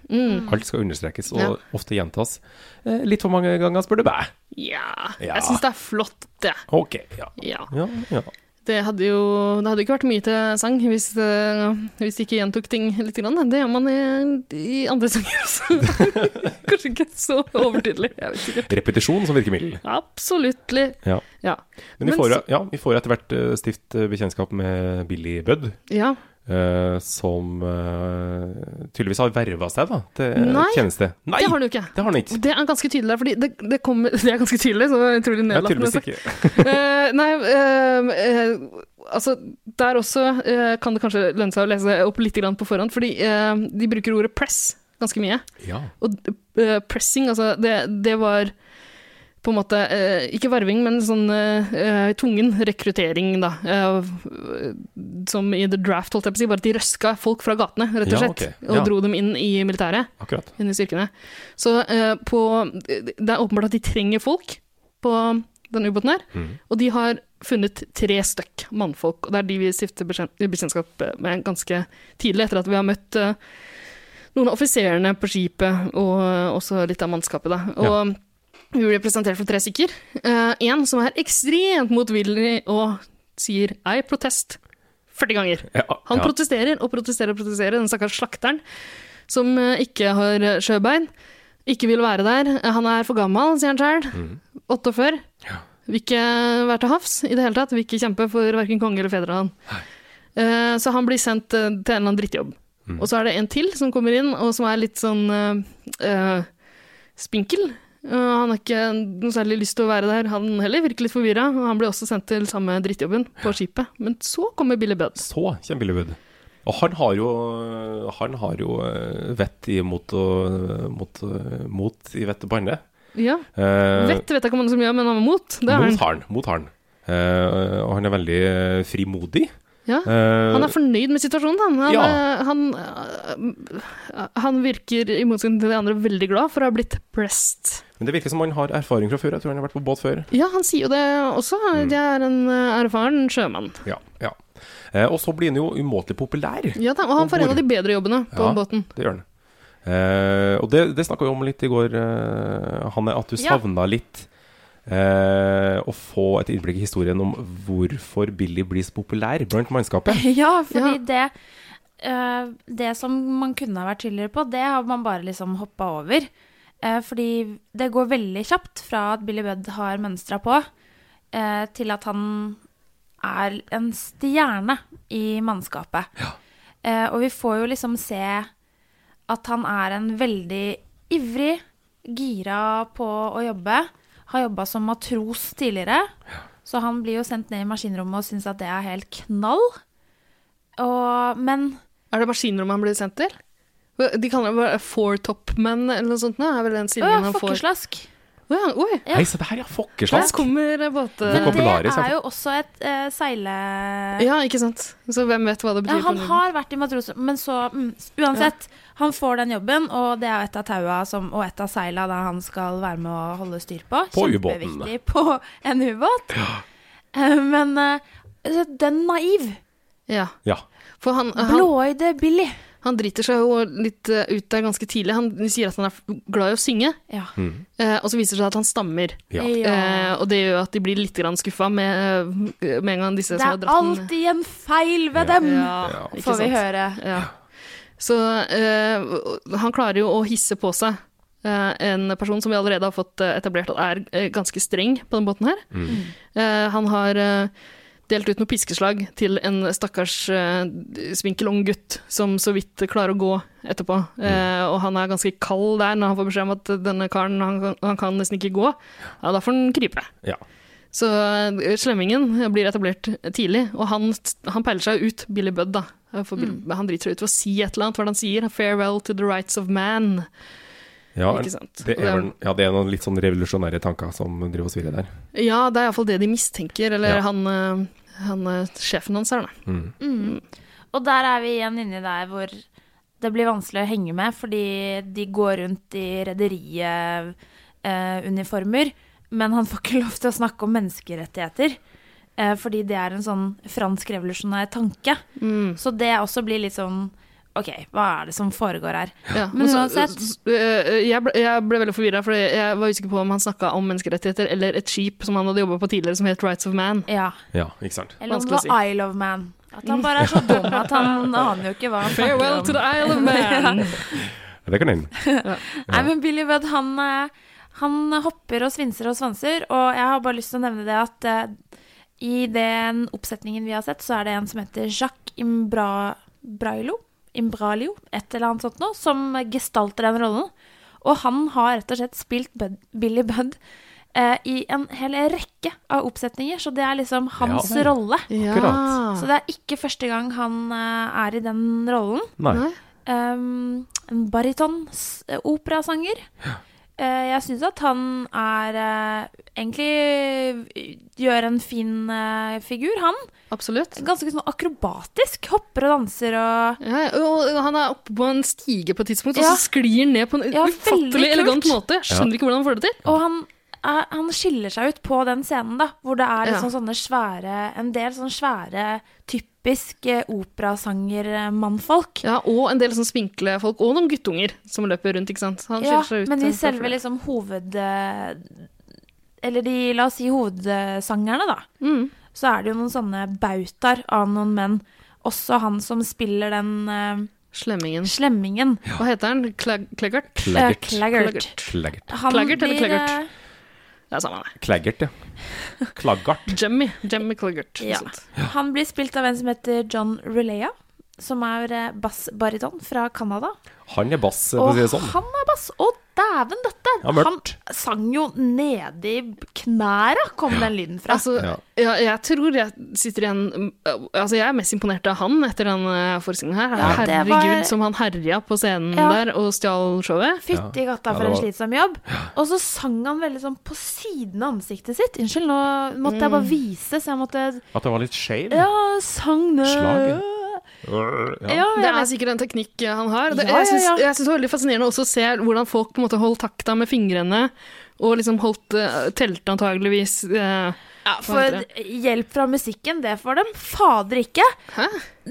[SPEAKER 2] Alt skal understrekes og
[SPEAKER 3] Ja.
[SPEAKER 2] ofte gjentas. Eh, litt for mange ganger, spør du meg.
[SPEAKER 3] Ja,
[SPEAKER 2] Ja.
[SPEAKER 3] jeg syns det er flott, det.
[SPEAKER 2] Ok, ja.
[SPEAKER 3] Ja.
[SPEAKER 2] Ja, ja.
[SPEAKER 3] Det hadde jo det hadde jo ikke vært mye til sang hvis, eh, hvis de ikke gjentok ting litt. Grann. Det gjør man i, i andre sanger også. *laughs* Kanskje ikke så overtydelig. Jeg vet ikke.
[SPEAKER 2] Repetisjon som virkemiddel.
[SPEAKER 3] Absolutt.
[SPEAKER 2] Ja.
[SPEAKER 3] Ja.
[SPEAKER 2] Men vi
[SPEAKER 3] Men
[SPEAKER 2] får,
[SPEAKER 3] så-
[SPEAKER 2] ja, vi får etter hvert eh, stift eh, bekjentskap med Billy Budd.
[SPEAKER 3] ja.
[SPEAKER 2] eh, som eh, tydeligvis har verva seg da, til
[SPEAKER 3] Nei,
[SPEAKER 2] tjeneste. Nei,
[SPEAKER 3] Det har han jo ikke.
[SPEAKER 2] det har han ikke.
[SPEAKER 3] Det er ganske tydelig der, fordi det, det, kommer, det er ganske tydelig, så utrolig
[SPEAKER 2] Ja,
[SPEAKER 3] nedlatende.
[SPEAKER 2] tydeligvis
[SPEAKER 3] sagt.
[SPEAKER 2] ikke.
[SPEAKER 3] Eh, nei, eh, eh, altså der også eh, kan det kanskje lønne seg å lese opp litt grann på forhånd, fordi eh, de bruker ordet press ganske mye.
[SPEAKER 2] Ja.
[SPEAKER 3] Og eh, pressing, altså det, det var på en måte eh, Ikke verving, men sånn eh, eh, tungen rekruttering, da. Eh, som i The Draft, holdt jeg på å si. Bare at de røska folk fra gatene, rett og
[SPEAKER 2] Ja,
[SPEAKER 3] slett.
[SPEAKER 2] ok. Ja.
[SPEAKER 3] Og dro dem inn i militæret.
[SPEAKER 2] Akkurat.
[SPEAKER 3] Inn i styrkene. Så eh, på Det er åpenbart at de trenger folk på den ubåten her.
[SPEAKER 2] Mhm.
[SPEAKER 3] Og de har funnet tre stykk mannfolk, og det er de vi stifter bekjen- bekjentskap med ganske tidlig, etter at vi har møtt eh, noen av offiserene på skipet, og eh, også litt av mannskapet, da. Og vi blir presentert for tre stykker. Én som er ekstremt motvillig og sier 'I protest' 40 ganger.
[SPEAKER 2] Ja,
[SPEAKER 3] Han
[SPEAKER 2] ja.
[SPEAKER 3] protesterer og protesterer og protesterer, den stakkars slakteren som eh, ikke har eh, sjøbein, ikke vil være der. Eh, Han er for gammel, sier han sjøl. 48. Vil ikke være til havs i det hele tatt. Vil ikke kjempe for verken konge eller fedreland. Eh, Så han blir sendt eh, til en eller annen drittjobb. Og så er det en til som kommer inn, og som er litt sånn eh, eh, spinkel. Eh, han har ikke noe særlig lyst til å være der, han heller. Virker litt forvirra. Og han blir også sendt til samme drittjobben på skipet. Men så kommer Billy Buds.
[SPEAKER 2] Så kommer Billy Budd. Og han har jo, han har jo eh, vett i mot og mot, eh, mot i vett og panne.
[SPEAKER 3] Ja.
[SPEAKER 2] Eh,
[SPEAKER 3] Vett vet jeg ikke om han som gjør, men han var mot. Det er
[SPEAKER 2] mot
[SPEAKER 3] han.
[SPEAKER 2] han. Mot han. Eh, og han er veldig eh, frimodig.
[SPEAKER 3] Ja.
[SPEAKER 2] Eh,
[SPEAKER 3] Han er fornøyd med situasjonen, han. Han,
[SPEAKER 2] Ja.
[SPEAKER 3] eh, han, eh, han virker, i motsetning til de andre, veldig glad for å ha blitt pressed.
[SPEAKER 2] men det virker som han har erfaring fra før. Jeg tror han har vært på båt før.
[SPEAKER 3] Ja, han sier jo det også.
[SPEAKER 2] Mm.
[SPEAKER 3] Jeg er en eh, erfaren sjømann.
[SPEAKER 2] Ja, ja. Eh, og så blir han jo umåtelig populær.
[SPEAKER 3] Ja da, og han får en av de bedre jobbene på
[SPEAKER 2] Ja.
[SPEAKER 3] båten.
[SPEAKER 2] Det gjør han. Eh, og det, det snakka vi om litt i går, eh, Hanne, at du
[SPEAKER 1] Ja.
[SPEAKER 2] savna litt eh, å få et innblikk i historien om hvorfor Billy blir så populær blant mannskapet.
[SPEAKER 1] *laughs* Ja, fordi
[SPEAKER 3] Ja.
[SPEAKER 1] det eh, Det som man kunne ha vært tydeligere på, det har man bare liksom hoppa over. Eh, fordi det går veldig kjapt fra at Billy Budd har mønstra på, eh, til at han er en stjerne i mannskapet. Eh, og vi får jo liksom se at han er en veldig ivrig, gira på å jobbe. Har jobba som matros tidligere, så han blir jo sendt ned i maskinrommet og syns at det er helt knall. Og, men
[SPEAKER 3] Er det maskinrommet han blir sendt til? De kaller det bare four top men eller noe sånt. nå, Er vel den
[SPEAKER 1] Å
[SPEAKER 3] stillingen
[SPEAKER 1] ja,
[SPEAKER 3] han får.
[SPEAKER 1] fokkeslask.
[SPEAKER 3] Å ja, oi,
[SPEAKER 1] Ja.
[SPEAKER 2] Nei, se det her, ja!
[SPEAKER 3] der
[SPEAKER 2] Fokkeslask!
[SPEAKER 3] kommer eh, båte...
[SPEAKER 1] Men det
[SPEAKER 2] Vokabularet, sant?
[SPEAKER 1] er jo også et eh, seile...
[SPEAKER 3] Ja, ikke sant. Så hvem vet hva det sånn-
[SPEAKER 1] Ja,
[SPEAKER 3] betyr?
[SPEAKER 1] han
[SPEAKER 3] på den-
[SPEAKER 1] har vært i matrosen, men så mm, Uansett, han får den jobben, og det er jo et av taua som, og et av seila da han skal være med å holde styr på.
[SPEAKER 2] På ubåten.
[SPEAKER 1] Kjempeviktig på en ubåt. Eh, Men eh, den naiv,
[SPEAKER 3] ja.
[SPEAKER 2] Ja.
[SPEAKER 3] For han, han,
[SPEAKER 1] blåøyde Billy.
[SPEAKER 3] Han driter seg jo litt eh, ut der ganske tidlig. Han sier at han er f- glad i å synge,
[SPEAKER 1] Ja.
[SPEAKER 3] eh, og så viser det seg at han stammer.
[SPEAKER 2] Ja.
[SPEAKER 3] Eh, og det gjør at de blir litt skuffa med, eh, med en gang disse
[SPEAKER 1] Det
[SPEAKER 3] som har
[SPEAKER 1] er
[SPEAKER 3] dratt den
[SPEAKER 1] alltid en feil ved
[SPEAKER 2] Ja.
[SPEAKER 1] dem,
[SPEAKER 3] Ja, ikke
[SPEAKER 1] får vi
[SPEAKER 3] sant?
[SPEAKER 1] høre.
[SPEAKER 3] Ja. Så eh, han klarer jo å hisse på seg eh, en person som vi allerede har fått eh, etablert at er eh, ganske streng på den båten her. Eh, han har eh, delt ut noen piskeslag til en stakkars eh, spinkel ung gutt som så vidt klarer å gå etterpå. Eh, og han er ganske kald der når han får beskjed om at denne karen han, kan- han kan nesten ikke gå. Ja, da får han krype.
[SPEAKER 2] Ja.
[SPEAKER 3] Så eh, slemmingen blir etablert tidlig, og han, han peiler seg ut Billy Budd, da. For Bill- Han driter seg ut ved å si et eller annet, hva er det han sier? 'Farewell to the rights of man'.
[SPEAKER 2] Ja,
[SPEAKER 3] Ikke sant.
[SPEAKER 2] Det er, vel- ja, det er noen litt sånn revolusjonære tanker som driver og svirrer der.
[SPEAKER 3] Ja, Mm. det er iallfall det de mistenker, eller
[SPEAKER 2] Ja.
[SPEAKER 3] han, eh, han, eh, sjefen hans her, da.
[SPEAKER 1] Og der er vi igjen inni der hvor det blir vanskelig å henge med, fordi de går rundt i rederiuniformer, men han får ikke *laughs* lov til å snakke om menneskerettigheter. eh, Fordi det er en sånn fransk revolusjonær tanke.
[SPEAKER 3] Mm.
[SPEAKER 1] Så det også blir litt sånn OK, hva er det som foregår her?
[SPEAKER 3] Ja,
[SPEAKER 1] Men
[SPEAKER 3] og så-
[SPEAKER 1] uansett-
[SPEAKER 3] s- øh, Jeg ble, jeg ble veldig forvirra, for jeg var usikker på om han snakka om menneskerettigheter eller et skip som han hadde jobba på tidligere, som het Rights of Man.
[SPEAKER 1] Ja.
[SPEAKER 2] Ja, ikke sant.
[SPEAKER 1] Eller om det
[SPEAKER 3] eh, Vanskelig å
[SPEAKER 1] var I Love Man. At han bare er så dum at
[SPEAKER 3] *laughs*
[SPEAKER 1] han aner jo ikke hva han
[SPEAKER 3] Farewell to
[SPEAKER 1] snakker om.
[SPEAKER 3] the Isle of Man!
[SPEAKER 2] Det kan hende.
[SPEAKER 1] Nei, men Billy Budd, han, eh, han hopper og svinser og svanser, og jeg har bare lyst til å nevne det at eh, i den oppsetningen vi har sett, så er det en som heter Jacques Imbra... Brailo? Imbralio, et eller annet sånt noe, som gestalter den rollen. Og han har rett og slett spilt Bud, Billy Budd eh, i en hel rekke av oppsetninger, så det er liksom hans
[SPEAKER 2] Ja.
[SPEAKER 1] rolle.
[SPEAKER 3] Ja.
[SPEAKER 1] Så det er ikke første gang han eh, er i den rollen.
[SPEAKER 2] Nei.
[SPEAKER 3] Nei.
[SPEAKER 1] Um, en baryton-operasanger. Eh, jeg syns at han er eh, Egentlig gjør en fin eh, figur, han.
[SPEAKER 3] Absolutt.
[SPEAKER 1] Ganske sånn akrobatisk. Hopper og danser og
[SPEAKER 3] Ja, og han er oppe på en stige på et tidspunkt,
[SPEAKER 1] Ja.
[SPEAKER 3] og så sklir han ned på en
[SPEAKER 1] Ja, veldig
[SPEAKER 3] ufattelig elegant
[SPEAKER 1] kult.
[SPEAKER 3] måte. Jeg skjønner ikke hvordan han får det til.
[SPEAKER 1] Og han, er, han skiller seg ut på den scenen, da. Hvor det er liksom
[SPEAKER 3] Ja.
[SPEAKER 1] sånne svære En del sånne svære, typisk eh, operasanger-mannfolk.
[SPEAKER 3] Ja, Og en del sånn spinkle folk, og noen guttunger som løper rundt. ikke sant? Han
[SPEAKER 1] Ja,
[SPEAKER 3] skiller seg ut.
[SPEAKER 1] men
[SPEAKER 3] eh,
[SPEAKER 1] i
[SPEAKER 3] for-
[SPEAKER 1] selve liksom hoved... eh, Eller de, la oss si hovedsangerne, da.
[SPEAKER 3] Mm.
[SPEAKER 1] Så er det jo noen sånne bautaer av noen menn. Også han som spiller den eh,
[SPEAKER 3] Slemmingen.
[SPEAKER 1] slemmingen.
[SPEAKER 3] Hva heter han? Clag Claggart?
[SPEAKER 1] eh,
[SPEAKER 2] Klaggert.
[SPEAKER 1] Claggart.
[SPEAKER 2] Klaggert.
[SPEAKER 1] Han
[SPEAKER 3] Claggart eller
[SPEAKER 1] blir, eh,
[SPEAKER 3] Claggart? Det er samme, det.
[SPEAKER 2] Klaggert, ja. Klaggart.
[SPEAKER 3] Jemmy. Jemmy Claggart.
[SPEAKER 1] Ja. Han blir spilt av en som heter John Rulea, som er eh, bassbariton fra Canada.
[SPEAKER 2] Han er bass, for å
[SPEAKER 1] Og
[SPEAKER 2] si det sånn.
[SPEAKER 1] han er bass. Å, dæven døtte!
[SPEAKER 2] Ja,
[SPEAKER 1] han
[SPEAKER 2] mørkt.
[SPEAKER 1] sang jo nedi knæra, kom den lyden fra.
[SPEAKER 3] Altså,
[SPEAKER 2] Ja.
[SPEAKER 3] ja. jeg tror jeg sitter igjen Altså, jeg er mest imponert av han etter den eh, forestillingen her.
[SPEAKER 1] Ja, det var-
[SPEAKER 3] Herregud, som han herja på scenen
[SPEAKER 1] Ja.
[SPEAKER 3] der og stjal showet.
[SPEAKER 1] Fytti katta for
[SPEAKER 2] det
[SPEAKER 1] en
[SPEAKER 2] var-
[SPEAKER 1] slitsom jobb. Og så sang han veldig sånn på siden av ansiktet sitt. Unnskyld, nå måtte jeg
[SPEAKER 3] Mm.
[SPEAKER 1] bare vise, så jeg måtte
[SPEAKER 2] At det var litt skeiv.
[SPEAKER 1] Ja, sang det
[SPEAKER 2] Slagen.
[SPEAKER 1] Ja,
[SPEAKER 2] Ja.
[SPEAKER 1] jeg
[SPEAKER 3] Det er
[SPEAKER 1] vet.
[SPEAKER 3] sikkert en teknikk eh, han har. Det,
[SPEAKER 1] Ja, ja,
[SPEAKER 3] Jeg syns
[SPEAKER 1] ja.
[SPEAKER 3] jeg syns det var veldig fascinerende også å se hvordan folk på en måte holdt takta med fingrene, og liksom holdt eh, telte antageligvis. eh,
[SPEAKER 1] ja,
[SPEAKER 3] Hva
[SPEAKER 1] for
[SPEAKER 3] heter
[SPEAKER 1] hjelp fra musikken, det får dem fader ikke.
[SPEAKER 3] Hæ?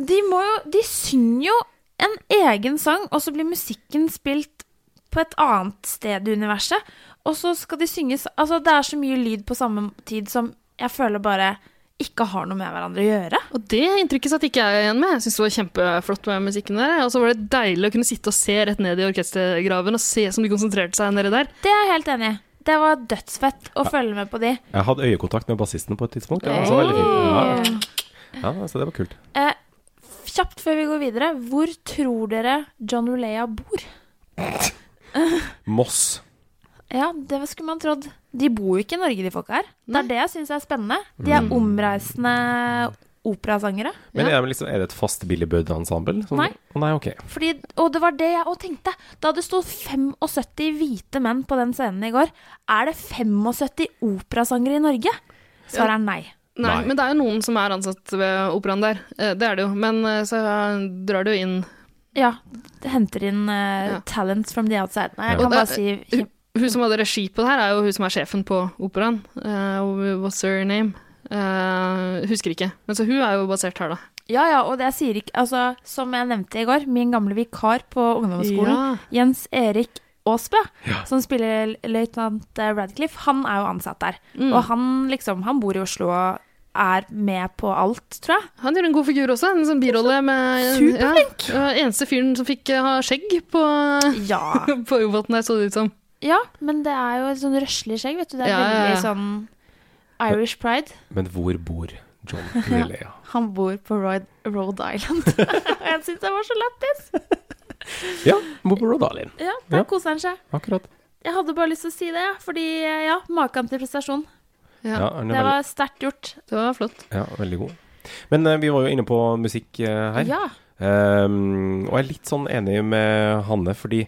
[SPEAKER 1] De må jo De synger jo en egen sang, og så blir musikken spilt på et annet sted i universet. Og så skal de synge sa- Altså, det er så mye lyd på samme tid som jeg føler bare ikke har noe med hverandre å gjøre.
[SPEAKER 3] Og det inntrykket satt ikke jeg igjen med. Jeg syns det var kjempeflott med musikken der. Og så var det deilig å kunne sitte og se rett ned i orkestergraven og se som de konsentrerte seg nedi der.
[SPEAKER 1] Det er jeg helt enig i. Det var dødsfett å følge med på de.
[SPEAKER 2] Jeg hadde øyekontakt med bassisten på et tidspunkt. Ja, så, veldig fint. Ja. Ja, så det var kult.
[SPEAKER 1] Eh, kjapt før vi går videre, hvor tror dere John Rulea bor?
[SPEAKER 2] Moss.
[SPEAKER 1] Ja, det skulle man trodd. De bor jo ikke i Norge, de folka her. Det er det jeg syns er spennende. De
[SPEAKER 3] Mm.
[SPEAKER 1] er omreisende operasangere.
[SPEAKER 2] Men er, det liksom, er det et fast Billy Budd-ensemble? Sånn-
[SPEAKER 1] Nei.
[SPEAKER 2] Å, nei, ok.
[SPEAKER 1] Fordi, og det var det jeg òg tenkte. Da det sto 75 hvite menn på den scenen i går, er det 75 operasangere i Norge? Svaret er nei.
[SPEAKER 3] Nei,
[SPEAKER 2] Nei.
[SPEAKER 3] men det er jo noen som er ansatt ved operaen der. Eh, Det er det jo. Men eh, så drar det jo inn
[SPEAKER 1] Ja, det henter inn eh,
[SPEAKER 3] Ja.
[SPEAKER 1] talents from the outside. Nei, jeg kan
[SPEAKER 3] Og
[SPEAKER 1] bare si
[SPEAKER 3] det- Hun som hadde regi på det her, er jo hun som er sjefen på operaen. Eh, what's her name? Eh, husker ikke. Men så hun er jo basert her, da.
[SPEAKER 1] Ja, ja, og det jeg sier ikke Altså, som jeg nevnte i går, min gamle vikar på ungdomsskolen,
[SPEAKER 3] Ja.
[SPEAKER 1] Jens Erik Aasbø, som spiller løytnant eh, Radcliffe, han er jo ansatt der. Og han liksom Han bor i Oslo og er med på alt, tror jeg.
[SPEAKER 3] Han gjorde en god figur også. En sånn birolle med
[SPEAKER 1] Superflink.
[SPEAKER 3] Ja, og eneste fyren som fikk eh, ha skjegg på,
[SPEAKER 1] Ja.
[SPEAKER 3] *laughs* på ubåten der, så det ut som.
[SPEAKER 1] *laughs* ja, men det er jo et sånn røslig skjegg, vet du. Det er
[SPEAKER 3] Ja, ja, ja.
[SPEAKER 1] veldig sånn Irish pride.
[SPEAKER 2] Men hvor bor John
[SPEAKER 1] *laughs*
[SPEAKER 2] Lillea?
[SPEAKER 1] Han bor på Rhode, Rhode *laughs* Island. Og jeg syns det var så lættis!
[SPEAKER 2] Ja, han bor på Rhode Island.
[SPEAKER 1] Ja, der
[SPEAKER 2] Ja.
[SPEAKER 1] koser han seg.
[SPEAKER 2] Akkurat.
[SPEAKER 1] Jeg hadde bare lyst til å si det, jeg, fordi eh, ja, maken til prestasjon.
[SPEAKER 3] Ja.
[SPEAKER 2] Ja, han er
[SPEAKER 1] Det
[SPEAKER 2] veldig,
[SPEAKER 1] var sterkt gjort.
[SPEAKER 3] Det var flott.
[SPEAKER 2] ja, veldig god. Men eh, vi var jo inne på musikk eh, her.
[SPEAKER 1] Ja.
[SPEAKER 2] Ehm, og jeg er litt sånn enig med Hanne, fordi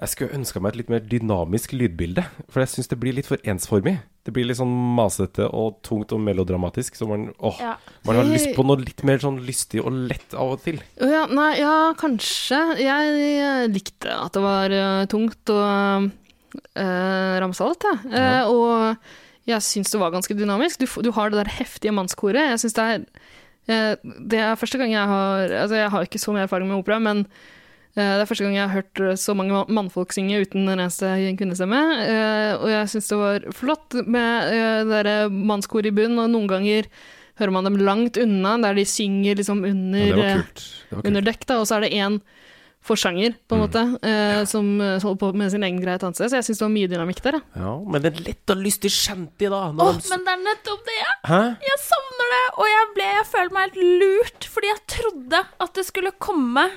[SPEAKER 2] jeg skulle ønska meg et litt mer dynamisk lydbilde. For jeg syns det blir litt for ensformig. Det Det blir litt sånn masete og tungt og melodramatisk, så man, åh,
[SPEAKER 1] Ja.
[SPEAKER 2] man har lyst på noe litt mer sånn lystig og lett av og til.
[SPEAKER 3] Å ja, nei, ja, kanskje. Jeg eh, likte at det var eh, tungt og eh, ramsalt, jeg. Eh, og jeg syns det var ganske dynamisk. Du, f- du har det der heftige mannskoret. Jeg synes det er eh, Det er første gang jeg har Altså, jeg har ikke så mye erfaring med opera, men eh, det er første gang jeg har hørt eh, så mange ma- mannfolk synge uten en eneste kvinnestemme. Eh, og jeg syns det var flott med eh, det derre mannskoret i bunnen, og noen ganger hører man dem langt unna, der de synger liksom under
[SPEAKER 2] Ja, det var
[SPEAKER 3] eh,
[SPEAKER 2] kult. Det var kult.
[SPEAKER 3] under dekk, da, og så er det én forsanger, på en måte, eh, som eh, holder på med sin egen greie et annet sted. Så jeg syns det var mye dynamikk der. jeg.
[SPEAKER 2] Ja, men en lett og lystig shanty, da. når
[SPEAKER 1] Åh,
[SPEAKER 2] de s-
[SPEAKER 1] men det er nettopp det!
[SPEAKER 2] Hæ?
[SPEAKER 1] Jeg savner det, og jeg, ble, jeg føler meg helt lurt, fordi jeg trodde at det skulle komme.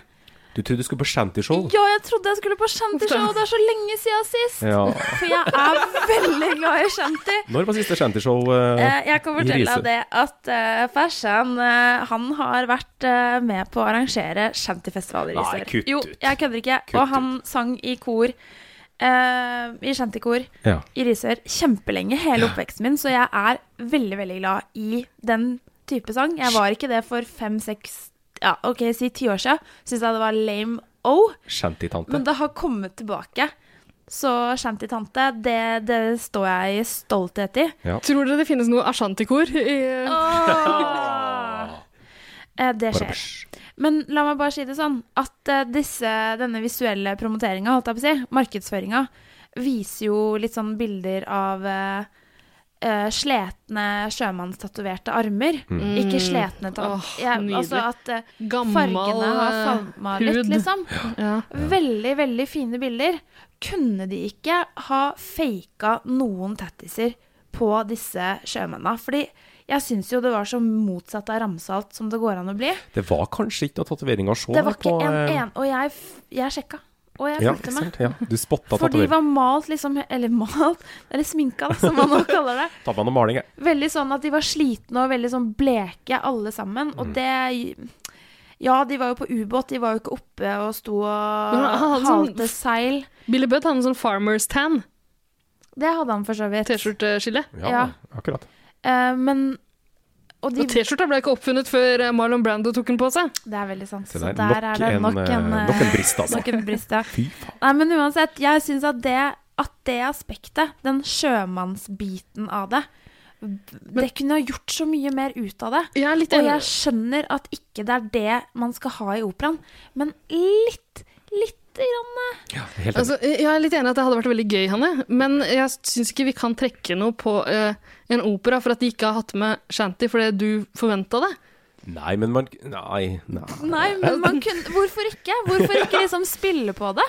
[SPEAKER 2] Du trodde du skulle på shantyshow?
[SPEAKER 1] Ja, jeg trodde jeg skulle på shantyshow, og det er så lenge siden sist.
[SPEAKER 2] Ja.
[SPEAKER 1] For jeg er veldig glad i shanty.
[SPEAKER 2] Når var siste shantyshow? Eh,
[SPEAKER 1] Eh, Jeg kan
[SPEAKER 2] I
[SPEAKER 1] fortelle
[SPEAKER 2] Riise.
[SPEAKER 1] deg det at eh, Fersan eh, han har vært eh, med på å arrangere shantyfestivaler i
[SPEAKER 2] Nei,
[SPEAKER 1] sør.
[SPEAKER 2] kutt
[SPEAKER 1] Jo,
[SPEAKER 2] ut.
[SPEAKER 1] jeg kødder ikke.
[SPEAKER 2] Kutt
[SPEAKER 1] Og han sang i kor, eh, i shantykor
[SPEAKER 2] ja.
[SPEAKER 1] i Risør kjempelenge, hele oppveksten min, så jeg er veldig, veldig glad i den type sang. Jeg var ikke det for fem, seks, ja, ok, si ti år siden. Syns jeg det var lame o,
[SPEAKER 2] Shantytante.
[SPEAKER 1] men det har kommet tilbake. Så shantytante, det, det står jeg i stolthet i.
[SPEAKER 3] Tror dere det finnes noe ashantikor? I,
[SPEAKER 1] Eh, Det skjer. Men la meg bare si det sånn, at eh, disse, denne visuelle promoteringa, holdt jeg på å si, markedsføringa, viser jo litt sånn bilder av eh, eh, sletne sjømannstatoverte armer.
[SPEAKER 3] Mm.
[SPEAKER 1] Ikke sletne ta-
[SPEAKER 3] Åh,
[SPEAKER 1] Jeg- Altså
[SPEAKER 3] nydelig.
[SPEAKER 1] at eh,
[SPEAKER 3] Gammel
[SPEAKER 1] fargene har
[SPEAKER 3] eh,
[SPEAKER 1] falma litt,
[SPEAKER 3] hud.
[SPEAKER 1] liksom.
[SPEAKER 3] ja.
[SPEAKER 1] Veldig, veldig fine bilder. Kunne de ikke ha faka noen tattiser på disse sjømennene? Fordi jeg syns jo det var så motsatt av ramsalt som det går an å bli.
[SPEAKER 2] Det var kanskje ikke noe tatovering å se
[SPEAKER 1] Det var ikke
[SPEAKER 2] på,
[SPEAKER 1] en,
[SPEAKER 2] eh,
[SPEAKER 1] en Og jeg, f- jeg sjekka. Og jeg
[SPEAKER 2] Ja,
[SPEAKER 1] fulgte
[SPEAKER 2] ikke
[SPEAKER 1] med.
[SPEAKER 2] sant? ja, du spotta
[SPEAKER 1] For de
[SPEAKER 2] tatovering.
[SPEAKER 1] var malt liksom Eller malt, *laughs* eller sminka, da, som man nå
[SPEAKER 2] *laughs*
[SPEAKER 1] kaller det.
[SPEAKER 2] Tar man noe maling, jeg.
[SPEAKER 1] Veldig sånn at de var slitne og veldig sånn bleke, alle sammen.
[SPEAKER 2] Mm.
[SPEAKER 1] Og det Ja, de var jo på ubåt, de var jo ikke oppe og sto og
[SPEAKER 3] Men han hadde sånn-
[SPEAKER 1] halte seil.
[SPEAKER 3] Billy Budd hadde en sånn Farmers Tan
[SPEAKER 1] Det hadde han for så vidt.
[SPEAKER 3] T-skjorteskille.
[SPEAKER 2] Ja,
[SPEAKER 1] Ja.
[SPEAKER 2] akkurat.
[SPEAKER 1] Eh, men Og de,
[SPEAKER 3] Og T-skjorta ble ikke oppfunnet før eh, Marlon Brando tok den på seg.
[SPEAKER 1] det er veldig sant.
[SPEAKER 2] Se
[SPEAKER 1] Så
[SPEAKER 2] der,
[SPEAKER 1] der,
[SPEAKER 2] nok
[SPEAKER 1] er det
[SPEAKER 2] en,
[SPEAKER 1] nok
[SPEAKER 2] eh,
[SPEAKER 1] en, eh,
[SPEAKER 2] nok en brist, altså.
[SPEAKER 1] nok en brist, ja.
[SPEAKER 2] *laughs* Fy faen.
[SPEAKER 1] Nei, men uansett, jeg syns at det, at det aspektet, den sjømannsbiten av det, det kunne ha gjort så mye mer ut av det.
[SPEAKER 3] Jeg er litt
[SPEAKER 1] Og
[SPEAKER 3] enig.
[SPEAKER 1] jeg skjønner at ikke det er det man skal ha i operaen, men litt, lite grann eh,
[SPEAKER 2] Ja, helt enig.
[SPEAKER 3] Altså, jeg er litt enig at det hadde vært veldig gøy, Hanne, men jeg syns ikke vi kan trekke noe på eh, en opera for at de ikke har hatt med shanty fordi du forventa det.
[SPEAKER 2] Nei, men man Nei. nei.
[SPEAKER 1] Nei, men man kunne Hvorfor ikke? Hvorfor ikke liksom spille på det?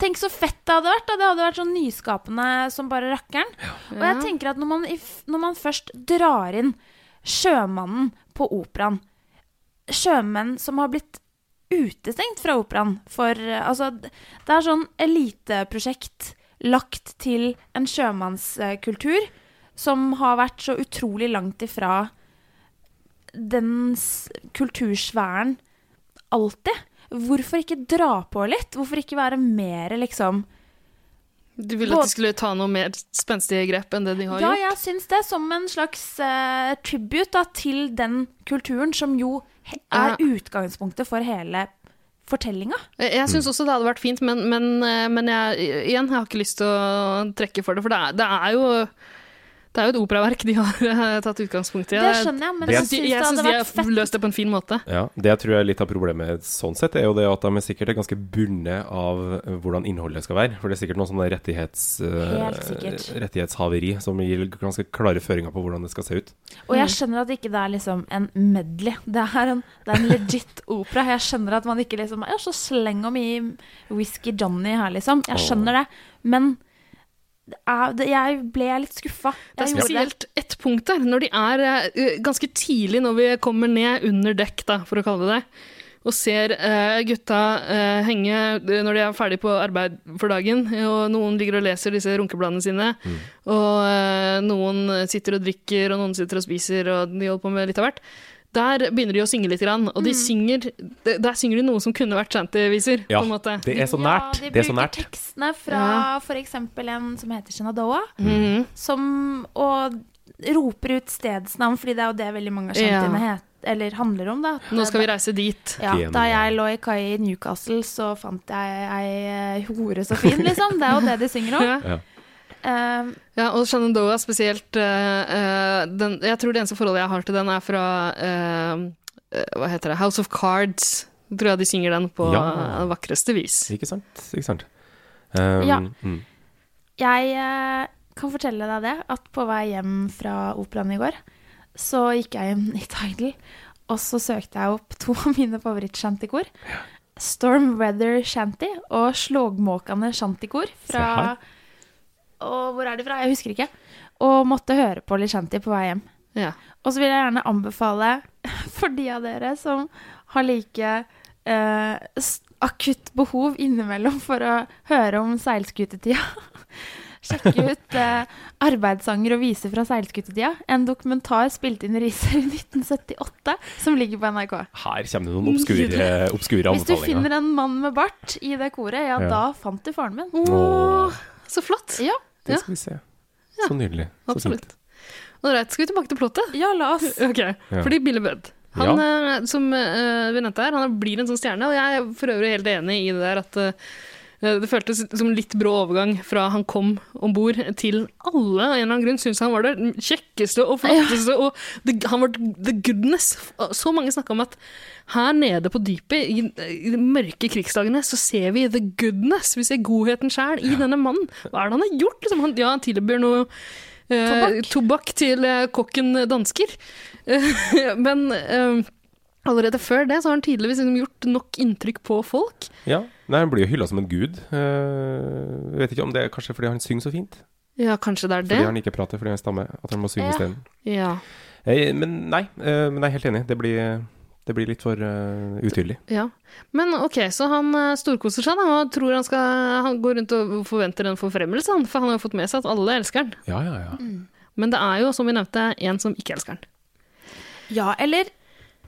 [SPEAKER 1] Tenk så fett det hadde vært. Da. Det hadde vært sånn nyskapende som bare rakkeren. Og jeg tenker at når man, if- når man først drar inn sjømannen på operaen Sjømenn som har blitt utestengt fra operaen for eh, Altså, d- det er sånn eliteprosjekt lagt til en sjømannskultur som har vært så utrolig langt ifra den s- kultursfæren alltid. Hvorfor ikke dra på litt? Hvorfor ikke være mer, liksom?
[SPEAKER 3] Du ville at de skulle ta noe mer spenstige grep enn det de har
[SPEAKER 1] Ja,
[SPEAKER 3] gjort.
[SPEAKER 1] jeg syns det, som en slags eh, tribute da, til den kulturen som jo he
[SPEAKER 3] Ja.
[SPEAKER 1] er utgangspunktet for hele fortellinga.
[SPEAKER 3] Eh, Jeg- Jeg syns også det hadde vært fint, men, men, eh, men jeg, igjen, jeg har ikke lyst til å trekke for det. For det er, det er jo det er jo et operaverk de har eh, tatt utgangspunkt i.
[SPEAKER 1] Det skjønner jeg, men
[SPEAKER 2] det-
[SPEAKER 1] jeg
[SPEAKER 3] Jeg
[SPEAKER 1] syns
[SPEAKER 3] syns
[SPEAKER 1] det hadde
[SPEAKER 3] de
[SPEAKER 1] vært
[SPEAKER 3] har
[SPEAKER 1] fett.
[SPEAKER 3] løst det på en fin måte.
[SPEAKER 2] Ja, det jeg tror jeg er litt av problemet sånn sett, er jo det at de er sikkert er ganske bundet av eh, hvordan innholdet skal være. For det er sikkert noen sånne rettighets, eh,
[SPEAKER 1] Helt sikkert.
[SPEAKER 2] rettighetshaveri som gir ganske klare føringer på hvordan det skal se ut.
[SPEAKER 1] Og
[SPEAKER 3] Mm.
[SPEAKER 1] jeg skjønner at ikke det er liksom en medley. Det er en, det er en legit *laughs* opera. Jeg skjønner at man ikke liksom Ja, så sleng om i Whisky Johnny her, liksom. Jeg skjønner det. Men det er, det, jeg ble litt skuffa.
[SPEAKER 3] Det er
[SPEAKER 1] Jeg gjorde det.
[SPEAKER 3] spesielt ett punkt der, når de er eh, ganske tidlig når vi kommer ned under dekk, da, for å kalle det det, og ser eh, gutta eh, henge eh, når de er ferdig på arbeid for dagen, og noen ligger og leser disse runkebladene sine, og eh, noen sitter og drikker, og noen sitter og spiser, og de holder på med litt av hvert. Der begynner de å synge litt, grann, og de synger, de- der synger de noe som kunne vært shantyviser.
[SPEAKER 2] Ja,
[SPEAKER 3] på en måte.
[SPEAKER 2] det er så nært.
[SPEAKER 1] Ja, de
[SPEAKER 2] det er så
[SPEAKER 1] bruker
[SPEAKER 2] nært.
[SPEAKER 1] tekstene fra f.eks. en som heter Shenandoah,
[SPEAKER 3] Mhm.
[SPEAKER 1] som, og roper ut stedsnavn, fordi det er jo det veldig mange av
[SPEAKER 3] Ja.
[SPEAKER 1] kjentene het, eller handler om. Da. At
[SPEAKER 3] Nå
[SPEAKER 1] det-
[SPEAKER 3] skal vi reise dit.
[SPEAKER 1] ja, da jeg lå i kai i Newcastle, så fant jeg ei eh, hore så fin, liksom. Det er jo det de synger om.
[SPEAKER 3] *laughs* Ja.
[SPEAKER 1] Eh,
[SPEAKER 3] Ja, og Shenandoah spesielt eh, eh, den, Jeg tror det eneste forholdet jeg har til den, er fra eh, eh, Hva heter det? House of Cards. Jeg tror jeg de synger den på
[SPEAKER 2] Ja.
[SPEAKER 3] eh, vakreste vis.
[SPEAKER 2] Ikke sant? Ikke sant? Um,
[SPEAKER 1] Ja.
[SPEAKER 2] mm.
[SPEAKER 1] jeg eh, kan fortelle deg det, at på vei hjem fra operaen i går, så gikk jeg inn i Tidal, og så søkte jeg opp to av mine favorittshantikor. Storm Weather Shanty og Slågmåkane shantikor fra Og hvor er de fra? Jeg husker ikke. Og måtte høre på litt shanty på vei hjem.
[SPEAKER 3] Ja.
[SPEAKER 1] Og så vil jeg gjerne anbefale *laughs* for de av dere som har like eh, s- akutt behov innimellom for å høre om seilskutetida. *laughs* Sjekke ut eh, arbeidssanger og viser fra seilskutetida. En dokumentar spilt inn i Riser i 1978 som ligger på NRK.
[SPEAKER 2] Her kommer det noen obskure, obskure
[SPEAKER 1] Hvis du
[SPEAKER 2] anbefalinger.
[SPEAKER 1] finner en mann med bart i det koret, ja,
[SPEAKER 2] Ja.
[SPEAKER 1] da fant du faren min.
[SPEAKER 2] Åh,
[SPEAKER 3] Så flott!
[SPEAKER 1] Ja,
[SPEAKER 2] det skal vi se. Så nydelig. Så fint.
[SPEAKER 3] Absolutt. Ålreit, skal vi tilbake til plottet?
[SPEAKER 1] ja la oss.
[SPEAKER 3] *laughs* Ok, fordi Billy Budd han, eh, som eh, vi nevnte her, han blir en sånn stjerne, og jeg er for øvrig helt enig i det der at eh, det føltes som en litt brå overgang fra han kom om bord til alle av en eller annen grunn syntes han var det kjekkeste og flotteste. Og the, han var the goodness. Så mange snakka om at her nede på dypet, i, i de mørke krigsdagene, så ser vi the goodness. Vi ser godheten sjæl i denne mannen. Hva er det han har gjort? Liksom? Han, ja, han tilbyr noe eh, tobakk til eh, kokken dansker. Eh, *laughs* Men eh, allerede før det så har han tydeligvis liksom gjort nok inntrykk på folk.
[SPEAKER 2] Ja. Nei, han blir jo hylla som en gud. Eh, vet ikke om det er kanskje fordi han synger så fint.
[SPEAKER 3] Ja, kanskje det er det.
[SPEAKER 2] Fordi han ikke prater, fordi han stammer. At han må synge
[SPEAKER 1] Ja.
[SPEAKER 2] isteden.
[SPEAKER 3] Ja.
[SPEAKER 2] Eh, Men nei, eh, men jeg er helt enig. Det blir, det blir litt for eh, utydelig.
[SPEAKER 3] ja. Men ok, så han eh, storkoser seg da, og tror han skal Han går rundt og forventer en forfremmelse, han, for han har jo fått med seg at alle elsker han.
[SPEAKER 2] Ja, ja, ja.
[SPEAKER 3] Mm. Men det er jo, som vi nevnte, en som ikke elsker han.
[SPEAKER 1] Ja, eller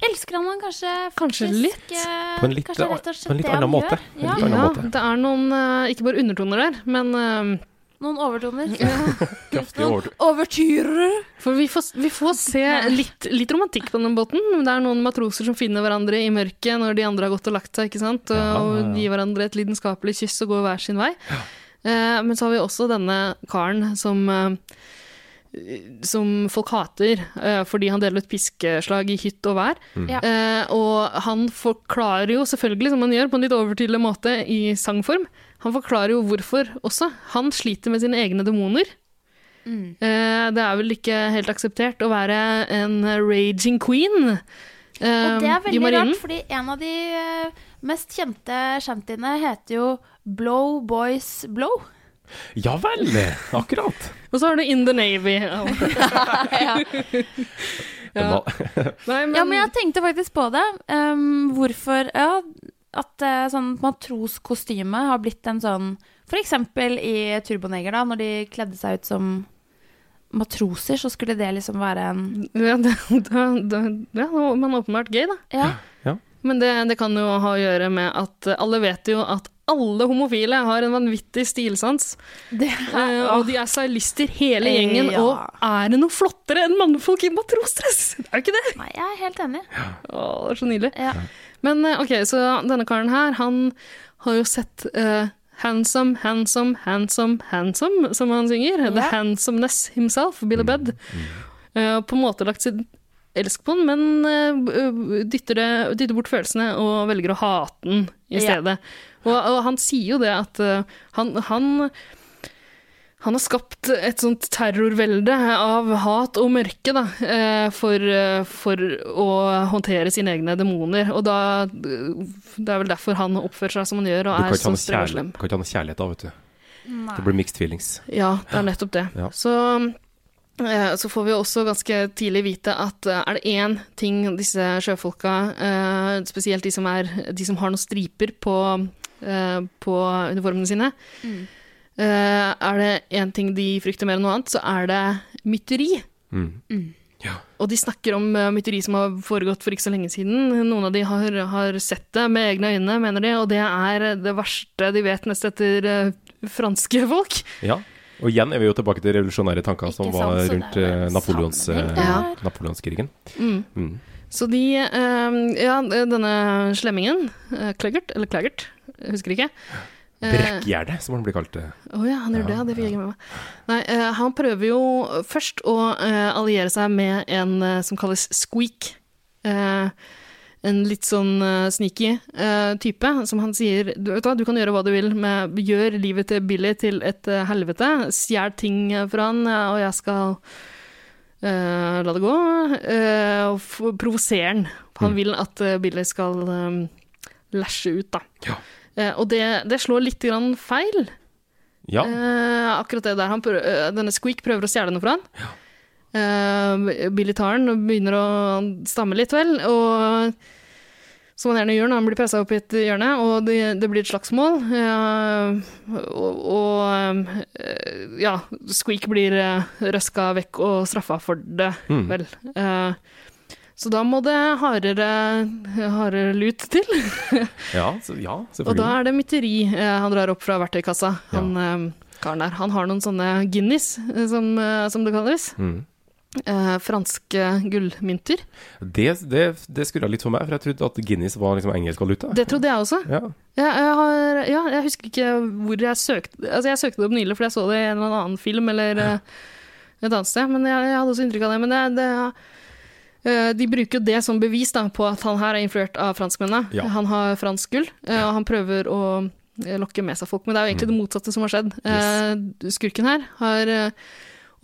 [SPEAKER 1] elsker han han kanskje
[SPEAKER 3] Kanskje
[SPEAKER 1] faktisk,
[SPEAKER 3] litt.
[SPEAKER 1] eh,
[SPEAKER 2] På en litt-
[SPEAKER 1] kanskje rett og slett
[SPEAKER 2] på en litt
[SPEAKER 1] det han
[SPEAKER 2] annen måte.
[SPEAKER 1] gjør?
[SPEAKER 2] En
[SPEAKER 1] Ja,
[SPEAKER 2] litt annen-
[SPEAKER 3] Ja,
[SPEAKER 2] måte.
[SPEAKER 3] det er noen eh, ikke bare undertoner der, men eh,
[SPEAKER 1] noen overtoner. *laughs*
[SPEAKER 2] Kraftig overtur.
[SPEAKER 1] Overtyrer.
[SPEAKER 3] For vi får, vi får se litt, litt romantikk på den båten. Det er noen matroser som finner hverandre i mørket når de andre har gått og lagt seg, ikke sant? Og,
[SPEAKER 2] Ja, ja, ja.
[SPEAKER 3] og gir hverandre et lidenskapelig kyss og går hver sin vei. Eh, men så har vi også denne karen som eh, som folk hater eh, fordi han deler ut piskeslag i hytt og vær.
[SPEAKER 1] Ja.
[SPEAKER 3] Eh, og han forklarer jo selvfølgelig, som han gjør på en litt overtydelig måte i sangform, han forklarer jo hvorfor også. Han sliter med sine egne demoner.
[SPEAKER 1] Mm.
[SPEAKER 3] Eh, det er vel ikke helt akseptert å være en raging queen eh,
[SPEAKER 1] Og det er
[SPEAKER 3] i
[SPEAKER 1] veldig
[SPEAKER 3] marinen.
[SPEAKER 1] rart, fordi en av de eh, mest kjente shantyene heter jo Blow Boys Blow.
[SPEAKER 2] *laughs* Ja vel! Akkurat.
[SPEAKER 3] Og så har du In the Navy. Ja.
[SPEAKER 1] *laughs* ja.
[SPEAKER 2] Det
[SPEAKER 3] *laughs* Ja.
[SPEAKER 2] må-
[SPEAKER 3] Nei, men,
[SPEAKER 1] ja, men jeg tenkte faktisk på det. Ehm, hvorfor ja, at eh, sånn matroskostyme har blitt en sånn For eksempel i Turboneger, da, når de kledde seg ut som matroser, så skulle det liksom være en
[SPEAKER 3] *laughs* ja, da, da, da, ja, da var man åpenbart gay, da.
[SPEAKER 1] Ja.
[SPEAKER 3] Men det, det kan jo ha å gjøre med at eh, alle vet jo at alle homofile har en vanvittig stilsans.
[SPEAKER 1] Det
[SPEAKER 3] eh, og de er stylister hele
[SPEAKER 1] Eh,
[SPEAKER 3] gjengen.
[SPEAKER 1] ja.
[SPEAKER 3] Og er det noe flottere enn mannfolk i matrosdress? *laughs* Det Er jo ikke det?
[SPEAKER 1] Nei, jeg er helt enig.
[SPEAKER 3] Å, det er så nydelig.
[SPEAKER 1] Ja.
[SPEAKER 3] Men eh, ok, så denne karen her, han har jo sett eh, Handsome, handsome, handsome, handsome, som han synger. The
[SPEAKER 1] Ja.
[SPEAKER 3] handsomeness himself, Billy Budd. Eh, på en måte lagt sin elsk på den, men eh, dytter, det, dytter bort følelsene og velger å hate den i
[SPEAKER 1] Ja.
[SPEAKER 3] stedet. Og, og han sier jo det at eh, han, han han har skapt et sånt terrorvelde av hat og mørke da, eh, for, eh, for å håndtere sine egne demoner. Og da, det er vel derfor han oppfører seg som han gjør,
[SPEAKER 2] Du
[SPEAKER 3] og
[SPEAKER 2] kan
[SPEAKER 3] er
[SPEAKER 2] ikke ha
[SPEAKER 3] så
[SPEAKER 2] noe
[SPEAKER 3] streng og
[SPEAKER 2] kjærlighet,
[SPEAKER 3] slem.
[SPEAKER 2] kan ikke ha noe kjærlighet da, vet du. Det blir mixed feelings.
[SPEAKER 3] Ja, det er nettopp det.
[SPEAKER 2] Ja.
[SPEAKER 3] Så, eh, så får vi også ganske tidlig vite at eh, er det én ting disse sjøfolka, eh, spesielt de som, er, de som har noen striper på, eh, på uniformene sine, eh, er det én ting de frykter mer enn noe annet, så er det mytteri.
[SPEAKER 2] Mm. Ja.
[SPEAKER 3] Og de snakker om eh, mytteri som har foregått for ikke så lenge siden. Noen av de har, har sett det med egne øyne, mener de, og det er det verste de vet nest etter eh, franske folk.
[SPEAKER 2] Ja. Og igjen er vi jo tilbake til revolusjonære tanker som
[SPEAKER 1] Ikke
[SPEAKER 2] var
[SPEAKER 1] sant, så det
[SPEAKER 2] rundt
[SPEAKER 1] er jo
[SPEAKER 2] eh,
[SPEAKER 1] en
[SPEAKER 2] Napoleons,
[SPEAKER 1] sammenheng
[SPEAKER 2] eh,
[SPEAKER 1] der.
[SPEAKER 2] Napoleonskrigen. Mm.
[SPEAKER 3] Så de eh, Ja, denne slemmingen, eh, Kleggert, eller Kleggert, jeg husker ikke. Eh,
[SPEAKER 2] Brekkgjerdet, som han blir kalt. eh.
[SPEAKER 3] Å ja, han gjør det. ja, Det fikk jeg ikke med meg. Nei, eh, han prøver jo først å eh, alliere seg med en eh, som kalles Squeak. Eh, en litt sånn eh, sneaky eh, type, som han sier du, vet du, hva, du kan gjøre hva du vil, med gjør livet til Billy til et eh, helvete. Stjel ting eh, fra han, eh, og jeg skal eh, la det gå. eh, og f- provosere han. Han vil at eh, Billy skal eh, lashe ut, da.
[SPEAKER 2] Ja.
[SPEAKER 3] Eh, og det, det slår litt grann feil.
[SPEAKER 2] Ja.
[SPEAKER 3] Eh, akkurat det der. Han prø- eh, denne Squeak prøver å stjele noe fra han. Eh, Billy tar den og begynner å stamme litt, vel. Og som han gjerne gjør når han blir pressa opp i et hjørne, og det, det blir et slagsmål. Eh, og og eh, ja, Squeak blir uh, røska vekk og straffa for det, vel. Eh, så da må det hardere, hardere lut til.
[SPEAKER 2] Ja, så, ja
[SPEAKER 3] Og da
[SPEAKER 2] selvfølgelig.
[SPEAKER 3] er det mytteri eh, han drar opp fra verktøykassa.
[SPEAKER 2] Ja.
[SPEAKER 3] Han, eh, karen der. Han har noen sånne Guinness, eh, som, eh, som det kalles.
[SPEAKER 2] Mm.
[SPEAKER 3] Eh, franske gullmynter.
[SPEAKER 2] Det, det, det skurra litt for meg, for jeg trodde at Guinness var liksom engelsk valuta.
[SPEAKER 3] Det trodde jeg også.
[SPEAKER 2] Ja.
[SPEAKER 3] Ja, jeg, har, ja, jeg husker ikke hvor jeg søkte Altså, jeg søkte det opp nylig fordi jeg så det i en eller annen film eller eh, et annet sted, men jeg, jeg hadde også inntrykk av det. Men det, det eh, de bruker jo det som bevis da, på at han her er influert av franskmennene.
[SPEAKER 2] Ja.
[SPEAKER 3] Han har fransk gull, eh, og han prøver å eh, lokke med seg folk. Men det er jo egentlig det motsatte som har skjedd. Eh, Skurken her har eh,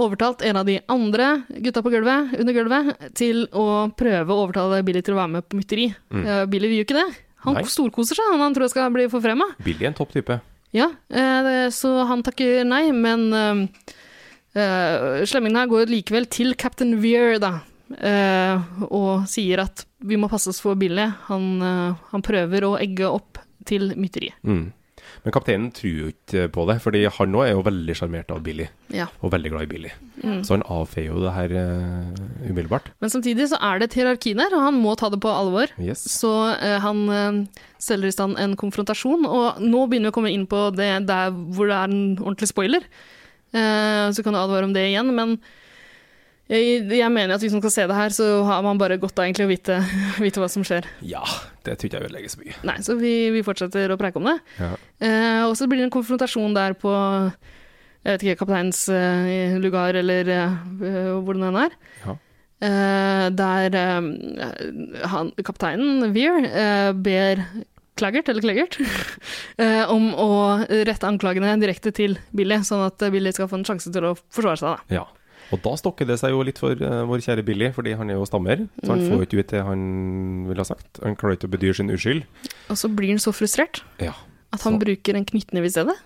[SPEAKER 3] overtalt en av de andre gutta på gulvet, under gulvet, til å prøve å overtale Billy til å være med på mytteri. Eh, Billy vil jo ikke det. Han
[SPEAKER 2] Nei.
[SPEAKER 3] storkoser seg, han, han tror jeg skal bli forfremma.
[SPEAKER 2] Billy er en topp type.
[SPEAKER 3] Ja, eh, det- så han takker nei, men eh, eh, slemmingen her går likevel til Captain Weir, da. eh, og sier at vi må passe oss for Billy. Han, eh, han prøver å egge opp til mytteriet.
[SPEAKER 2] Mm. Men kapteinen tror jo ikke på det, fordi han nå er jo veldig sjarmert av Billy,
[SPEAKER 3] Ja.
[SPEAKER 2] og veldig glad i Billy. Så han avfeier jo det her eh, umiddelbart.
[SPEAKER 3] Men samtidig så er det et hierarki der, og han må ta det på alvor.
[SPEAKER 2] Yes.
[SPEAKER 3] Så eh, han eh, selger i stand en konfrontasjon, og nå begynner vi å komme inn på det der hvor det er en ordentlig spoiler. Eh, så kan du advare om det igjen, men jeg, jeg mener at hvis man skal se det her, så har man bare godt av egentlig å vite, *laughs* vite hva som skjer.
[SPEAKER 2] Ja, det tror ikke jeg ødelegger så mye.
[SPEAKER 3] Nei, så vi, vi fortsetter å preike om det.
[SPEAKER 2] Ja.
[SPEAKER 3] Eh, og så blir det en konfrontasjon der på jeg vet ikke, kapteins eh, lugar, eller eh, hvor den er.
[SPEAKER 2] Ja.
[SPEAKER 3] Eh, der eh, han, kapteinen, Weir, eh, ber Klaggert, eller Kleggert, *laughs* eh, om å rette anklagene direkte til Billy, sånn at eh, Billy skal få en sjanse til å forsvare seg. Da.
[SPEAKER 2] Ja. Og da stokker det seg jo litt for eh, vår kjære Billy, fordi han er jo stammer. Så han får jo ikke ut det han ville ha sagt. Han klarer ikke å bedyre sin uskyld.
[SPEAKER 3] Og så blir han så frustrert
[SPEAKER 2] Ja.
[SPEAKER 3] at han
[SPEAKER 2] Så-
[SPEAKER 3] bruker en knyttneve i stedet.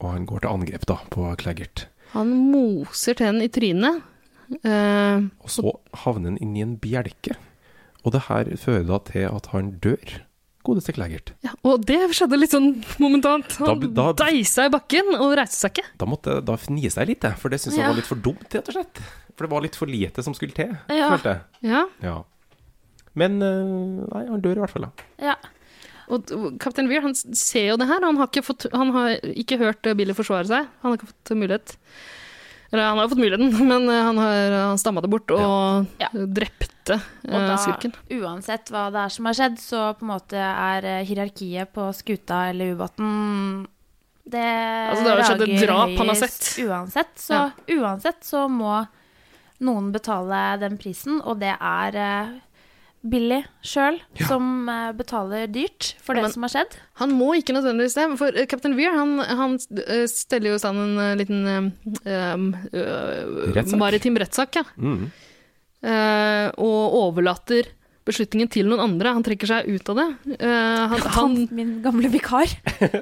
[SPEAKER 2] Og han går til angrep da, på Klaggert.
[SPEAKER 3] Han moser tennene i trynet. Eh,
[SPEAKER 2] Og så havner han inn i en bjelke. Og det her fører da til at han dør. Godeste Klaggert.
[SPEAKER 3] ja, og det skjedde litt sånn momentant. Han
[SPEAKER 2] Da- da-
[SPEAKER 3] deisa i bakken og reiste seg ikke.
[SPEAKER 2] Da måtte jeg- da fnise jeg litt, jeg, for det syns jeg
[SPEAKER 1] Ja.
[SPEAKER 2] var litt for dumt, rett og slett. For det var litt for lite som skulle til,
[SPEAKER 1] Ja.
[SPEAKER 2] følte jeg.
[SPEAKER 3] Ja,
[SPEAKER 2] Ja. Men eh, nei, han dør i hvert fall, da.
[SPEAKER 1] Ja.
[SPEAKER 3] og og kaptein Weir han s- ser jo det her, og han har ikke, fått, han har ikke hørt eh, Billy forsvare seg. Han har ikke fått eh, mulighet. Eller han har jo fått muligheten, *laughs* men eh, han, har, han stamma det bort og
[SPEAKER 1] Ja.
[SPEAKER 3] eh, drepte eh,
[SPEAKER 1] Og da,
[SPEAKER 3] skurken.
[SPEAKER 1] uansett hva det er som har skjedd, så på en måte er eh, hierarkiet på skuta eller ubåten Det
[SPEAKER 3] Altså, det har jo skjedd et
[SPEAKER 1] rager
[SPEAKER 3] drap han har
[SPEAKER 1] høyest
[SPEAKER 3] sett.
[SPEAKER 1] Uansett så, uansett så må noen betale den prisen, og det er eh, Billy sjøl som eh, betaler dyrt for det
[SPEAKER 3] Men-
[SPEAKER 1] som har skjedd.
[SPEAKER 3] Han må ikke nødvendigvis det, for eh, kaptein Weir han, han eh, steller jo i stand en eh, liten eh, um, eh,
[SPEAKER 2] Rettssak.
[SPEAKER 3] maritim rettssak, ja.
[SPEAKER 2] Mm.
[SPEAKER 3] Eh, og overlater beslutningen til noen andre. Han trekker seg ut av det. Eh, han, han,
[SPEAKER 1] Han, min gamle vikar,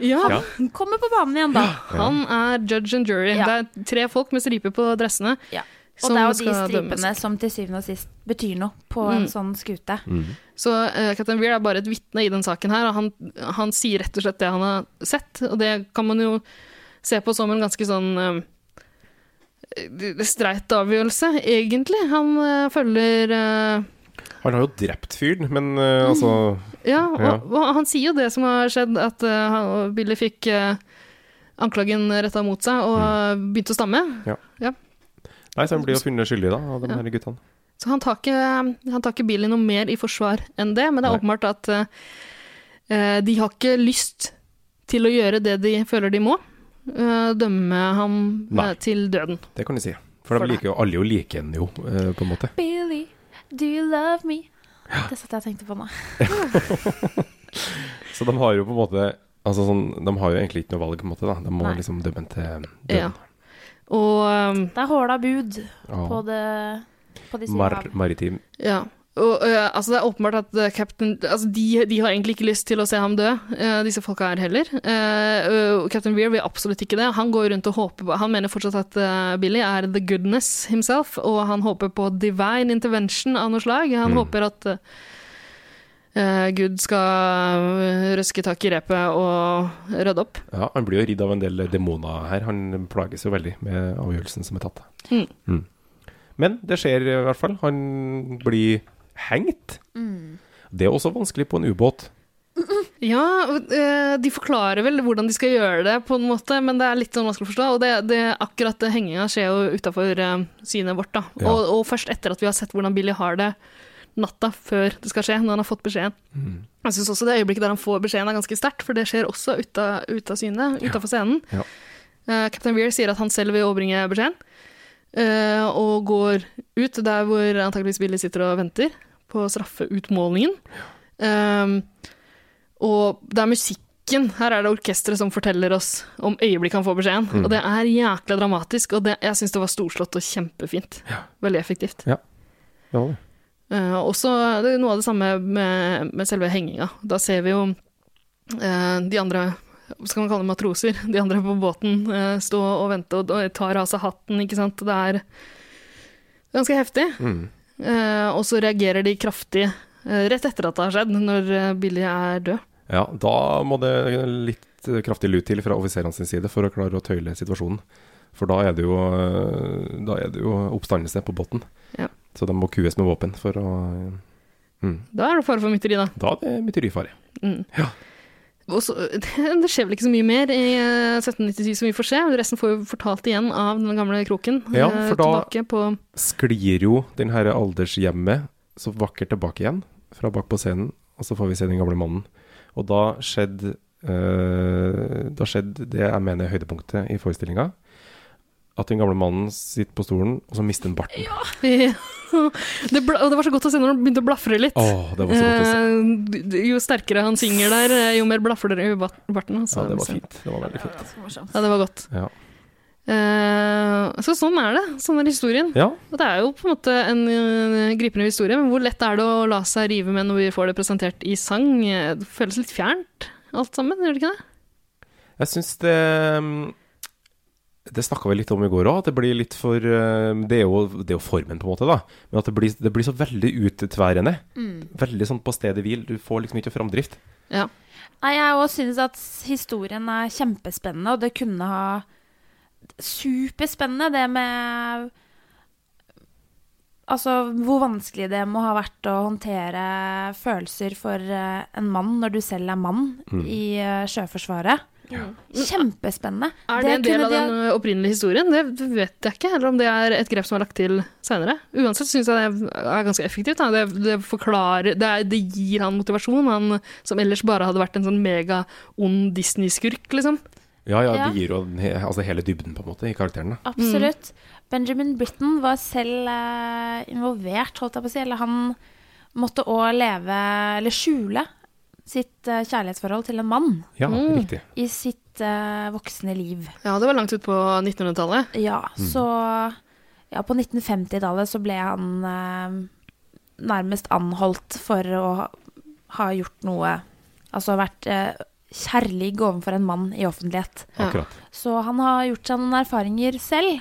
[SPEAKER 3] ja,
[SPEAKER 2] Ja.
[SPEAKER 1] kommer på banen igjen, da.
[SPEAKER 3] Han er judge and jury.
[SPEAKER 1] Ja.
[SPEAKER 3] Det er tre folk med striper på dressene.
[SPEAKER 1] Ja. Og
[SPEAKER 3] som
[SPEAKER 1] det er jo de
[SPEAKER 3] skal
[SPEAKER 1] stripene
[SPEAKER 3] dømmes. Mm.
[SPEAKER 1] som til syvende og sist betyr noe på en sånn skute.
[SPEAKER 3] Så uh, Captain Weir er bare et vitne i den saken her, og han, han sier rett og slett det han har sett. Og det kan man jo se på som en ganske sånn eh, eh, streit avgjørelse, egentlig. Han eh, følger eh,
[SPEAKER 2] Han har jo drept fyren, men
[SPEAKER 1] Mm.
[SPEAKER 2] eh, altså
[SPEAKER 3] Ja, og,
[SPEAKER 2] Ja.
[SPEAKER 3] og han sier jo det som har skjedd, at eh, han, og Billy fikk eh, anklagen retta mot seg og eh, begynte å stamme.
[SPEAKER 2] Nei, så han blir jo funnet skyldig, da, av de her guttene.
[SPEAKER 3] Så han tar, ikke, han tar ikke Billy noe mer i forsvar enn det, men det er
[SPEAKER 2] Nei.
[SPEAKER 3] åpenbart at eh, de har ikke lyst til å gjøre det de føler de må. eh, dømme ham eh,
[SPEAKER 2] Nei.
[SPEAKER 3] til døden.
[SPEAKER 2] Det kan du si. For
[SPEAKER 3] For
[SPEAKER 2] de liker jo alle jo liker henne jo, eh, på en måte.
[SPEAKER 1] Billy, do you love me? Det satt jeg og tenkte på nå.
[SPEAKER 2] Så de har jo på en måte Altså sånn, De har jo egentlig ikke noe valg, på en måte. da De må
[SPEAKER 1] Nei.
[SPEAKER 2] liksom dømme den til
[SPEAKER 3] Ja.
[SPEAKER 2] døden.
[SPEAKER 3] Og eh,
[SPEAKER 1] Det er håla bud på
[SPEAKER 2] Ja.
[SPEAKER 1] det på de
[SPEAKER 2] Mar
[SPEAKER 1] Mar
[SPEAKER 2] maritim.
[SPEAKER 3] Ja. Og, eh, altså det er åpenbart at eh, Captain altså de, de har egentlig ikke lyst til å se ham dø, eh, disse folka her heller. Eh, og Captain Weir vil absolutt ikke det. Han går rundt og håper på Han mener fortsatt at eh, Billy er the goodness himself, og han håper på divine intervention av noe slag. Han håper at eh, Gud skal eh, røske tak i repet og rydde opp.
[SPEAKER 2] Ja, han blir jo ridd av en del demoner her. Han plages jo veldig med avgjørelsen som er tatt.
[SPEAKER 3] Mm.
[SPEAKER 2] Mm. Men det skjer i hvert fall. Han blir hengt.
[SPEAKER 3] Mm.
[SPEAKER 2] Det er også vanskelig på en ubåt.
[SPEAKER 3] Ja, og, eh, de forklarer vel hvordan de skal gjøre det, på en måte, men det er litt sånn vanskelig å forstå. Og det, det, akkurat det henginga skjer jo utafor synet vårt, da.
[SPEAKER 2] Ja.
[SPEAKER 3] Og, og først etter at vi har sett hvordan Billy har det natta før det skal skje, når han har fått beskjeden.
[SPEAKER 2] Mm.
[SPEAKER 3] Jeg syns også det øyeblikket der han får beskjeden er ganske sterkt, for det skjer også ute av synet, utafor scenen.
[SPEAKER 2] Ja.
[SPEAKER 3] Eh, Captain Weir sier at han selv vil overbringe beskjeden, eh, og går ut der hvor antakeligvis Billy sitter og venter på straffeutmålingen. Um, og det er musikken. Her er det orkesteret som forteller oss om øyeblikket han får beskjeden. Og det er jækla dramatisk, og det, jeg syns det var storslått og kjempefint. Veldig effektivt.
[SPEAKER 2] Ja, det.
[SPEAKER 3] Eh, også det er noe av det samme med, med selve henginga. Da ser vi jo eh, de andre hva skal man kalle det matroser? De andre på båten eh, stå og vente og, og tar av seg hatten, ikke sant. Det er ganske heftig.
[SPEAKER 2] Mm.
[SPEAKER 3] Eh, og så reagerer de kraftig eh, rett etter at det har skjedd, når eh, Billy er død.
[SPEAKER 2] Ja, da må det litt eh, kraftig lut til fra offiserene sin side for å klare å tøyle situasjonen. For da er det jo, eh, da er det jo oppstandelse på båten.
[SPEAKER 3] Ja.
[SPEAKER 2] Så de må kues med våpen for å mm.
[SPEAKER 3] Da er det fare for mytteri, da.
[SPEAKER 2] Da er det mytterifare.
[SPEAKER 3] Mm. Og så, *laughs* det skjer vel ikke så mye mer i eh, 1797 som vi får se. Resten får jo fortalt igjen av den gamle kroken.
[SPEAKER 2] Ja,
[SPEAKER 3] eh,
[SPEAKER 2] for da-
[SPEAKER 3] Tilbake på *laughs*
[SPEAKER 2] sklir jo den her aldershjemmet så vakkert tilbake igjen fra bak på scenen, og så får vi se den gamle mannen. Og da skjedde eh, Da skjedde det jeg mener er høydepunktet i forestillinga. At den gamle mannen sitter på stolen, og så mister han barten. Åh,
[SPEAKER 3] det, bla, og det var så godt å se når han begynte å blafre litt.
[SPEAKER 2] det var så godt å se.
[SPEAKER 3] Eh, d- d- jo sterkere han synger der, eh, jo mer blafrer det i bat- barten. altså.
[SPEAKER 2] Ja, det var
[SPEAKER 3] Så-
[SPEAKER 2] fint. Det var veldig fint.
[SPEAKER 3] Ja, det var godt.
[SPEAKER 2] Ja.
[SPEAKER 3] Eh, så sånn er det. Sånn er historien.
[SPEAKER 2] ja.
[SPEAKER 3] Og det er jo på en måte en eh, gripende historie, men hvor lett er det å la seg rive med når vi får det presentert i sang? Eh, Det føles litt fjernt, alt sammen, gjør det ikke det?
[SPEAKER 2] Jeg syns det Det snakka vi litt om i går òg, at det blir litt for eh, det er, jo, det er jo formen, på en måte, da. Men at det blir, det blir så veldig uttværende.
[SPEAKER 3] Mm.
[SPEAKER 2] Veldig sånn på stedet hvil. Du får liksom ikke framdrift.
[SPEAKER 3] Ja.
[SPEAKER 1] Nei, jeg òg syns at historien er kjempespennende, og det kunne ha Superspennende, det med Altså hvor vanskelig det må ha vært å håndtere følelser for eh, en mann når du selv er mann
[SPEAKER 2] Mm.
[SPEAKER 1] i eh, Sjøforsvaret. Kjempespennende.
[SPEAKER 3] Mm. Er det, en del
[SPEAKER 1] kunne
[SPEAKER 3] av
[SPEAKER 1] de
[SPEAKER 3] den
[SPEAKER 1] ha-
[SPEAKER 3] ø, opprinnelige historien? Det vet jeg ikke, eller om det er et grep som er lagt til seinere. Uansett syns jeg det er ganske effektivt. Da. Det, det, forklarer, det, er, det gir han motivasjon, han som ellers bare hadde vært en sånn mega ond Disney-skurk, liksom.
[SPEAKER 2] Ja, ja,
[SPEAKER 1] Ja.
[SPEAKER 2] det gir jo den he- altså hele dybden, på en måte, i karakteren. da.
[SPEAKER 1] Absolutt. Benjamin Britten var selv eh, involvert, holdt jeg på å si. Eller han måtte òg leve, eller skjule, sitt eh, kjærlighetsforhold til en mann
[SPEAKER 2] Ja,
[SPEAKER 3] Mm.
[SPEAKER 2] riktig.
[SPEAKER 1] i sitt eh, voksne liv.
[SPEAKER 3] Ja, det var langt ut på 1900-tallet.
[SPEAKER 1] Ja, så Ja, på 1950-tallet så ble han eh, nærmest anholdt for å ha- ha gjort noe Altså vært eh, kjærlig overfor en mann i offentlighet.
[SPEAKER 2] Akkurat.
[SPEAKER 1] Så han har gjort seg noen erfaringer selv.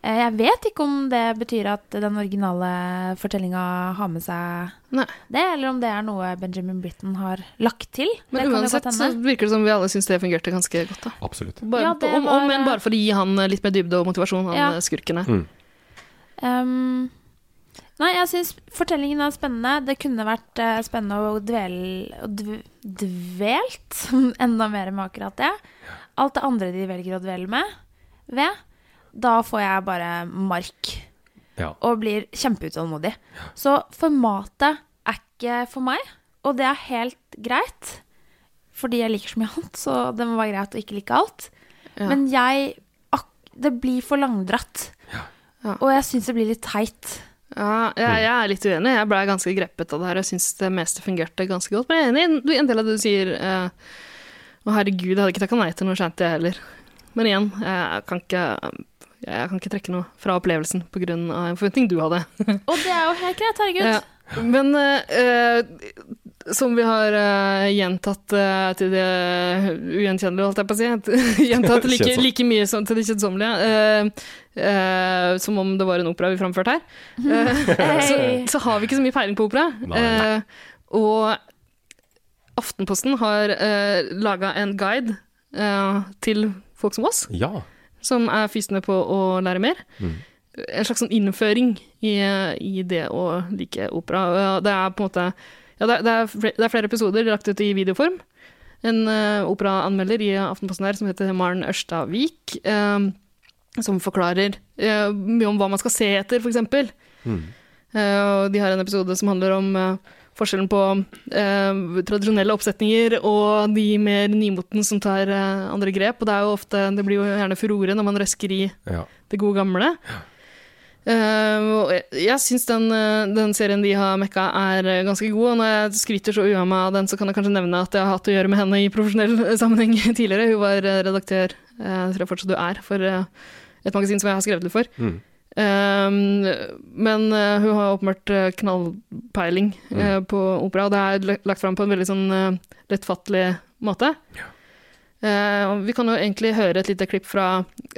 [SPEAKER 1] Eh, Jeg vet ikke om det betyr at den originale fortellinga har med seg
[SPEAKER 3] Nei.
[SPEAKER 1] det, eller om det er noe Benjamin Britten har lagt til. Det
[SPEAKER 3] Men
[SPEAKER 1] kan jo
[SPEAKER 3] uansett
[SPEAKER 1] godt
[SPEAKER 3] så
[SPEAKER 1] hende.
[SPEAKER 3] virker det som vi alle syns det fungerte ganske godt. da.
[SPEAKER 2] Absolutt.
[SPEAKER 3] Bare,
[SPEAKER 1] Ja, det
[SPEAKER 3] om,
[SPEAKER 1] var,
[SPEAKER 3] om enn
[SPEAKER 1] eh,
[SPEAKER 3] bare for å gi han eh, litt mer dybde og motivasjon, han
[SPEAKER 1] Ja.
[SPEAKER 3] eh, skurken her.
[SPEAKER 1] Ehm, nei, jeg syns fortellingen er spennende. Det kunne vært eh, spennende å dvele å dv, Dvelt *laughs* enda mer med akkurat det. Alt det andre de velger å dvele med ved, da får jeg bare mark.
[SPEAKER 2] Ja.
[SPEAKER 1] Og blir kjempeutålmodig. Så formatet er ikke for meg, og det er helt greit. Fordi jeg liker så mye annet, så det må være greit å ikke like alt. Men jeg ak Det blir for langdratt.
[SPEAKER 3] Ja.
[SPEAKER 1] Og jeg syns det blir litt teit.
[SPEAKER 3] Ja, jeg, jeg er litt uenig. Jeg ble ganske grepet av det her. Jeg syns det meste fungerte ganske godt. Men jeg er enig i du- en del av det du sier. eh, Å, herregud, jeg hadde ikke takka nei til noe shanty, jeg heller. Men igjen, jeg kan ikke jeg kan ikke trekke noe fra opplevelsen pga. en forventning du hadde.
[SPEAKER 1] Og det er jo helt greit, herregud.
[SPEAKER 3] Ja. Men eh, eh, som vi har eh, gjentatt eh, til det ugjenkjennelige, holdt jeg på å si. *laughs* gjentatt like,
[SPEAKER 2] Kjedsomt.
[SPEAKER 3] like mye som, til det kjedsommelige. eh, eh, som om det var en opera vi framførte her. Eh,
[SPEAKER 1] *laughs*
[SPEAKER 3] så,
[SPEAKER 1] Hey.
[SPEAKER 3] så har vi ikke så mye peiling på opera.
[SPEAKER 2] Nei.
[SPEAKER 3] Eh, og Aftenposten har uh, laga en guide eh, til folk som oss
[SPEAKER 2] Ja.
[SPEAKER 3] som er fysende på å lære mer. En slags sånn innføring i, i det å like opera. Og ja, Det er på en måte ja, det, er, det, er flere, det er flere episoder lagt ut i videoform. En eh, operaanmelder i Aftenposten her som heter Maren Ørstavik, eh, som forklarer eh, mye om hva man skal se etter, f.eks. eksempel. Eh, og de har en episode som handler om eh, forskjellen på eh, tradisjonelle oppsetninger og de mer nymoten som tar eh, andre grep. Og det, er jo ofte, det blir jo gjerne furore når man røsker i
[SPEAKER 2] ja.
[SPEAKER 3] det gode gamle. Eh, og jeg jeg syns den, eh, den serien de har mekka, er eh, ganske god. Og når jeg skryter så uavhengig av den, så kan jeg kanskje nevne at jeg har hatt å gjøre med henne i profesjonell *laughs* sammenheng tidligere. Hun var eh, redaktør, eh, tror jeg fortsatt du er, for eh, et magasin som jeg har skrevet litt for.
[SPEAKER 2] Mm.
[SPEAKER 3] Eh, men eh, hun har åpenbart eh, knallpeiling eh, på opera, og det er l- lagt fram på en veldig sånn eh, lettfattelig måte. Eh, og vi kan jo egentlig høre et lite klipp fra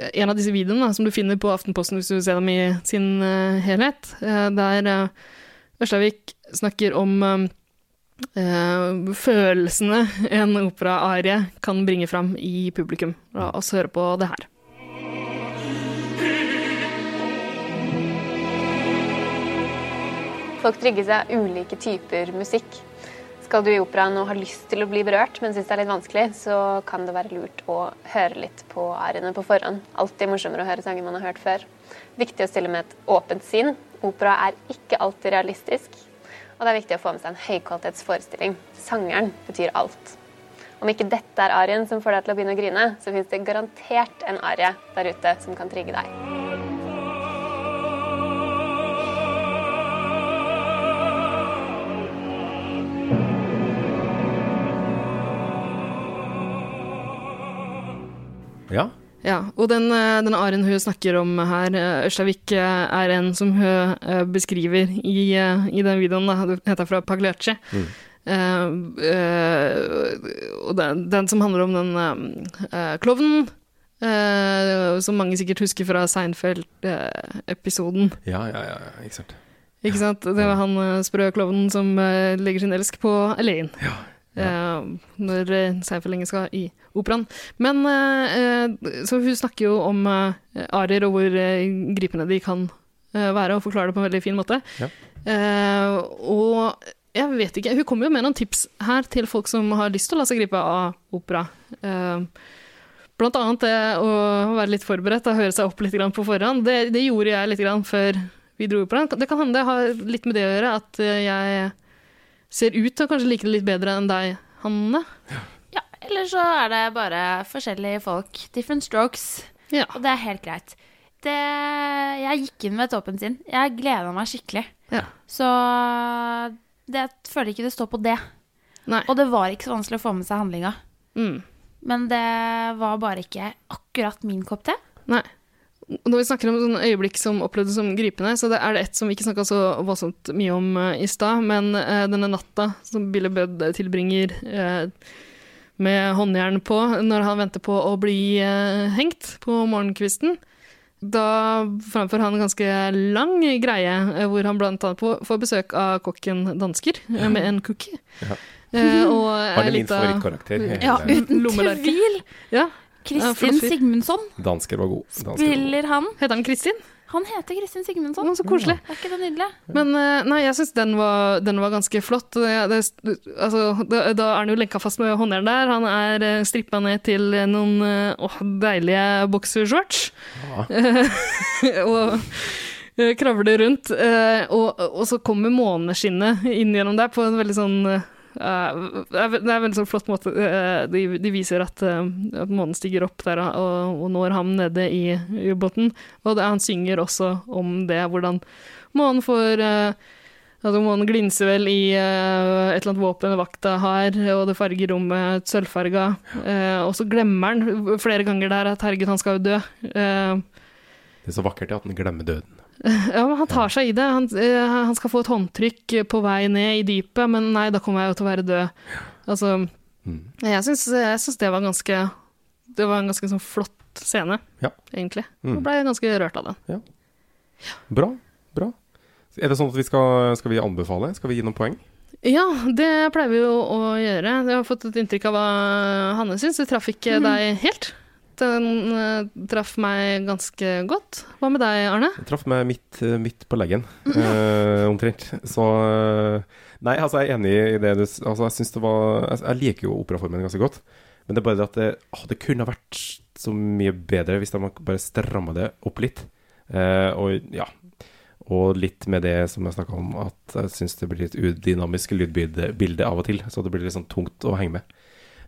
[SPEAKER 3] en av disse videoene da, som du finner på Aftenposten hvis du ser dem i sin eh, helhet, eh, der eh, Ørstavik snakker om eh, eh, følelsene en operaarie kan bringe fram i publikum. La oss høre på det her.
[SPEAKER 9] Folk trigger seg ulike typer musikk. Skal du i operaen og har lyst til å bli berørt, men syns det er litt vanskelig, så kan det være lurt å høre litt på ariene på forhånd. Alltid morsommere å høre sanger man har hørt før. Viktig å stille med et åpent sinn. Opera er ikke alltid realistisk. Og det er viktig å få med seg en høykvalitetsforestilling. Sangeren betyr alt. Om ikke dette er arien som får deg til å begynne å grine, så fins det garantert en arie der ute som kan trigge deg.
[SPEAKER 2] ja.
[SPEAKER 3] Ja, og den, eh, den Aren hun snakker om her, eh, Ørstavik, eh, er en som hun eh, beskriver i, eh, i den videoen, da, det heter fra Pagliacci. Eh, eh, og den, den som handler om den eh, eh, klovnen, eh, som mange sikkert husker fra eh, Seinfeld-episoden.
[SPEAKER 2] Ja, ja, ja, ja, ikke sant.
[SPEAKER 3] Ikke sant? Det var han eh, sprø klovnen som eh, legger sin elsk på Elaine. Eh, når eh, Seinfeld lenge skal i operaen. Men eh, eh, Så hun snakker jo om eh, arier og hvor eh, gripende de kan eh, være, og forklarer det på en veldig fin måte.
[SPEAKER 2] Ja.
[SPEAKER 3] Eh, og jeg vet ikke Hun kommer jo med noen tips her til folk som har lyst til å la seg gripe av opera. Eh, Blant annet det å være litt forberedt og høre seg opp litt grann på forhånd. Det, det gjorde jeg litt grann før vi dro på den. Det kan hende det har litt med det å gjøre at eh, jeg ser ut til å kanskje like det litt bedre enn deg, Hanne.
[SPEAKER 1] Ja, eller så er det bare forskjellige folk. Different strokes.
[SPEAKER 3] Ja.
[SPEAKER 1] Og det er helt greit. Det, jeg gikk inn med et åpent sinn. Jeg gleda meg skikkelig.
[SPEAKER 3] Ja.
[SPEAKER 1] Så det, jeg føler ikke det står på det.
[SPEAKER 3] Nei.
[SPEAKER 1] Og det var ikke så vanskelig å få med seg handlinga.
[SPEAKER 3] Mm.
[SPEAKER 1] Men det var bare ikke akkurat min kopp te.
[SPEAKER 3] Nei. Når vi snakker om sånne øyeblikk som opplevdes som gripende, så det er det ett som vi ikke snakka så voldsomt mye om eh, i stad, men eh, denne natta som Bille Bødd tilbringer eh, med håndjern på når han venter på å bli eh, hengt på morgenkvisten. Da framfører han en ganske lang greie, eh, hvor han blant annet får- får besøk av kokken dansker eh, med en cookie.
[SPEAKER 2] Ja.
[SPEAKER 3] Eh, og er
[SPEAKER 2] Han er min
[SPEAKER 3] litt av-
[SPEAKER 2] favorittkarakter. i
[SPEAKER 3] Ja,
[SPEAKER 2] hele-
[SPEAKER 3] uten lommelerke.
[SPEAKER 1] Tvil!
[SPEAKER 3] Ja. Ja, flott
[SPEAKER 1] Kristin
[SPEAKER 3] fyr.
[SPEAKER 1] Sigmundsson
[SPEAKER 2] Dansker var god. Dansker var god.
[SPEAKER 1] spiller han.
[SPEAKER 3] Heter han Kristin?
[SPEAKER 1] Han heter Kristin Sigmundsson.
[SPEAKER 3] Å, så koselig.
[SPEAKER 1] Er ikke det nydelig?
[SPEAKER 3] Men eh, nei, jeg syns den, var- den var ganske flott. Det, det, altså, da, da er han jo lenka fast med håndjern der. Han er strippa ned til noen eh, åh, deilige boksershorts. Eh, *laughs* og eh, kravler rundt. eh, og, og så kommer måneskinnet inn gjennom der på en veldig sånn eh, det er ve- det er en veldig sånn flott måte. eh, De, de viser at, eh, at månen stiger opp der og, og når ham nede i ubåten. Og det, han synger også om det, hvordan månen får eh, Altså, månen glinser vel i eh, et eller annet våpen vakta har, og det farger rommet sølvfarga. Eh, og så glemmer han flere ganger der at herregud, han skal jo dø. Eh,
[SPEAKER 2] Det er så vakkert ja, at han glemmer døden.
[SPEAKER 3] ja, men han tar seg i det. Han, eh, han skal få et håndtrykk på vei ned i dypet, men nei, da kommer jeg jo til å være død. Altså,
[SPEAKER 2] Mm.
[SPEAKER 3] jeg syns, jeg syns det var ganske Det var en ganske sånn flott scene,
[SPEAKER 2] Ja.
[SPEAKER 3] egentlig.
[SPEAKER 2] Mm.
[SPEAKER 3] Jeg ble ganske rørt av den.
[SPEAKER 2] Bra. Bra. Er det sånn at vi skal, skal vi anbefale? Skal vi gi noen poeng?
[SPEAKER 3] Ja, det pleier vi jo å gjøre. Jeg har fått et inntrykk av hva Hanne syns. Det traff ikke deg helt. Den eh, traff meg ganske godt. Hva med deg, Arne?
[SPEAKER 2] Jeg traff meg midt, midt på leggen, eh, omtrent. Så eh, Nei, altså, jeg er enig i det du s- altså, jeg, synes det var, jeg, jeg liker jo operaformen ganske godt. Men det er bare det at det, åh, det kunne ha vært så mye bedre hvis de bare stramma det opp litt. Eh, og ja Og litt med det som jeg snakka om, at jeg syns det blir litt udynamisk lydbilde bilde av og til. Så det blir litt sånn tungt å henge med.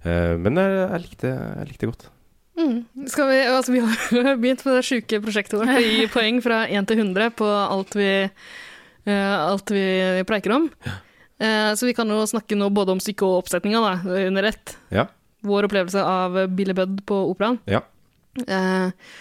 [SPEAKER 2] Eh, men jeg, jeg, likte, jeg likte godt.
[SPEAKER 3] Mm. Skal vi, altså, vi har *laughs* begynt med det sjuke prosjektet vårt. å Gi poeng fra 1 til 100 på alt vi, eh, alt vi pleiker om. Eh, så vi kan jo snakke nå både om stykket og oppsetninga da, under ett.
[SPEAKER 2] Ja.
[SPEAKER 3] Vår opplevelse av Billy Budd på operaen.
[SPEAKER 2] Ja.
[SPEAKER 3] Eh,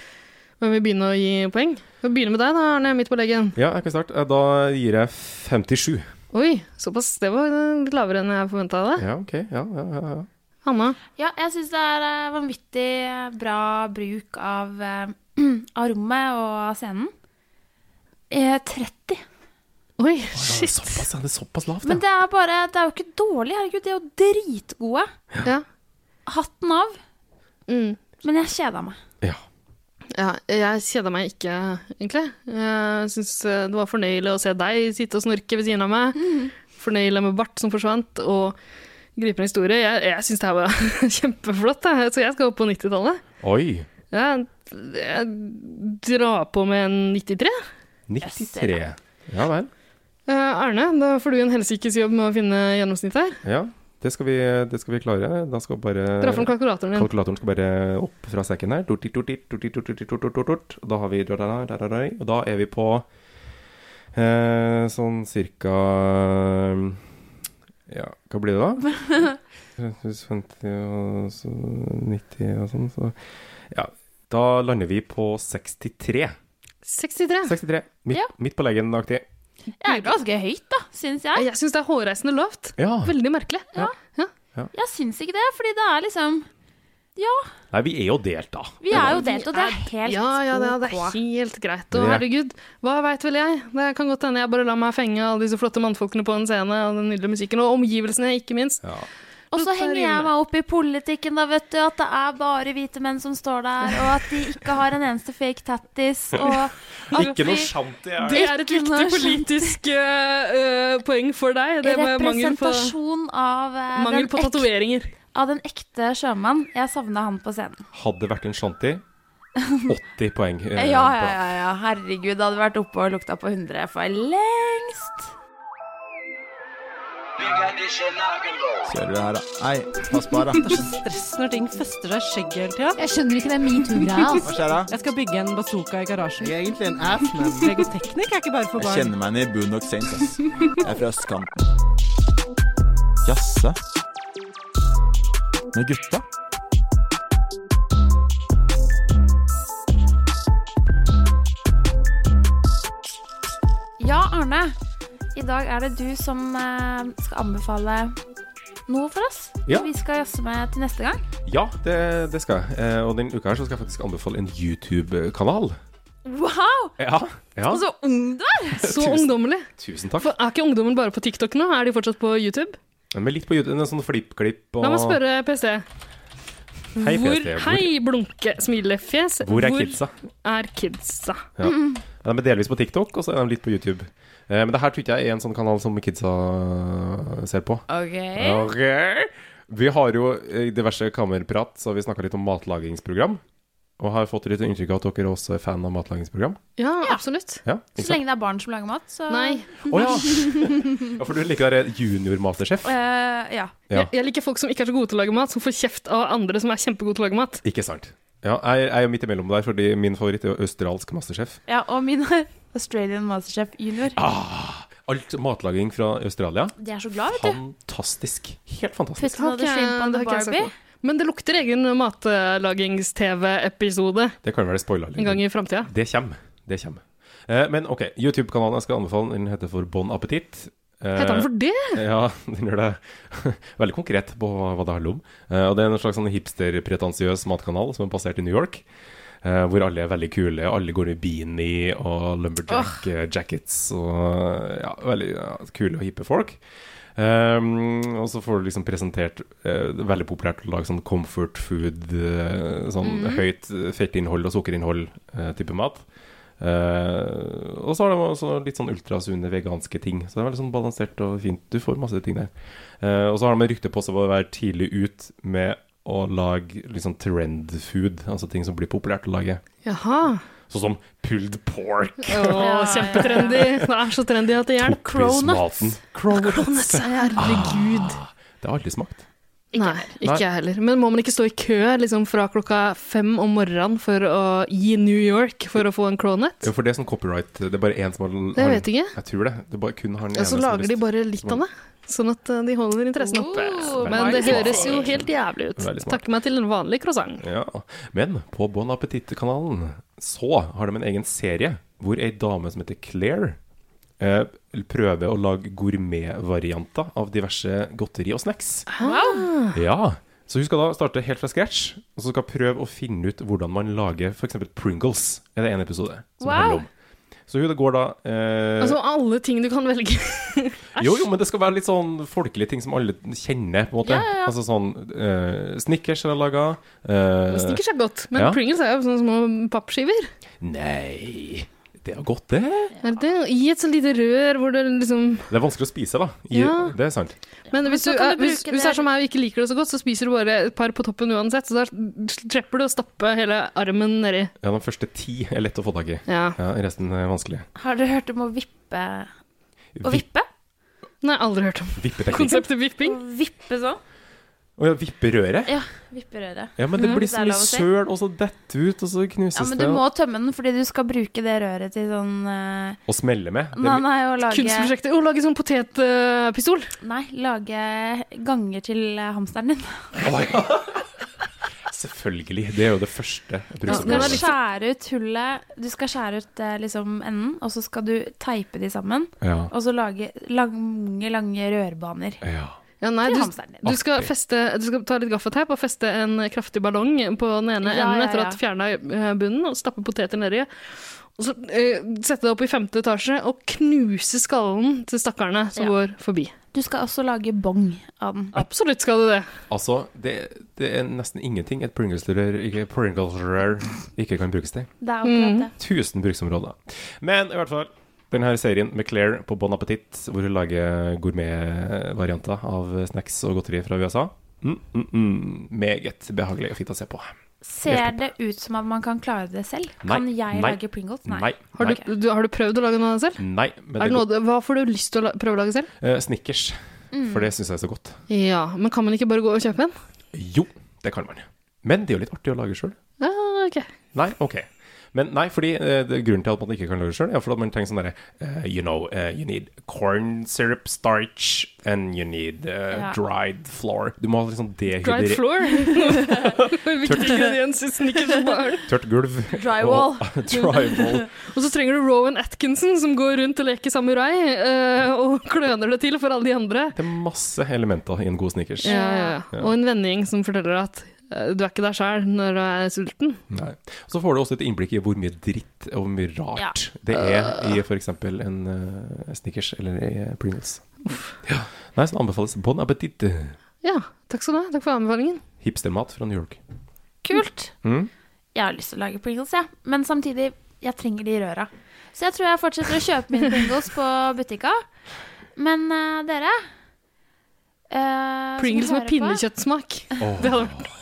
[SPEAKER 3] men vi begynner å gi poeng. Vi begynner med deg da, Arne, midt på leggen.
[SPEAKER 2] ja, jeg kan starte. Eh, Da gir jeg 57.
[SPEAKER 3] Oi, såpass. Det var litt lavere enn jeg forventa av deg.
[SPEAKER 2] Ja, ok. Ja, ja, ja, ja.
[SPEAKER 3] Hanna.
[SPEAKER 1] Ja, jeg syns det er eh, vanvittig bra bruk av, eh, *clears throat* av rommet og av scenen. Eh, 30.
[SPEAKER 3] Oi,
[SPEAKER 2] Det er
[SPEAKER 3] shit.
[SPEAKER 2] såpass, ja, det er såpass lavt,
[SPEAKER 1] Men
[SPEAKER 2] ja.
[SPEAKER 1] det er bare Det er jo ikke dårlig, herregud. De er jo dritgode.
[SPEAKER 3] Ja.
[SPEAKER 1] Hatten av.
[SPEAKER 3] Mm.
[SPEAKER 1] Men jeg kjeda meg.
[SPEAKER 2] ja.
[SPEAKER 3] Ja, jeg kjeda meg ikke, egentlig. Jeg syns eh, det var fornøyelig å se deg sitte og snorke ved siden av meg. Fornøyelig med bart som forsvant, og gripende historie. Jeg, jeg syns det her var *laughs* kjempeflott, jeg. så jeg skal opp på 90-tallet.
[SPEAKER 2] Oi.
[SPEAKER 3] Jeg, jeg drar på med en 93.
[SPEAKER 2] 93. Ja vel.
[SPEAKER 3] Eh, Arne, da får du en helsikes jobb med å finne gjennomsnittet her.
[SPEAKER 2] Ja, det skal vi, det skal vi klare. Da skal bare
[SPEAKER 3] Dra fram kalkulatoren din.
[SPEAKER 2] Kalkulatoren skal bare opp fra sekken her. Tortit, tortit, tortit, tortit, tortit, tortit. Og Da har vi Og da er vi på eh, sånn cirka Ja, hva blir det da?
[SPEAKER 3] *laughs*
[SPEAKER 2] 50 og så 90 og sånn, så Ja. Da lander vi på 63.
[SPEAKER 3] 63.
[SPEAKER 2] 63. Midt,
[SPEAKER 1] Ja.
[SPEAKER 2] midt på leggen-aktig.
[SPEAKER 1] Jeg er ganske høyt, da, syns jeg.
[SPEAKER 3] Jeg syns det er hårreisende lavt.
[SPEAKER 2] Ja.
[SPEAKER 3] Veldig merkelig.
[SPEAKER 1] Jeg syns ikke det, fordi det er liksom
[SPEAKER 2] Nei, vi er jo delt, da.
[SPEAKER 1] Vi er jo delt, og det er helt
[SPEAKER 3] ja, ja, det, er- det er
[SPEAKER 1] ok.
[SPEAKER 3] helt greit.
[SPEAKER 2] Det
[SPEAKER 3] Og
[SPEAKER 2] er-
[SPEAKER 3] herregud, hva veit vel jeg? Det kan godt hende jeg bare lar meg fenge av alle disse flotte mannfolkene på en scene, og den nydelige musikken, og omgivelsene, ikke minst.
[SPEAKER 2] Ja.
[SPEAKER 1] Og så henger jeg meg opp i politikken, da, vet du. At det er bare hvite menn som står der, og at de ikke har en eneste fake tattis.
[SPEAKER 3] *laughs*
[SPEAKER 1] Og at
[SPEAKER 2] Ikke noe
[SPEAKER 1] vi-
[SPEAKER 2] shanty
[SPEAKER 3] Det
[SPEAKER 2] her.
[SPEAKER 1] Ikke
[SPEAKER 3] er et viktig
[SPEAKER 1] noe
[SPEAKER 3] politisk eh, eh, poeng for deg, det med mangel på,
[SPEAKER 1] Representasjon av, eh,
[SPEAKER 3] mangel
[SPEAKER 1] den
[SPEAKER 3] på
[SPEAKER 1] ek-
[SPEAKER 3] tatoveringer.
[SPEAKER 1] av den ekte sjømann. Jeg savna han på scenen.
[SPEAKER 2] Hadde det vært en shanty, 80 poeng. eh,
[SPEAKER 1] Ja, ja, ja. ja. Herregud, det hadde vært oppe og lukta på 100 for lengst.
[SPEAKER 2] Kjører du her, da. Nei, pass på her, da.
[SPEAKER 10] *laughs* Det er så stress når ting fester seg i skjegget hele tida.
[SPEAKER 4] Jeg skjønner ikke den metoo-greia. Altså.
[SPEAKER 10] Hva skjer da? Jeg skal bygge en bazooka i garasjen. Jeg er egentlig en ass, men Legoteknikk er ikke bare for barn. Jeg kjenner meg igjen i Boondock Saints, ass. Jeg er fra østkanten. Jasse? Med gutta?
[SPEAKER 1] Ja, Arne. I dag er det du som eh, skal anbefale noe for oss.
[SPEAKER 2] Ja.
[SPEAKER 1] Vi skal jazze med til neste gang.
[SPEAKER 2] Ja, det, det skal jeg. Eh, og denne uka her så skal jeg faktisk anbefale en YouTube-kanal.
[SPEAKER 1] Wow!
[SPEAKER 2] Ja, ja.
[SPEAKER 1] Og så ung du er!
[SPEAKER 3] *laughs* Så
[SPEAKER 2] Tusen-
[SPEAKER 3] ungdommelig.
[SPEAKER 2] Tusen takk.
[SPEAKER 3] For er ikke ungdommen bare på TikTok nå? Er de fortsatt på YouTube?
[SPEAKER 2] Men litt på YouTube, en sånn flippklipp og
[SPEAKER 3] La meg spørre PC.
[SPEAKER 2] Hei,
[SPEAKER 3] Hvor,
[SPEAKER 2] PST. Hvor,
[SPEAKER 3] hei, blunke, smilefjes.
[SPEAKER 2] hvor er kidsa?
[SPEAKER 3] er kidsa?
[SPEAKER 2] Ja. De er delvis på TikTok, og så er de litt på YouTube. Eh, men det her tror ikke jeg er en sånn kanal som kidsa ser på.
[SPEAKER 1] Ok.
[SPEAKER 2] Ok. Vi har jo i diverse kammerprat, så har vi snakka litt om matlagingsprogram. Og har fått litt inntrykk av at dere også er fan av matlagingsprogram.
[SPEAKER 3] Ja, absolutt.
[SPEAKER 2] Ja, ikke
[SPEAKER 1] Så
[SPEAKER 2] sant?
[SPEAKER 1] lenge det er barn som lager mat, så
[SPEAKER 3] Nei.
[SPEAKER 2] Å ja. ja, *laughs* for du liker det juniormatersjef?
[SPEAKER 1] Eh, ja.
[SPEAKER 2] Ja.
[SPEAKER 3] Jeg, jeg liker folk som ikke er så gode til å lage mat, som får kjeft av andre som er kjempegode til å lage mat.
[SPEAKER 2] Ikke sant. Ja, jeg, jeg er midt imellom der, fordi min favoritt er jo australsk masterchef.
[SPEAKER 1] ja. Og min er Australian Masterchef Junior.
[SPEAKER 2] Ah, Alt matlaging fra Australia.
[SPEAKER 1] De er så glad, vet du.
[SPEAKER 2] Fantastisk. Helt fantastisk.
[SPEAKER 1] Putten hadde
[SPEAKER 3] Har ikke-
[SPEAKER 1] shrimp on the
[SPEAKER 3] det har ikke jeg sagt
[SPEAKER 1] Barbie.
[SPEAKER 3] noe. Men det lukter egen matlagings-TV-episode
[SPEAKER 2] Det kan være spoila litt.
[SPEAKER 3] en gang i framtida.
[SPEAKER 2] Det kommer. Det kommer. Eh, men OK, YouTube-kanalen jeg skal anbefale, den heter for Bon Appetit. Eh,
[SPEAKER 3] Heter han for det?
[SPEAKER 2] *laughs* Ja, den gjør det veldig konkret på hva hva det handler om. Eh, og det er en slags sånn hipster-pretensiøs matkanal som er basert i New York. eh, hvor alle er veldig kule. Alle går i beanie og lumberjack eh, jackets og eh, ja, veldig ja, kule og hippe folk. Ehm, og så får du liksom presentert eh, det er Veldig populært å lage sånn comfort food, eh, sånn
[SPEAKER 3] Mm.
[SPEAKER 2] høyt fettinnhold og sukkerinnhold eh, type mat. Eh, og så har de også litt sånn ultrasunne veganske ting. Så det er veldig sånn balansert og fint. Du får masse ting der. Eh, og så har de rykte på seg på å være tidlig ut med å lage litt sånn trend food, altså ting som blir populært å lage.
[SPEAKER 3] Jaha.
[SPEAKER 2] Sånn som pulled
[SPEAKER 3] *laughs*
[SPEAKER 2] pork.
[SPEAKER 3] Å, kjempetrendy. Det er så trendy at det hjelper.
[SPEAKER 2] Kronuts.
[SPEAKER 3] *laughs*
[SPEAKER 2] Kronuts.
[SPEAKER 3] Herregud.
[SPEAKER 2] Det har aldri smakt.
[SPEAKER 3] Ah. Nei, ikke jeg heller. Men må man ikke stå i kø liksom, fra klokka fem om morgenen for å, i New York for å få en cronet?
[SPEAKER 2] Jo, for det er sånn copyright. Det er bare én som har
[SPEAKER 3] Det vet jeg ikke.
[SPEAKER 2] Jeg tror det. Det er bare kun han
[SPEAKER 3] Og så lager de bare litt av det, sånn at eh, de holder interessen oppe.
[SPEAKER 1] Oh,
[SPEAKER 3] Men det
[SPEAKER 2] veldig smart.
[SPEAKER 3] høres jo helt jævlig ut.
[SPEAKER 2] Veldig smart.
[SPEAKER 3] Takker meg til en vanlig croissant.
[SPEAKER 2] Ja. Men på Bon Appetit-kanalen så har de en egen serie hvor ei dame som heter Claire, eh, prøver å lage gourmetvarianter av diverse godteri og snacks.
[SPEAKER 3] Ah.
[SPEAKER 2] Ja. Så hun skal da starte helt fra scratch, og så skal prøve å finne ut hvordan man lager f.eks. Pringles. Er det en episode som
[SPEAKER 1] Wow.
[SPEAKER 2] handler om. Så hun går da eh,
[SPEAKER 3] Altså alle ting du kan velge. *laughs*
[SPEAKER 2] Jo, jo, men det skal være litt sånn folkelige ting som alle kjenner, på en måte. Altså sånn eh, Snickers har jeg laga. eh,
[SPEAKER 3] Snickers er godt, men
[SPEAKER 2] Ja.
[SPEAKER 3] Pringles er jo sånne små pappskiver.
[SPEAKER 2] Nei Det er godt, det.
[SPEAKER 3] Er det? I et sånt lite rør hvor det liksom
[SPEAKER 2] Det er vanskelig å spise, da. I,
[SPEAKER 3] Ja.
[SPEAKER 2] Det er sant.
[SPEAKER 3] Men hvis du,
[SPEAKER 1] så kan
[SPEAKER 3] er,
[SPEAKER 1] du
[SPEAKER 3] hvis,
[SPEAKER 1] bruke
[SPEAKER 3] hvis
[SPEAKER 1] det-
[SPEAKER 3] det er som meg og ikke liker det så godt, så spiser du bare et par på toppen uansett, så da slipper du å stappe hele armen nedi.
[SPEAKER 2] Ja, De første ti er lett å få tak i.
[SPEAKER 3] Ja.
[SPEAKER 2] Ja, Resten er vanskelig.
[SPEAKER 1] Har dere hørt om å vippe Å
[SPEAKER 2] Vipp-
[SPEAKER 1] vippe?
[SPEAKER 3] Nei, aldri hørt om
[SPEAKER 2] Vippeteknikk.
[SPEAKER 3] konseptet vipping.
[SPEAKER 1] Å vippe sånn?
[SPEAKER 2] Å ja, vipperøret.
[SPEAKER 1] Ja. Vippe røret.
[SPEAKER 2] Ja, men det
[SPEAKER 1] Mhm.
[SPEAKER 2] blir
[SPEAKER 1] Det
[SPEAKER 2] så
[SPEAKER 1] er
[SPEAKER 2] mye
[SPEAKER 1] lov å si.
[SPEAKER 2] søl, og så detter ut, og så knuses
[SPEAKER 1] Ja, men du
[SPEAKER 2] det.
[SPEAKER 1] må tømme den fordi du skal bruke det røret til sånn eh,
[SPEAKER 2] Og smelle med. Det
[SPEAKER 1] Nei,
[SPEAKER 2] blir-
[SPEAKER 1] nei, å lage,
[SPEAKER 3] Kunstprosjektet. Å lage sånn potetpistol.
[SPEAKER 1] nei, lage ganger til eh,
[SPEAKER 2] *laughs*
[SPEAKER 1] hamsteren din.
[SPEAKER 2] Selvfølgelig. Det er jo det første. jeg
[SPEAKER 1] Du
[SPEAKER 2] bruker
[SPEAKER 1] skal
[SPEAKER 2] på.
[SPEAKER 3] er litt-
[SPEAKER 1] skjære ut hullet Du skal skjære ut eh, liksom enden, og så skal du teipe de sammen.
[SPEAKER 2] Ja.
[SPEAKER 1] Og så lage lange, lange rørbaner
[SPEAKER 2] ja.
[SPEAKER 3] Ja, nei,
[SPEAKER 1] til
[SPEAKER 3] du,
[SPEAKER 1] hamsteren din.
[SPEAKER 3] du, skal feste, du skal ta litt gaffateip og feste en kraftig ballong på den ene
[SPEAKER 1] Ja,
[SPEAKER 3] enden
[SPEAKER 1] ja,
[SPEAKER 3] etter
[SPEAKER 1] ja.
[SPEAKER 3] at fjerna eh, bunnen, og stappe poteter nedi. Og så eh, sette det opp i femte etasje og knuse skallen til stakkarene som
[SPEAKER 1] Ja.
[SPEAKER 3] går forbi.
[SPEAKER 1] Du skal også lage bong av den.
[SPEAKER 3] Absolutt skal du det.
[SPEAKER 2] Altså, det, det er nesten ingenting et Pringles-rør ikke, Pringles ikke kan brukes til.
[SPEAKER 1] Det er
[SPEAKER 2] Mm.
[SPEAKER 1] akkurat det.
[SPEAKER 2] 1000 bruksområder. Men i hvert fall denne her serien med Claire på Bon Appetit, hvor hun lager gourmetvarianter av snacks og godteri fra USA. Mm, mm, mm. Meget behagelig og fint å se på.
[SPEAKER 1] Ser det ut som at man kan klare det selv? Kan
[SPEAKER 2] Nei,
[SPEAKER 1] jeg
[SPEAKER 2] nei,
[SPEAKER 1] lage Pringles? Nei.
[SPEAKER 2] Nei.
[SPEAKER 3] Har du,
[SPEAKER 2] nei,
[SPEAKER 3] du, har du prøvd å lage noe selv?
[SPEAKER 2] nei men det
[SPEAKER 3] Er det noe,
[SPEAKER 2] går,
[SPEAKER 3] du- hva får du lyst til å la, prøve å lage selv?
[SPEAKER 2] Eh, Snickers, for det syns jeg er så godt.
[SPEAKER 3] Ja, men kan man ikke bare gå og kjøpe en?
[SPEAKER 2] Jo, det kan man. Men det er jo litt artig å lage sjøl.
[SPEAKER 3] Ja, Ah, ok.
[SPEAKER 2] Nei, ok. Men nei, fordi eh, det, grunnen til at man ikke kan lage det sjøl, er fordi at man tenker sånn derre eh, You know, eh, you need corn syrup starch, and you need eh,
[SPEAKER 1] Ja.
[SPEAKER 2] dried flour. Du må ha liksom
[SPEAKER 3] Dried
[SPEAKER 2] dehydrere
[SPEAKER 3] floor. *laughs* Hvilken ingrediens i snickers og barn?
[SPEAKER 2] tørt
[SPEAKER 1] *laughs*
[SPEAKER 2] gulv.
[SPEAKER 1] Drywall.
[SPEAKER 2] Og, drywall.
[SPEAKER 3] Og så trenger du Rowan Atkinson som går rundt og leker samurai eh, og *laughs* kløner det til for alle de andre.
[SPEAKER 2] Det er masse elementer i en god snickers.
[SPEAKER 3] Ja, ja, ja. Og en vending som forteller at eh, du er ikke der sjæl når du er sulten.
[SPEAKER 2] Nei. Og så får du også et innblikk i hvor mye dritt og hvor mye rart det er i f.eks. en eh, Snickers eller i eh, Pringles. Ja. Nei, så anbefales Bon Appetit.
[SPEAKER 3] Ja, takk skal du ha. Takk for anbefalingen.
[SPEAKER 2] Hipstermat fra New York.
[SPEAKER 1] Kult.
[SPEAKER 2] Mm.
[SPEAKER 1] Jeg har lyst til å lage Pringles, jeg. Men samtidig, jeg trenger de røra. Så jeg tror jeg fortsetter å kjøpe mine Pringles på butikka. Men eh, dere eh, som
[SPEAKER 3] Pringles med
[SPEAKER 1] hører på,
[SPEAKER 3] pinnekjøttsmak.
[SPEAKER 2] Åh.
[SPEAKER 3] *laughs* Det hadde vært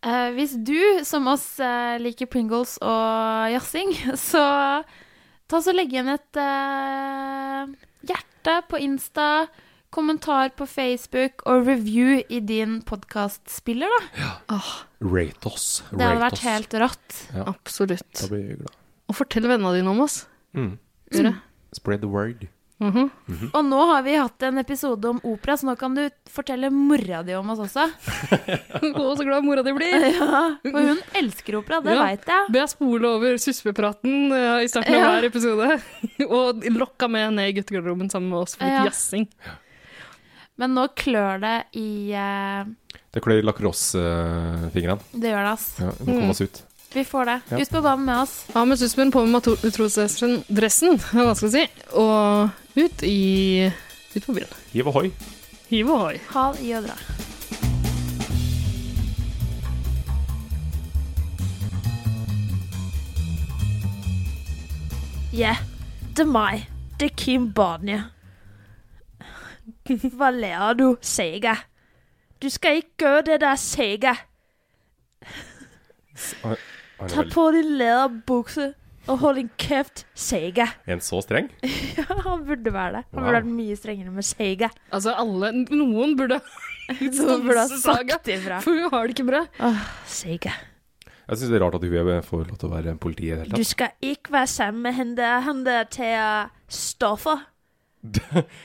[SPEAKER 1] Eh, hvis du, som oss, eh, liker Pringles og jazzing, *laughs* så ta så legg igjen et eh, hjerte på Insta, kommentar på Facebook og review i din podkastspiller, da.
[SPEAKER 2] Rate oss.
[SPEAKER 1] Det hadde
[SPEAKER 2] Rate
[SPEAKER 1] vært
[SPEAKER 2] oss.
[SPEAKER 1] helt rått.
[SPEAKER 2] Ja.
[SPEAKER 3] absolutt.
[SPEAKER 2] Da blir vi glad.
[SPEAKER 3] Og fortell vennene dine om oss.
[SPEAKER 2] Mm.
[SPEAKER 3] Gjør det.
[SPEAKER 2] Spread the word.
[SPEAKER 1] Mm.
[SPEAKER 3] Mhm. *laughs*
[SPEAKER 1] Og nå har vi hatt en episode om opera, så nå kan du fortelle mora di om oss også.
[SPEAKER 3] Å, så glad mora di blir.
[SPEAKER 1] Ja, for hun elsker opera, det
[SPEAKER 3] Ja.
[SPEAKER 1] vet veit jeg.
[SPEAKER 3] Be jeg spole over suspepraten eh, i starten av
[SPEAKER 1] Ja.
[SPEAKER 3] hver episode. *laughs* og lokka med ned i guttegarderoben sammen med oss for
[SPEAKER 1] Ja.
[SPEAKER 3] litt jazzing.
[SPEAKER 1] Men nå klør det i eh,
[SPEAKER 2] Det klør i lacrosse-fingrene.
[SPEAKER 1] Det gjør det, ass.
[SPEAKER 2] Ja, vi må komme oss ut.
[SPEAKER 1] Vi får det.
[SPEAKER 2] Ja.
[SPEAKER 1] Ut på banen med oss.
[SPEAKER 3] Av med suspen, på med mato- matrosdressen, dressen, det er vanskelig å si, og ut i ut på byen.
[SPEAKER 2] Hiv ohoi.
[SPEAKER 3] Hiv ohoi.
[SPEAKER 1] Ha i og dra. Yeah, det er meg. Det er Kim Barnie. Hva lærer du, Sega? Du skal ikke gjøre det der, Sega.
[SPEAKER 2] Han er
[SPEAKER 1] Ta
[SPEAKER 2] vel-
[SPEAKER 1] på din læderbukse og hold din kjeft, Sega.
[SPEAKER 2] Er han så streng?
[SPEAKER 1] *laughs* Ja, han burde være det. Han
[SPEAKER 2] Wow.
[SPEAKER 1] burde vært mye strengere med Sega.
[SPEAKER 3] Altså, alle Noen burde *laughs*
[SPEAKER 1] Noen burde ha
[SPEAKER 3] stanse saga,
[SPEAKER 1] sagt ifra.
[SPEAKER 3] For hun har det ikke bra.
[SPEAKER 1] Sega.
[SPEAKER 2] Jeg syns det er rart at hun får lov til å være politi i det hele
[SPEAKER 1] Du skal ikke være sammen med henne der. Han der tar stoffer.
[SPEAKER 2] tatt. *laughs*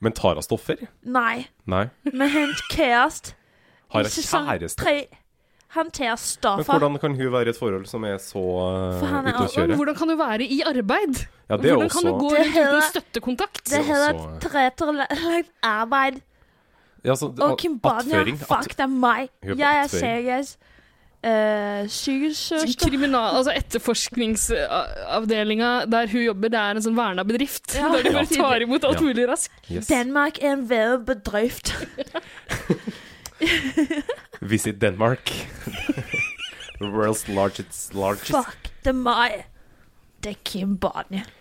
[SPEAKER 2] Men tar hun stoffer?
[SPEAKER 1] Nei,
[SPEAKER 2] Nei.
[SPEAKER 1] med hennes kjæreste.
[SPEAKER 2] Har
[SPEAKER 1] I
[SPEAKER 2] hun
[SPEAKER 1] sesong
[SPEAKER 2] kjæreste?
[SPEAKER 1] tre. Han tar
[SPEAKER 2] Men
[SPEAKER 1] stoffer.
[SPEAKER 2] hvordan kan hun være i et forhold som er så
[SPEAKER 1] For
[SPEAKER 2] uh,
[SPEAKER 1] han er
[SPEAKER 2] ute å
[SPEAKER 1] også-
[SPEAKER 2] kjøre?
[SPEAKER 3] Hvordan kan du være i arbeid?
[SPEAKER 2] Ja, det er
[SPEAKER 3] Hvordan kan du
[SPEAKER 2] også
[SPEAKER 3] gå
[SPEAKER 1] Det
[SPEAKER 3] rundt uten
[SPEAKER 1] hele-
[SPEAKER 3] støttekontakt?
[SPEAKER 1] Det
[SPEAKER 2] er
[SPEAKER 1] heter
[SPEAKER 2] også-
[SPEAKER 1] tilrettelagt arbeid.
[SPEAKER 2] ja, så,
[SPEAKER 1] Og Kim Barnia,
[SPEAKER 2] attføring,
[SPEAKER 1] fuck,
[SPEAKER 2] att-
[SPEAKER 1] det er meg.
[SPEAKER 2] Hun er på
[SPEAKER 1] Jeg er
[SPEAKER 2] attføring.
[SPEAKER 1] Segas uh, sykesøster.
[SPEAKER 3] Kriminal, altså Etterforskningsavdelinga der hun jobber, det er en sånn verna bedrift.
[SPEAKER 1] Ja.
[SPEAKER 3] *laughs* Der de bare
[SPEAKER 1] Ja.
[SPEAKER 3] tar imot alt
[SPEAKER 2] Ja.
[SPEAKER 3] mulig raskt.
[SPEAKER 2] Yes.
[SPEAKER 1] Danmark er en vævet bedrift.
[SPEAKER 2] Visit Denmark. *laughs* The world's largest, largest.
[SPEAKER 1] Fuck, det er meg. Det er Kim Barnia.